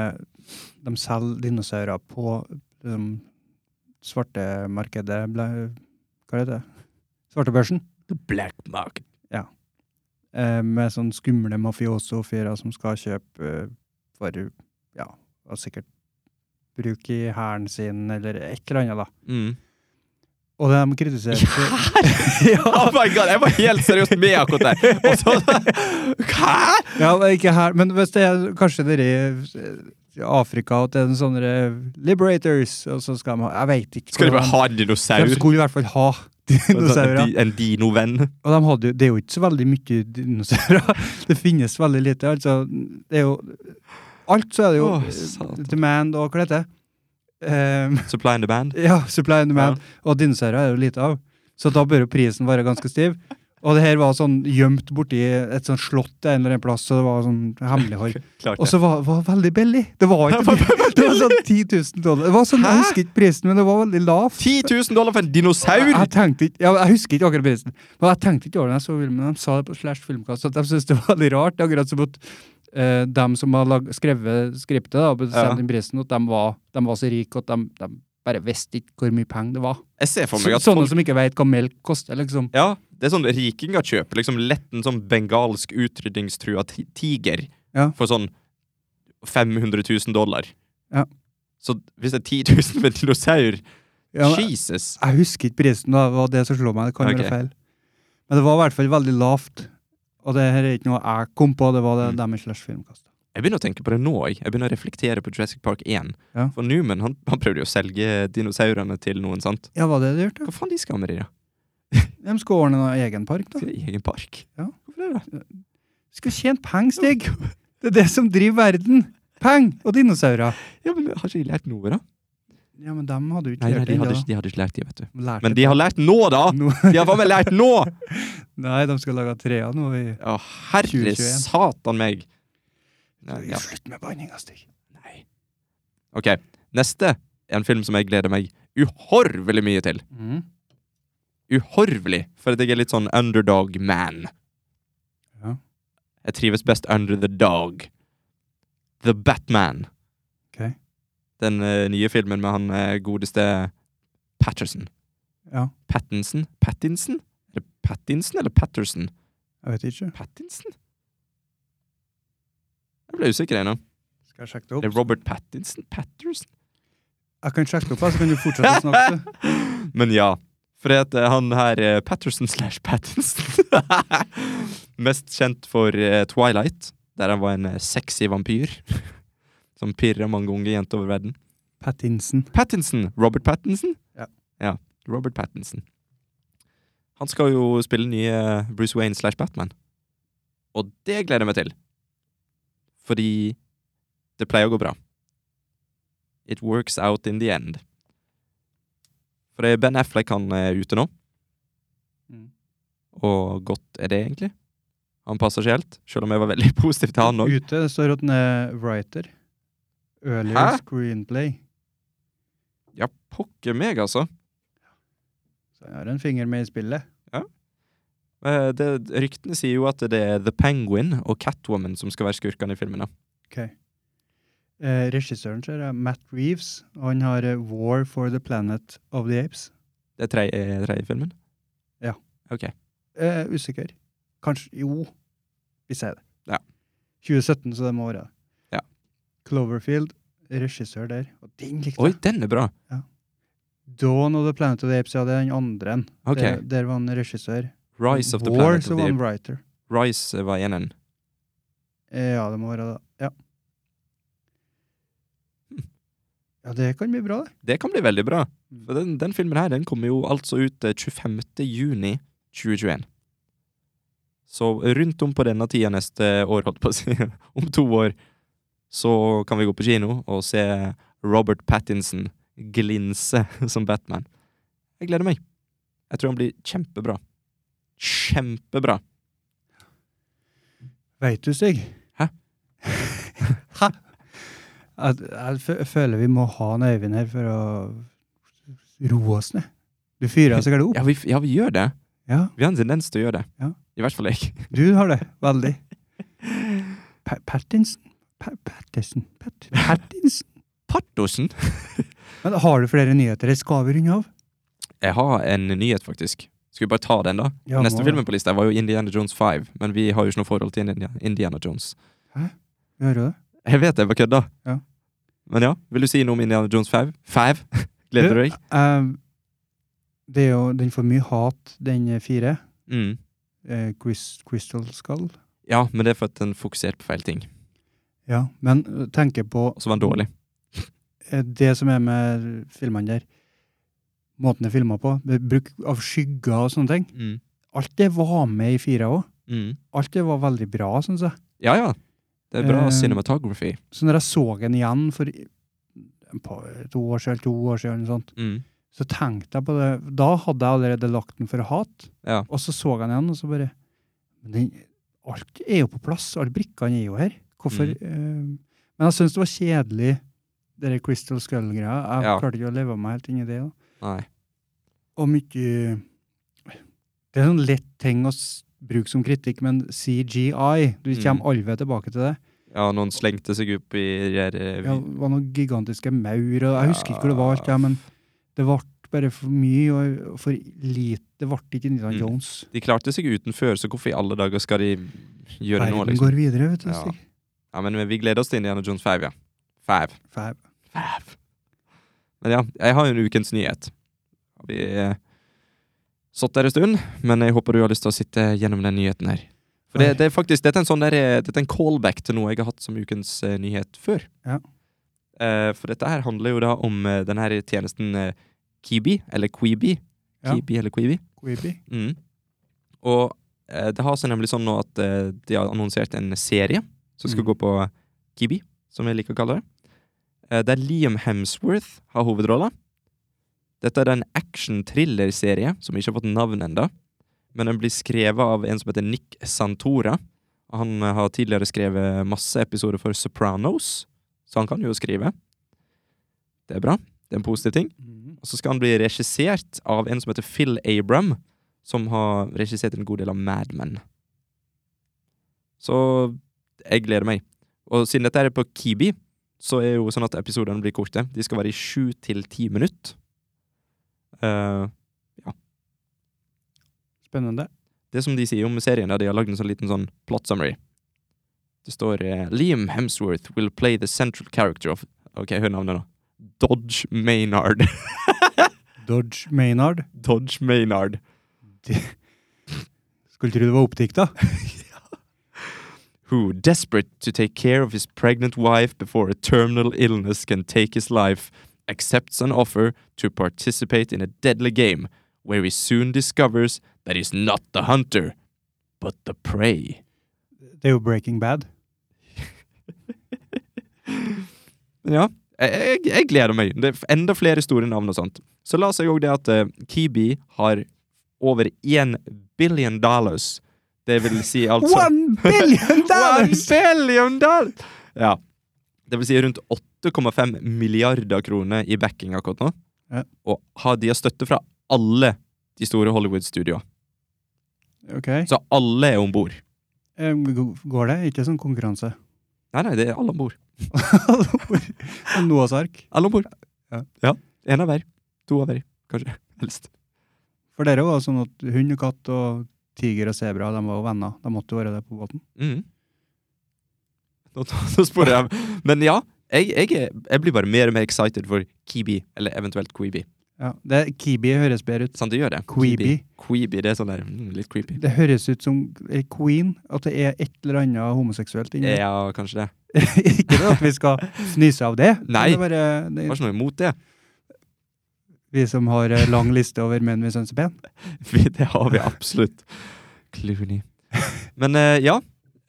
A: De selger dinosaurer på ehm, det svartemarkedet ble, Hva heter det? Svartebørsen.
B: Black market.
A: Eh, med sånne skumle mafioso-fyrer som skal kjøpe eh, for Ja, og sikkert bruke i hæren sin, eller et eller annet, da.
B: Mm.
A: Og de kritiserer
B: Oh my god, jeg var helt seriøst med akkurat der! Og så, Hæ?!
A: Ja, men ikke her, men hvis det er kanskje dere i eh, Afrika at det er en sånne liberators, og så skal de ha Jeg veit ikke.
B: Skal de bare
A: hvordan-
B: ha en dinosaur?
A: De skulle i hvert fall ha
B: En sånn
A: dinosaurer.
B: di- En dinovenn?
A: Og de hadde jo, det er jo ikke så veldig mye dinosaurer. Det finnes veldig lite. Altså, det er jo Alt så er det jo
B: Åh,
A: eh,
B: satan.
A: demand og hva det heter. Ehm,
B: Supply and demand?
A: ja, supply and demand. Og dinosaurer er det jo lite av. Så da bør jo prisen være ganske stiv. Og det her var sånn gjemt borti et sånt slott en eller annen plass, så det var sånn hemmelighold.
B: Klart
A: Og
B: det.
A: så var var veldig billig. Det var ikke Det var sånn 10 000 dollar. Det var sånn,
B: Hæ?
A: jeg husker ikke prisen, men det var veldig lav.
B: 10 000 dollar for en
A: Jeg,
B: dinosaur?!
A: jeg tenkte ikke, ja, jeg husker ikke akkurat prisen, men jeg tenkte ikke over det. når Jeg så filmen, de sa det på slash filmkast, at de syntes det var veldig rart. Akkurat som at eh, dem som har lag, skrevet skriptet da, og bestemt
B: Ja.
A: den prisen, at de var, de var så rike at de, de bare visste ikke hvor mye penger det var.
B: Jeg ser for meg
A: Så-
B: at
A: Sånne
B: folk
A: som ikke veit hva melk koster, liksom.
B: ja, det er sånn rikinger kjøper liksom lett en sånn bengalsk utrydningstrua ti- tiger
A: Ja.
B: for sånn 500 000 dollar.
A: Ja.
B: Så hvis det er 10 000 for en dinosaur
A: Ja, men-
B: Jesus!
A: Jeg husker ikke prisen, da. det var det som slo meg. Det kan
B: Ok.
A: være feil. Men det var i hvert fall veldig lavt. Og det her er ikke noe jeg kom på, det var det
B: Mm.
A: deres slash filmkast.
B: Jeg begynner å tenke på det nå. Jeg, jeg begynner å reflektere på Jurassic Park 1.
A: Ja.
B: For Newman han, han prøvde jo å selge dinosaurene til noen, sant?
A: Ja, var det det gjort,
B: Hva faen de skal med de, da?
A: De skal ordne noen egen park, da.
B: Til egen park?
A: Ja.
B: Hvorfor det, da?
A: Skal tjene penger, Stig! Det er det som driver verden! Penger og dinosaurer.
B: Ja, men Har ikke de lært noe, da?
A: Ja, men dem hadde jo ikke
B: Nei, nei
A: lært
B: de,
A: det
B: hadde
A: ennå.
B: ikke, de hadde ikke lært det, vet du.
A: da. Lærte
B: Men de har lært nå, da!
A: det nå.
B: De har faen meg lært nå!
A: Nei, de skal lage trea nå i
B: Å, herre
A: 2021.
B: satan meg. Nei, ja.
A: Slutt med banninga, Stig.
B: nei. Ok, neste er en film som jeg gleder meg uhorvelig mye til.
A: Mm.
B: Uhorvelig, for at jeg er litt sånn underdog-man.
A: Ja.
B: Jeg trives best under the dog. The Batman.
A: Ok.
B: den eh, nye filmen med han eh, godeste Patterson.
A: Ja,
B: Pattinson? Pattinson? Er det Pattinson eller Patterson?
A: jeg vet ikke.
B: Pattinson? Jeg ble usikker ennå.
A: Skal jeg sjekke det
B: Er
A: opp?
B: det Robert Pattinson? Patterson?
A: Jeg kan sjekke det opp, her, så kan du fortsette å snakke. du.
B: Men ja. For at eh, han her eh, Patterson slash Pattinson Mest kjent for eh, Twilight, der han var en eh, sexy vampyr. Som pirra mange unge jenter over verden.
A: Pattinson.
B: Pattinson! Robert Pattinson?
A: Ja.
B: ja. Robert Pattinson. Han skal jo spille nye eh, Bruce Wayne slash Batman. Og det gleder jeg meg til. Fordi det pleier å gå bra. It works out in the end. For det er Ben Affleck han er ute nå, Mm. og godt er det egentlig. Han passer ikke helt, selv om jeg var veldig positiv til han òg.
A: Ute det står at den er writer. Earlier
B: Hæ?
A: screenplay.
B: Ja, pokker meg, altså.
A: Så jeg har en finger med i spillet.
B: Eh, Det, ryktene sier jo at det er The Penguin og Catwoman som skal være skurkene i filmen. da.
A: Eh, regissøren ser jeg, Matt Reeves. Og han har eh, War for the Planet of the Apes.
B: Det er tredje tredje filmen?
A: Ja.
B: Ok.
A: Eh, usikker. Kanskje Jo, vi sier det.
B: Ja.
A: 2017, så det må være det.
B: Ja.
A: Cloverfield, regissør der. Og den likte
B: Oi,
A: jeg.
B: den er bra!
A: Dawn of the Planet of the Apes, ja, det er den andre. en.
B: Ok.
A: Der, der var han regissør.
B: Rise of the
A: War,
B: Planet
A: så
B: of
A: var
B: the
A: han
B: Apes.
A: writer.
B: Rise var eneren.
A: Eh, ja, det må være det. Ja.
B: Hm.
A: Ja, det kan bli bra, det.
B: Det kan bli veldig bra. For den, den filmen her den kommer jo altså ut eh, 25. juni 2021. Så rundt om på denne tida neste år, holdt på å si, om to år, så kan vi gå på kino og se Robert Pattinson glinse som Batman. Jeg gleder meg. Jeg tror han blir kjempebra. Kjempebra.
A: Veit du, Stig?
B: Hæ?
A: Hæ? At, jeg fø- føler vi må ha en Øyvind her for å roe oss ned. Du fyrer sikkert opp.
B: Ja, vi, ja, vi gjør det.
A: Ja,
B: Vi har en tendens til å gjøre det.
A: Ja.
B: I hvert fall jeg.
A: du har det. Veldig. Pa Pattinson? Pa Pattinson? Pat Pattinson?
B: Partosen!
A: Men har du flere nyheter? eller Skal vi runde av?
B: Jeg har en nyhet, faktisk. Skal vi bare ta den, da?
A: Ja,
B: Neste
A: må
B: filmen på lista var jo Indiana Jones 5, men vi har jo ikke noe forhold til Indiana, Indiana Jones.
A: Vi Hører du det?
B: Jeg vet jeg bare kødda.
A: Ja.
B: Men ja, vil du si noe om Indiana Jones 5? 5? Gleder du deg?
A: Eh, det er jo, den får mye hat, den eh, fire.
B: Mm.
A: Eh, Chris, Crystal Skull.
B: Ja, men det er for at den fokuserte på feil ting,
A: Ja, men eh, tenker på
B: og så var den dårlig.
A: eh, det som er med filmene der, måten det er filma på, med bruk av skygger og sånne ting
B: Mm.
A: Alt det var med i fire òg.
B: Mm.
A: Alt det var veldig bra, syns jeg.
B: Ja, ja. Det er bra
A: Eh,
B: cinematography.
A: Så når jeg så den igjen for i- en par, et år siden, eller to år siden, eller noe sånt,
B: Mm.
A: så tenkte jeg på det. Da hadde jeg allerede lagt den for hat,
B: Ja.
A: og så så jeg den igjen, og så bare men den, Alt er jo på plass. Alle brikkene er jo her. Hvorfor
B: Mm.
A: eh, Men jeg syns det var kjedelig, det der Crystal Skull-greia. Jeg
B: Ja.
A: klarte ikke å leve meg helt inn i det. da.
B: Nei.
A: og mye Det er sånn lett ting å s- bruke som kritikk, men CGI Du
B: Mm.
A: kommer allved tilbake til det.
B: Ja, noen slengte seg opp i de der eh,
A: Ja, det var noen gigantiske maur, og jeg husker ikke hvor det var, alt, ja, men det ble bare for mye og for lite. Det ble ikke Indiana
B: Mm.
A: Jones.
B: De klarte seg uten før, så hvorfor i alle dager skal de gjøre
A: Verden
B: noe, liksom?
A: går videre, vet du.
B: Ja.
A: Stig.
B: Ja, men vi gleder oss til Indiana Jones 5, ja. 5.
A: Fæv.
B: Men ja, jeg har jo en ukens nyhet. Vi har satt der en stund, men jeg håper du har lyst til å sitte gjennom den nyheten her. For
A: Oi.
B: det, det er faktisk dette er en sånn der, eh, dette er en callback til noe jeg har hatt som ukens eh, nyhet før.
A: Ja.
B: Eh, for dette her handler jo da om eh, den her tjenesten eh, Kibi, eller Quibi.
A: Ja.
B: Kibi eller Quibi.
A: Creepy.
B: Mm. Og eh, det har seg nemlig sånn nå at eh, de har annonsert en serie som skal
A: Mm.
B: gå på Kibi, som jeg liker å kalle det. Eh, der Liam Hemsworth har hovedrolla. Dette er en action-thriller-serie som ikke har fått navn enda men den blir skrevet av en som heter Nick Santora. Han eh, har tidligere skrevet masse episoder for Sopranos, så han kan jo skrive. Det er bra. Det er en positiv ting.
A: Mhm.
B: Og så skal han bli regissert av en som heter Phil Abram, som har regissert en god del av Mad Men. Så jeg gleder meg. Og siden dette er på Kibi, så er jo sånn at episodene blir korte. De skal være i sju til ti minutter. Eh,
A: Spennende.
B: det som de sier om serien, er at de har lagd en sånn liten sånn plot summary. Det står eh, Liam Hemsworth will play the central character of Ok, hør navnet nå. Dodge Maynard.
A: Dodge Maynard.
B: Dodge Maynard.
A: Skulle tro det var oppdikta.
B: who, desperate to take care of his pregnant wife before a terminal illness can take his life, accepts an offer to participate in a deadly game where he soon discovers that he's not the hunter, but the prey.
A: Det er jo Breaking Bad.
B: Ja, jeg, jeg- jeg gleder meg. Det er enda flere store navn og sånt. Så la seg òg det at eh, Kibi har over én billion dollars. Det vil si altså
A: One billion dollars!
B: One billion dollars! Ja. Det vil si rundt 8,5 milliarder kroner i backing akkurat nå.
A: Ja.
B: Og har de har støtte fra alle de store Hollywood-studioene.
A: Ok.
B: Så alle er om bord.
A: Em, g- Går det? Ikke sånn konkurranse.
B: Nei, nei, det er alle om bord.
A: Og Noahs ark.
B: Alle om bord.
A: Ja.
B: En av hver. To av hver, kanskje. Helst.
A: For dere var det sånn at hund og katt og tiger og sebra, de var jo venner. De måtte jo være det på båten.
B: Mm. Nå, nå sporer jeg. Men ja, jeg, jeg, er- jeg blir bare mer og mer excited for Kibi, eller eventuelt Queeby.
A: Ja. Det, Kibi høres bedre ut.
B: Sant, det gjør det.
A: Queeby.
B: Queeby, det er sånn der mm, litt creepy.
A: Det høres ut som eh, Queen, at det er et eller annet homoseksuelt inni det.
B: Ja, kanskje det.
A: Ikke det at vi skal fnyse av det. men
B: Nei.
A: Det er bare det,
B: Har ikke noe imot det.
A: vi som har eh, lang liste over menn vi syns er pene.
B: Vi- Det har vi absolutt. Clooney. Men eh, ja,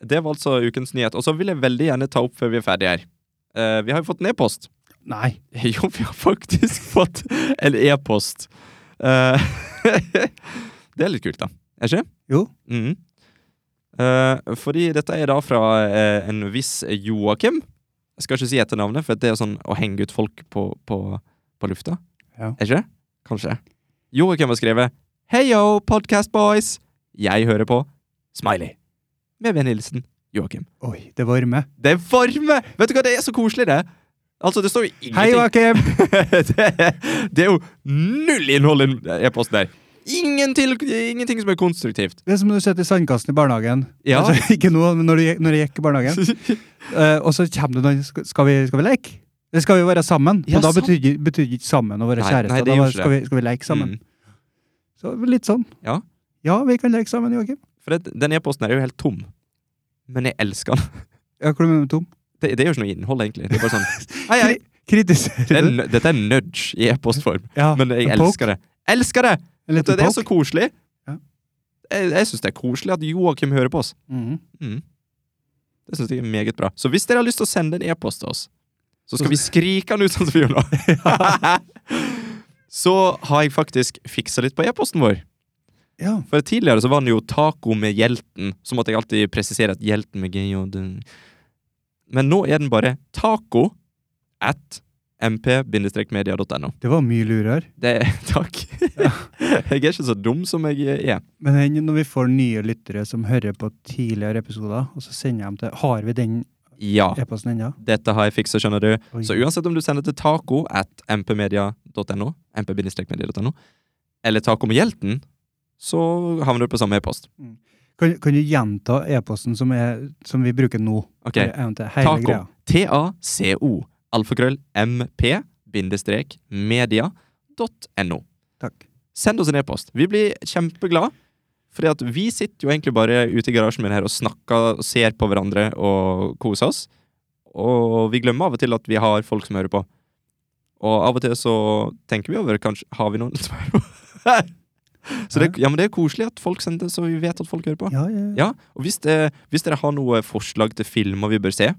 B: det var altså ukens nyhet. Og så vil jeg veldig gjerne ta opp før vi er ferdige her. Eh, vi har jo fått en e-post.
A: Nei.
B: Jo, vi har faktisk fått en e-post. Eh, det er litt kult, da. Er ikke det?
A: Jo.
B: Mhm. Eh, fordi dette er da fra eh, en viss Joakim. Jeg skal ikke si etternavnet, for det er sånn å henge ut folk på, på, på lufta.
A: Ja.
B: Er ikke det? Kanskje. Joakim har skrevet Hei yo, podcast boys! Jeg hører på Smiley. Med vennlig hilsen Joakim.
A: Oi, det varmer.
B: Det er varme! Vet du hva, det er så koselig, det. Altså, det står jo
A: Hei,
B: ingenting
A: Joakim!
B: det, er- det er jo null innhold i den e-posten der. Ingen til, ingenting som er konstruktivt.
A: Det er som når du sitter i sandkassen i barnehagen.
B: Ja.
A: Altså, ikke nå, men når du, gikk- når jeg gikk i barnehagen. Eh, og så kommer det noen sk- Skal vi, skal vi leke? Eller skal vi være sammen?
B: Ja,
A: og da
B: sam-
A: betydde betyr ikke sammen å være
B: Nei,
A: kjærester.
B: nei, det
A: da
B: gjør
A: var,
B: ikke
A: skal, vi, skal vi leke sammen?
B: Mm.
A: Så litt sånn.
B: Ja.
A: ja, vi kan leke sammen, Joakim.
B: For det, den e-posten her er jo helt tom. Men jeg elsker den.
A: Ja, hvor er det med tom?
B: Det, det er jo ikke noe innhold, egentlig. Det er bare sånn Hei, hei! Det
A: Kritiserer
B: er,
A: du?
B: nø- dette er nudge i e-postform.
A: Ja,
B: Men jeg
A: en poke.
B: elsker det. Elsker det!
A: En
B: Vet du,
A: liten
B: Det er
A: poke.
B: så koselig.
A: Ja.
B: Jeg, jeg syns det er koselig at Joakim hører på oss.
A: Mhm.
B: Mm. Det syns jeg er meget bra. Så hvis dere har lyst til å sende en e-post til oss, så skal
A: Så-
B: vi skrike den ut sånn som vi gjør nå. så har jeg faktisk fiksa litt på e-posten vår.
A: Ja.
B: For tidligere så var den jo taco med hjelten, så måtte jeg alltid presisere at hjelten med gj og den- Men nå er den bare taco at mp-media.no.
A: Det var mye lurere.
B: Det Takk. jeg er ikke så dum som jeg er.
A: Men den- når vi får nye lyttere som hører på tidligere episoder, og så sender jeg dem til Har vi den
B: Ja.
A: e-posten ennå?
B: Dette har jeg fiksa, skjønner du.
A: Oi.
B: Så uansett om du sender til taco at mpmedia.no, mp-media.no, eller taco med hjelten, så havner du på samme e-post.
A: Kan, kan du gjenta e-posten som, er- som vi bruker nå?
B: Ok,
A: Eller eventuelt hele
B: Taco.
A: greia?
B: taco, alfakrøll, mp-media.no.
A: Takk.
B: Send oss en e-post. Vi blir kjempeglade, fordi at vi sitter jo egentlig bare ute i garasjen min her og snakker og ser på hverandre og koser oss. Og vi glemmer av og til at vi har folk som hører på. Og av og til så tenker vi over kanskje Har vi noen som hører på? så det, ja, men det er koselig at folk sender, så vi vet at folk hører på.
A: Ja, ja. ja.
B: Ja, og hvis, det, hvis dere har noen forslag til filmer vi bør se,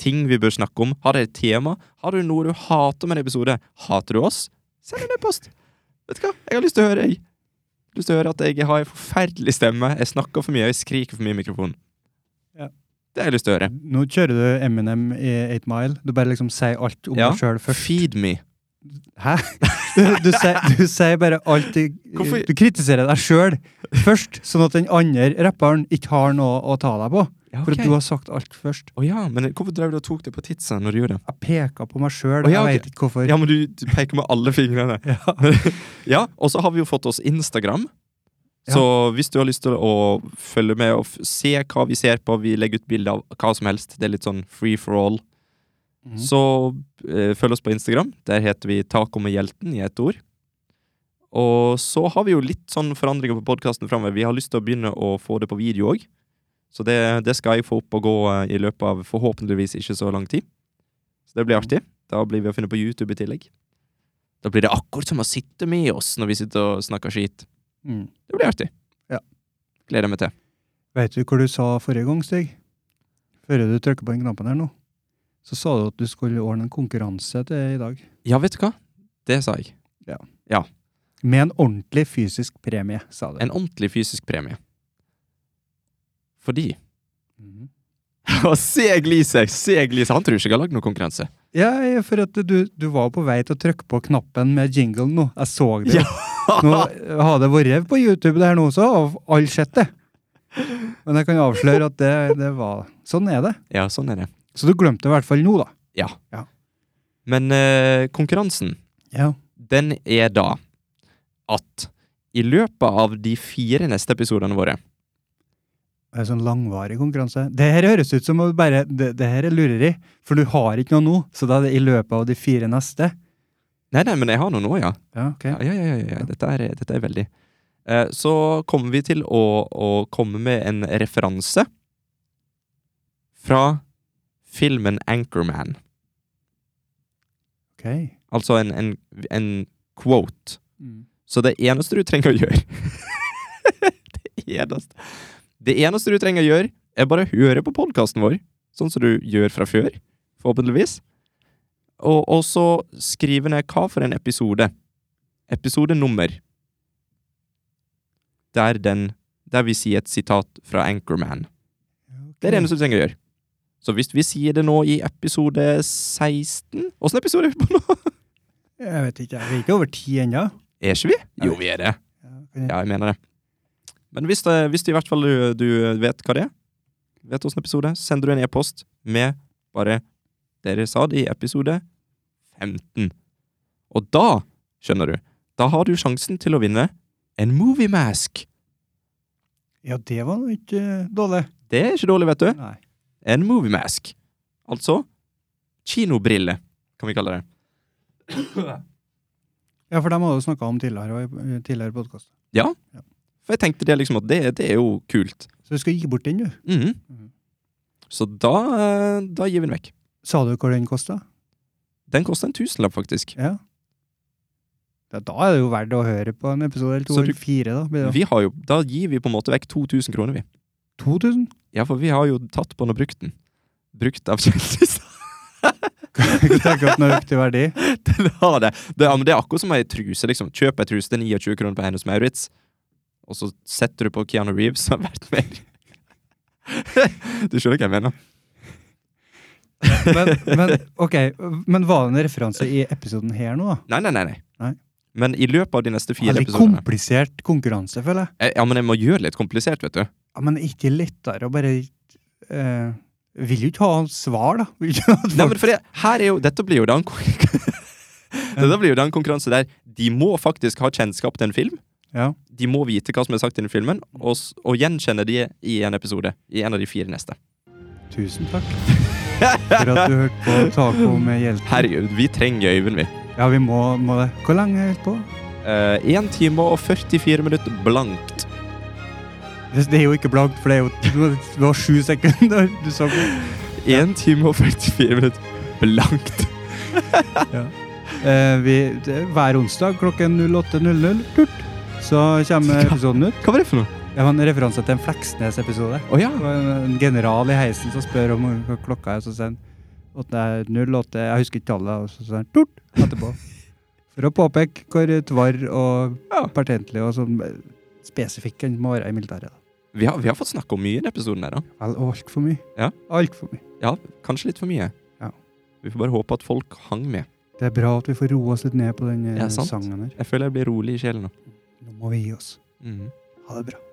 B: ting vi bør snakke om, har dere et tema, har du noe du hater med en episode, hater du oss, send en e-post. Vet du hva, jeg har lyst til å høre, jeg. Lyst til å høre at jeg har en forferdelig stemme, jeg snakker for mye, jeg skriker for mye i mikrofonen.
A: Ja.
B: Det har jeg lyst til å høre.
A: Nå kjører du Eminem i 8 Mile. Du bare liksom sier alt om
B: Ja.
A: deg sjøl først.
B: Feed me.
A: Hæ? Du, du, sier, du sier bare alt du,
B: Hvorfor-
A: du kritiserer deg sjøl først, sånn at den andre rapperen ikke har noe å ta deg på.
B: Ja,
A: For
B: ok.
A: at du har sagt alt først.
B: Å ja, men hvorfor drev du og tok det på titsa når du gjorde det?
A: Jeg peka på meg sjøl,
B: Å,
A: og
B: ja,
A: jeg
B: ok.
A: veit ikke hvorfor.
B: Ja, men du, du peker med alle fingrene.
A: Ja.
B: Ja, og så har vi jo fått oss Instagram.
A: Ja.
B: Så hvis du har lyst til å følge med og f se hva vi ser på, vi legger ut bilder av hva som helst, det er litt sånn free for all,
A: Mhm.
B: så eh, følg oss på Instagram. Der heter vi Taco med hjelten i ett ord. Og så har vi jo litt sånn forandringer på podkasten framover. Vi har lyst til å begynne å få det på video òg. Så det, det skal jeg få opp og gå eh, i løpet av forhåpentligvis ikke så lang tid. Så det blir
A: Mhm.
B: artig. Da blir vi å finne på YouTube i tillegg. Da blir det akkurat som å sitte med oss når vi sitter og snakker skit.
A: Mm.
B: Det blir artig.
A: Ja.
B: Gleder jeg meg til.
A: Veit du hva du sa forrige gang, Stig? Før du trykket på den knappen her nå, så sa du at du skulle ordne en konkurranse til i dag.
B: Ja, vet du hva? Det sa jeg.
A: Med en ordentlig fysisk premie, sa du.
B: En ordentlig fysisk premie. Fordi
A: Mhm.
B: Og se gliset! Se gliset! Han tror ikke jeg har lagd noen konkurranse.
A: Ja, ja, for at du, du var på vei til å trykke på knappen med jingle nå. Jeg så det.
B: Ja.
A: Nå har det vært på YouTube det her nå også, og alle sett det. Men jeg kan avsløre at det, det var Sånn er det.
B: Ja, sånn er det.
A: Så du glemte det i hvert fall nå, da.
B: Men eh, konkurransen,
A: Ja.
B: den er da at i løpet av de fire neste episodene våre
A: Det er sånn langvarig konkurranse. Det her høres ut som å bare det, det her er lureri, for du har ikke noe nå, så da er det i løpet av de fire neste.
B: Nei, nei, men jeg har noe nå, ja.
A: Ja, ok.
B: Ja, ja, ja, ja, ja. Dette, er, dette er veldig eh, Så kommer vi til å, å komme med en referanse fra filmen Anchorman.
A: Ok.
B: Altså en, en, en quote. Så det eneste du trenger å gjøre Det eneste Det eneste du trenger å gjøre, er bare å høre på podkasten vår, sånn som du gjør fra før, forhåpentligvis. Og, og så skrive ned hva for en episode. Episodenummer. Der den Der vi sier et sitat fra Anchorman. Det
A: Mm.
B: er det eneste du trenger å gjøre. Så hvis vi sier det nå i episode 16 Åssen episode er vi på nå?
A: Jeg vet ikke, jeg. vi er ikke over ti ennå.
B: Er ikke vi? Jo, vi er det.
A: Ja.
B: Ja, jeg mener det. Men hvis, det, hvis du i hvert fall du, du vet hva det er, vet åssen episode, så sender du en e-post med bare 'Dere sa det i episode 15'. Og da, skjønner du, da har du sjansen til å vinne en movie mask.
A: ja, det var nå ikke eh, dårlig.
B: Det er ikke dårlig, vet du.
A: Nei.
B: En movie mask. Altså kinobrille, kan vi kalle det.
A: Ja, for dem har du snakka om tidligere, og i- i tidligere podkast.
B: For jeg tenkte det liksom at det, det er jo kult.
A: Så du skal gi bort den, du.
B: Mhm.
A: Mhm.
B: Så da, eh, da gir vi den vekk.
A: Sa du hva den kosta?
B: Den koster en tusenlapp, faktisk.
A: Ja. ja. Da er det jo verdt å høre på en episode eller to
B: Så du-
A: eller fire, da. Blir det
B: Vi har jo, da gir vi på en måte vekk 2000 kroner, vi.
A: 2000?
B: Ja, for vi har jo tatt på den og brukt den. Brukt av kjendiser.
A: Jeg tenker at den har økt i verdi.
B: Den har det. Det, ja, men det er akkurat som ei truse, liksom. Kjøp ei truse, det er 29 kroner på Hennes Maurits, og så setter du på Keanu Reeves, som er verdt mer. du skjønner hva jeg mener?
A: Men, men, ok, men var det en referanse i episoden her nå, da?
B: Nei, nei, nei. nei.
A: Nei.
B: Men i løpet av de neste fire
A: Veldig
B: episodene
A: komplisert konkurranse, føler jeg.
B: Eh, Ja, men jeg må gjøre det litt komplisert, vet du.
A: Ja, men ikke lettere å bare eh, Vil jo ikke ha svar, da. Vil ikke at
B: Nei,
A: folk-
B: men for det, her er jo, dette blir jo da en konkurranse Dette blir jo da en konkurranse der de må faktisk ha kjennskap til en film.
A: ja.
B: De må vite hva som er sagt i den filmen, og, s- og gjenkjenne de i en episode. I en av de fire neste.
A: Tusen takk for at du hørte på Taco med hjelp.
B: Herregud, vi trenger Øyvind, vi.
A: Ja, vi må, må det. Hvor lenge har jeg holdt på?
B: Én time og 44 minutter blankt.
A: Det, det er jo ikke blankt, for det er jo det var sju sekunder du sa på.
B: Én time og 44 minutter blankt.
A: Eh, vi, det, hver onsdag klokken 08.00 turt, så kommer episoden ut.
B: Hva var det for noe?
A: Det var en referanse til en Fleksnes-episode.
B: Å ja.
A: Det var en- en general i heisen som spør om hva klokka er, så sier han at det er 08, jeg husker ikke tallet, og så sier han tort etterpå. For å påpeke hvor tvarr og
B: Ja.
A: pertentlig og sånn eh, spesifikk en må være i militæret. da.
B: Vi har, vi har fått snakke om mye i denne episoden. her da
A: Vel, altfor mye.
B: Ja.
A: Altfor mye.
B: Ja, Kanskje litt for mye.
A: Ja.
B: Vi får bare håpe at folk hang med.
A: Det er bra at vi får roe oss litt ned på den eh,
B: Ja, sant.
A: sangen her.
B: Jeg føler jeg blir rolig i sjelen nå.
A: Nå må vi gi oss.
B: Mhm.
A: Ha det bra.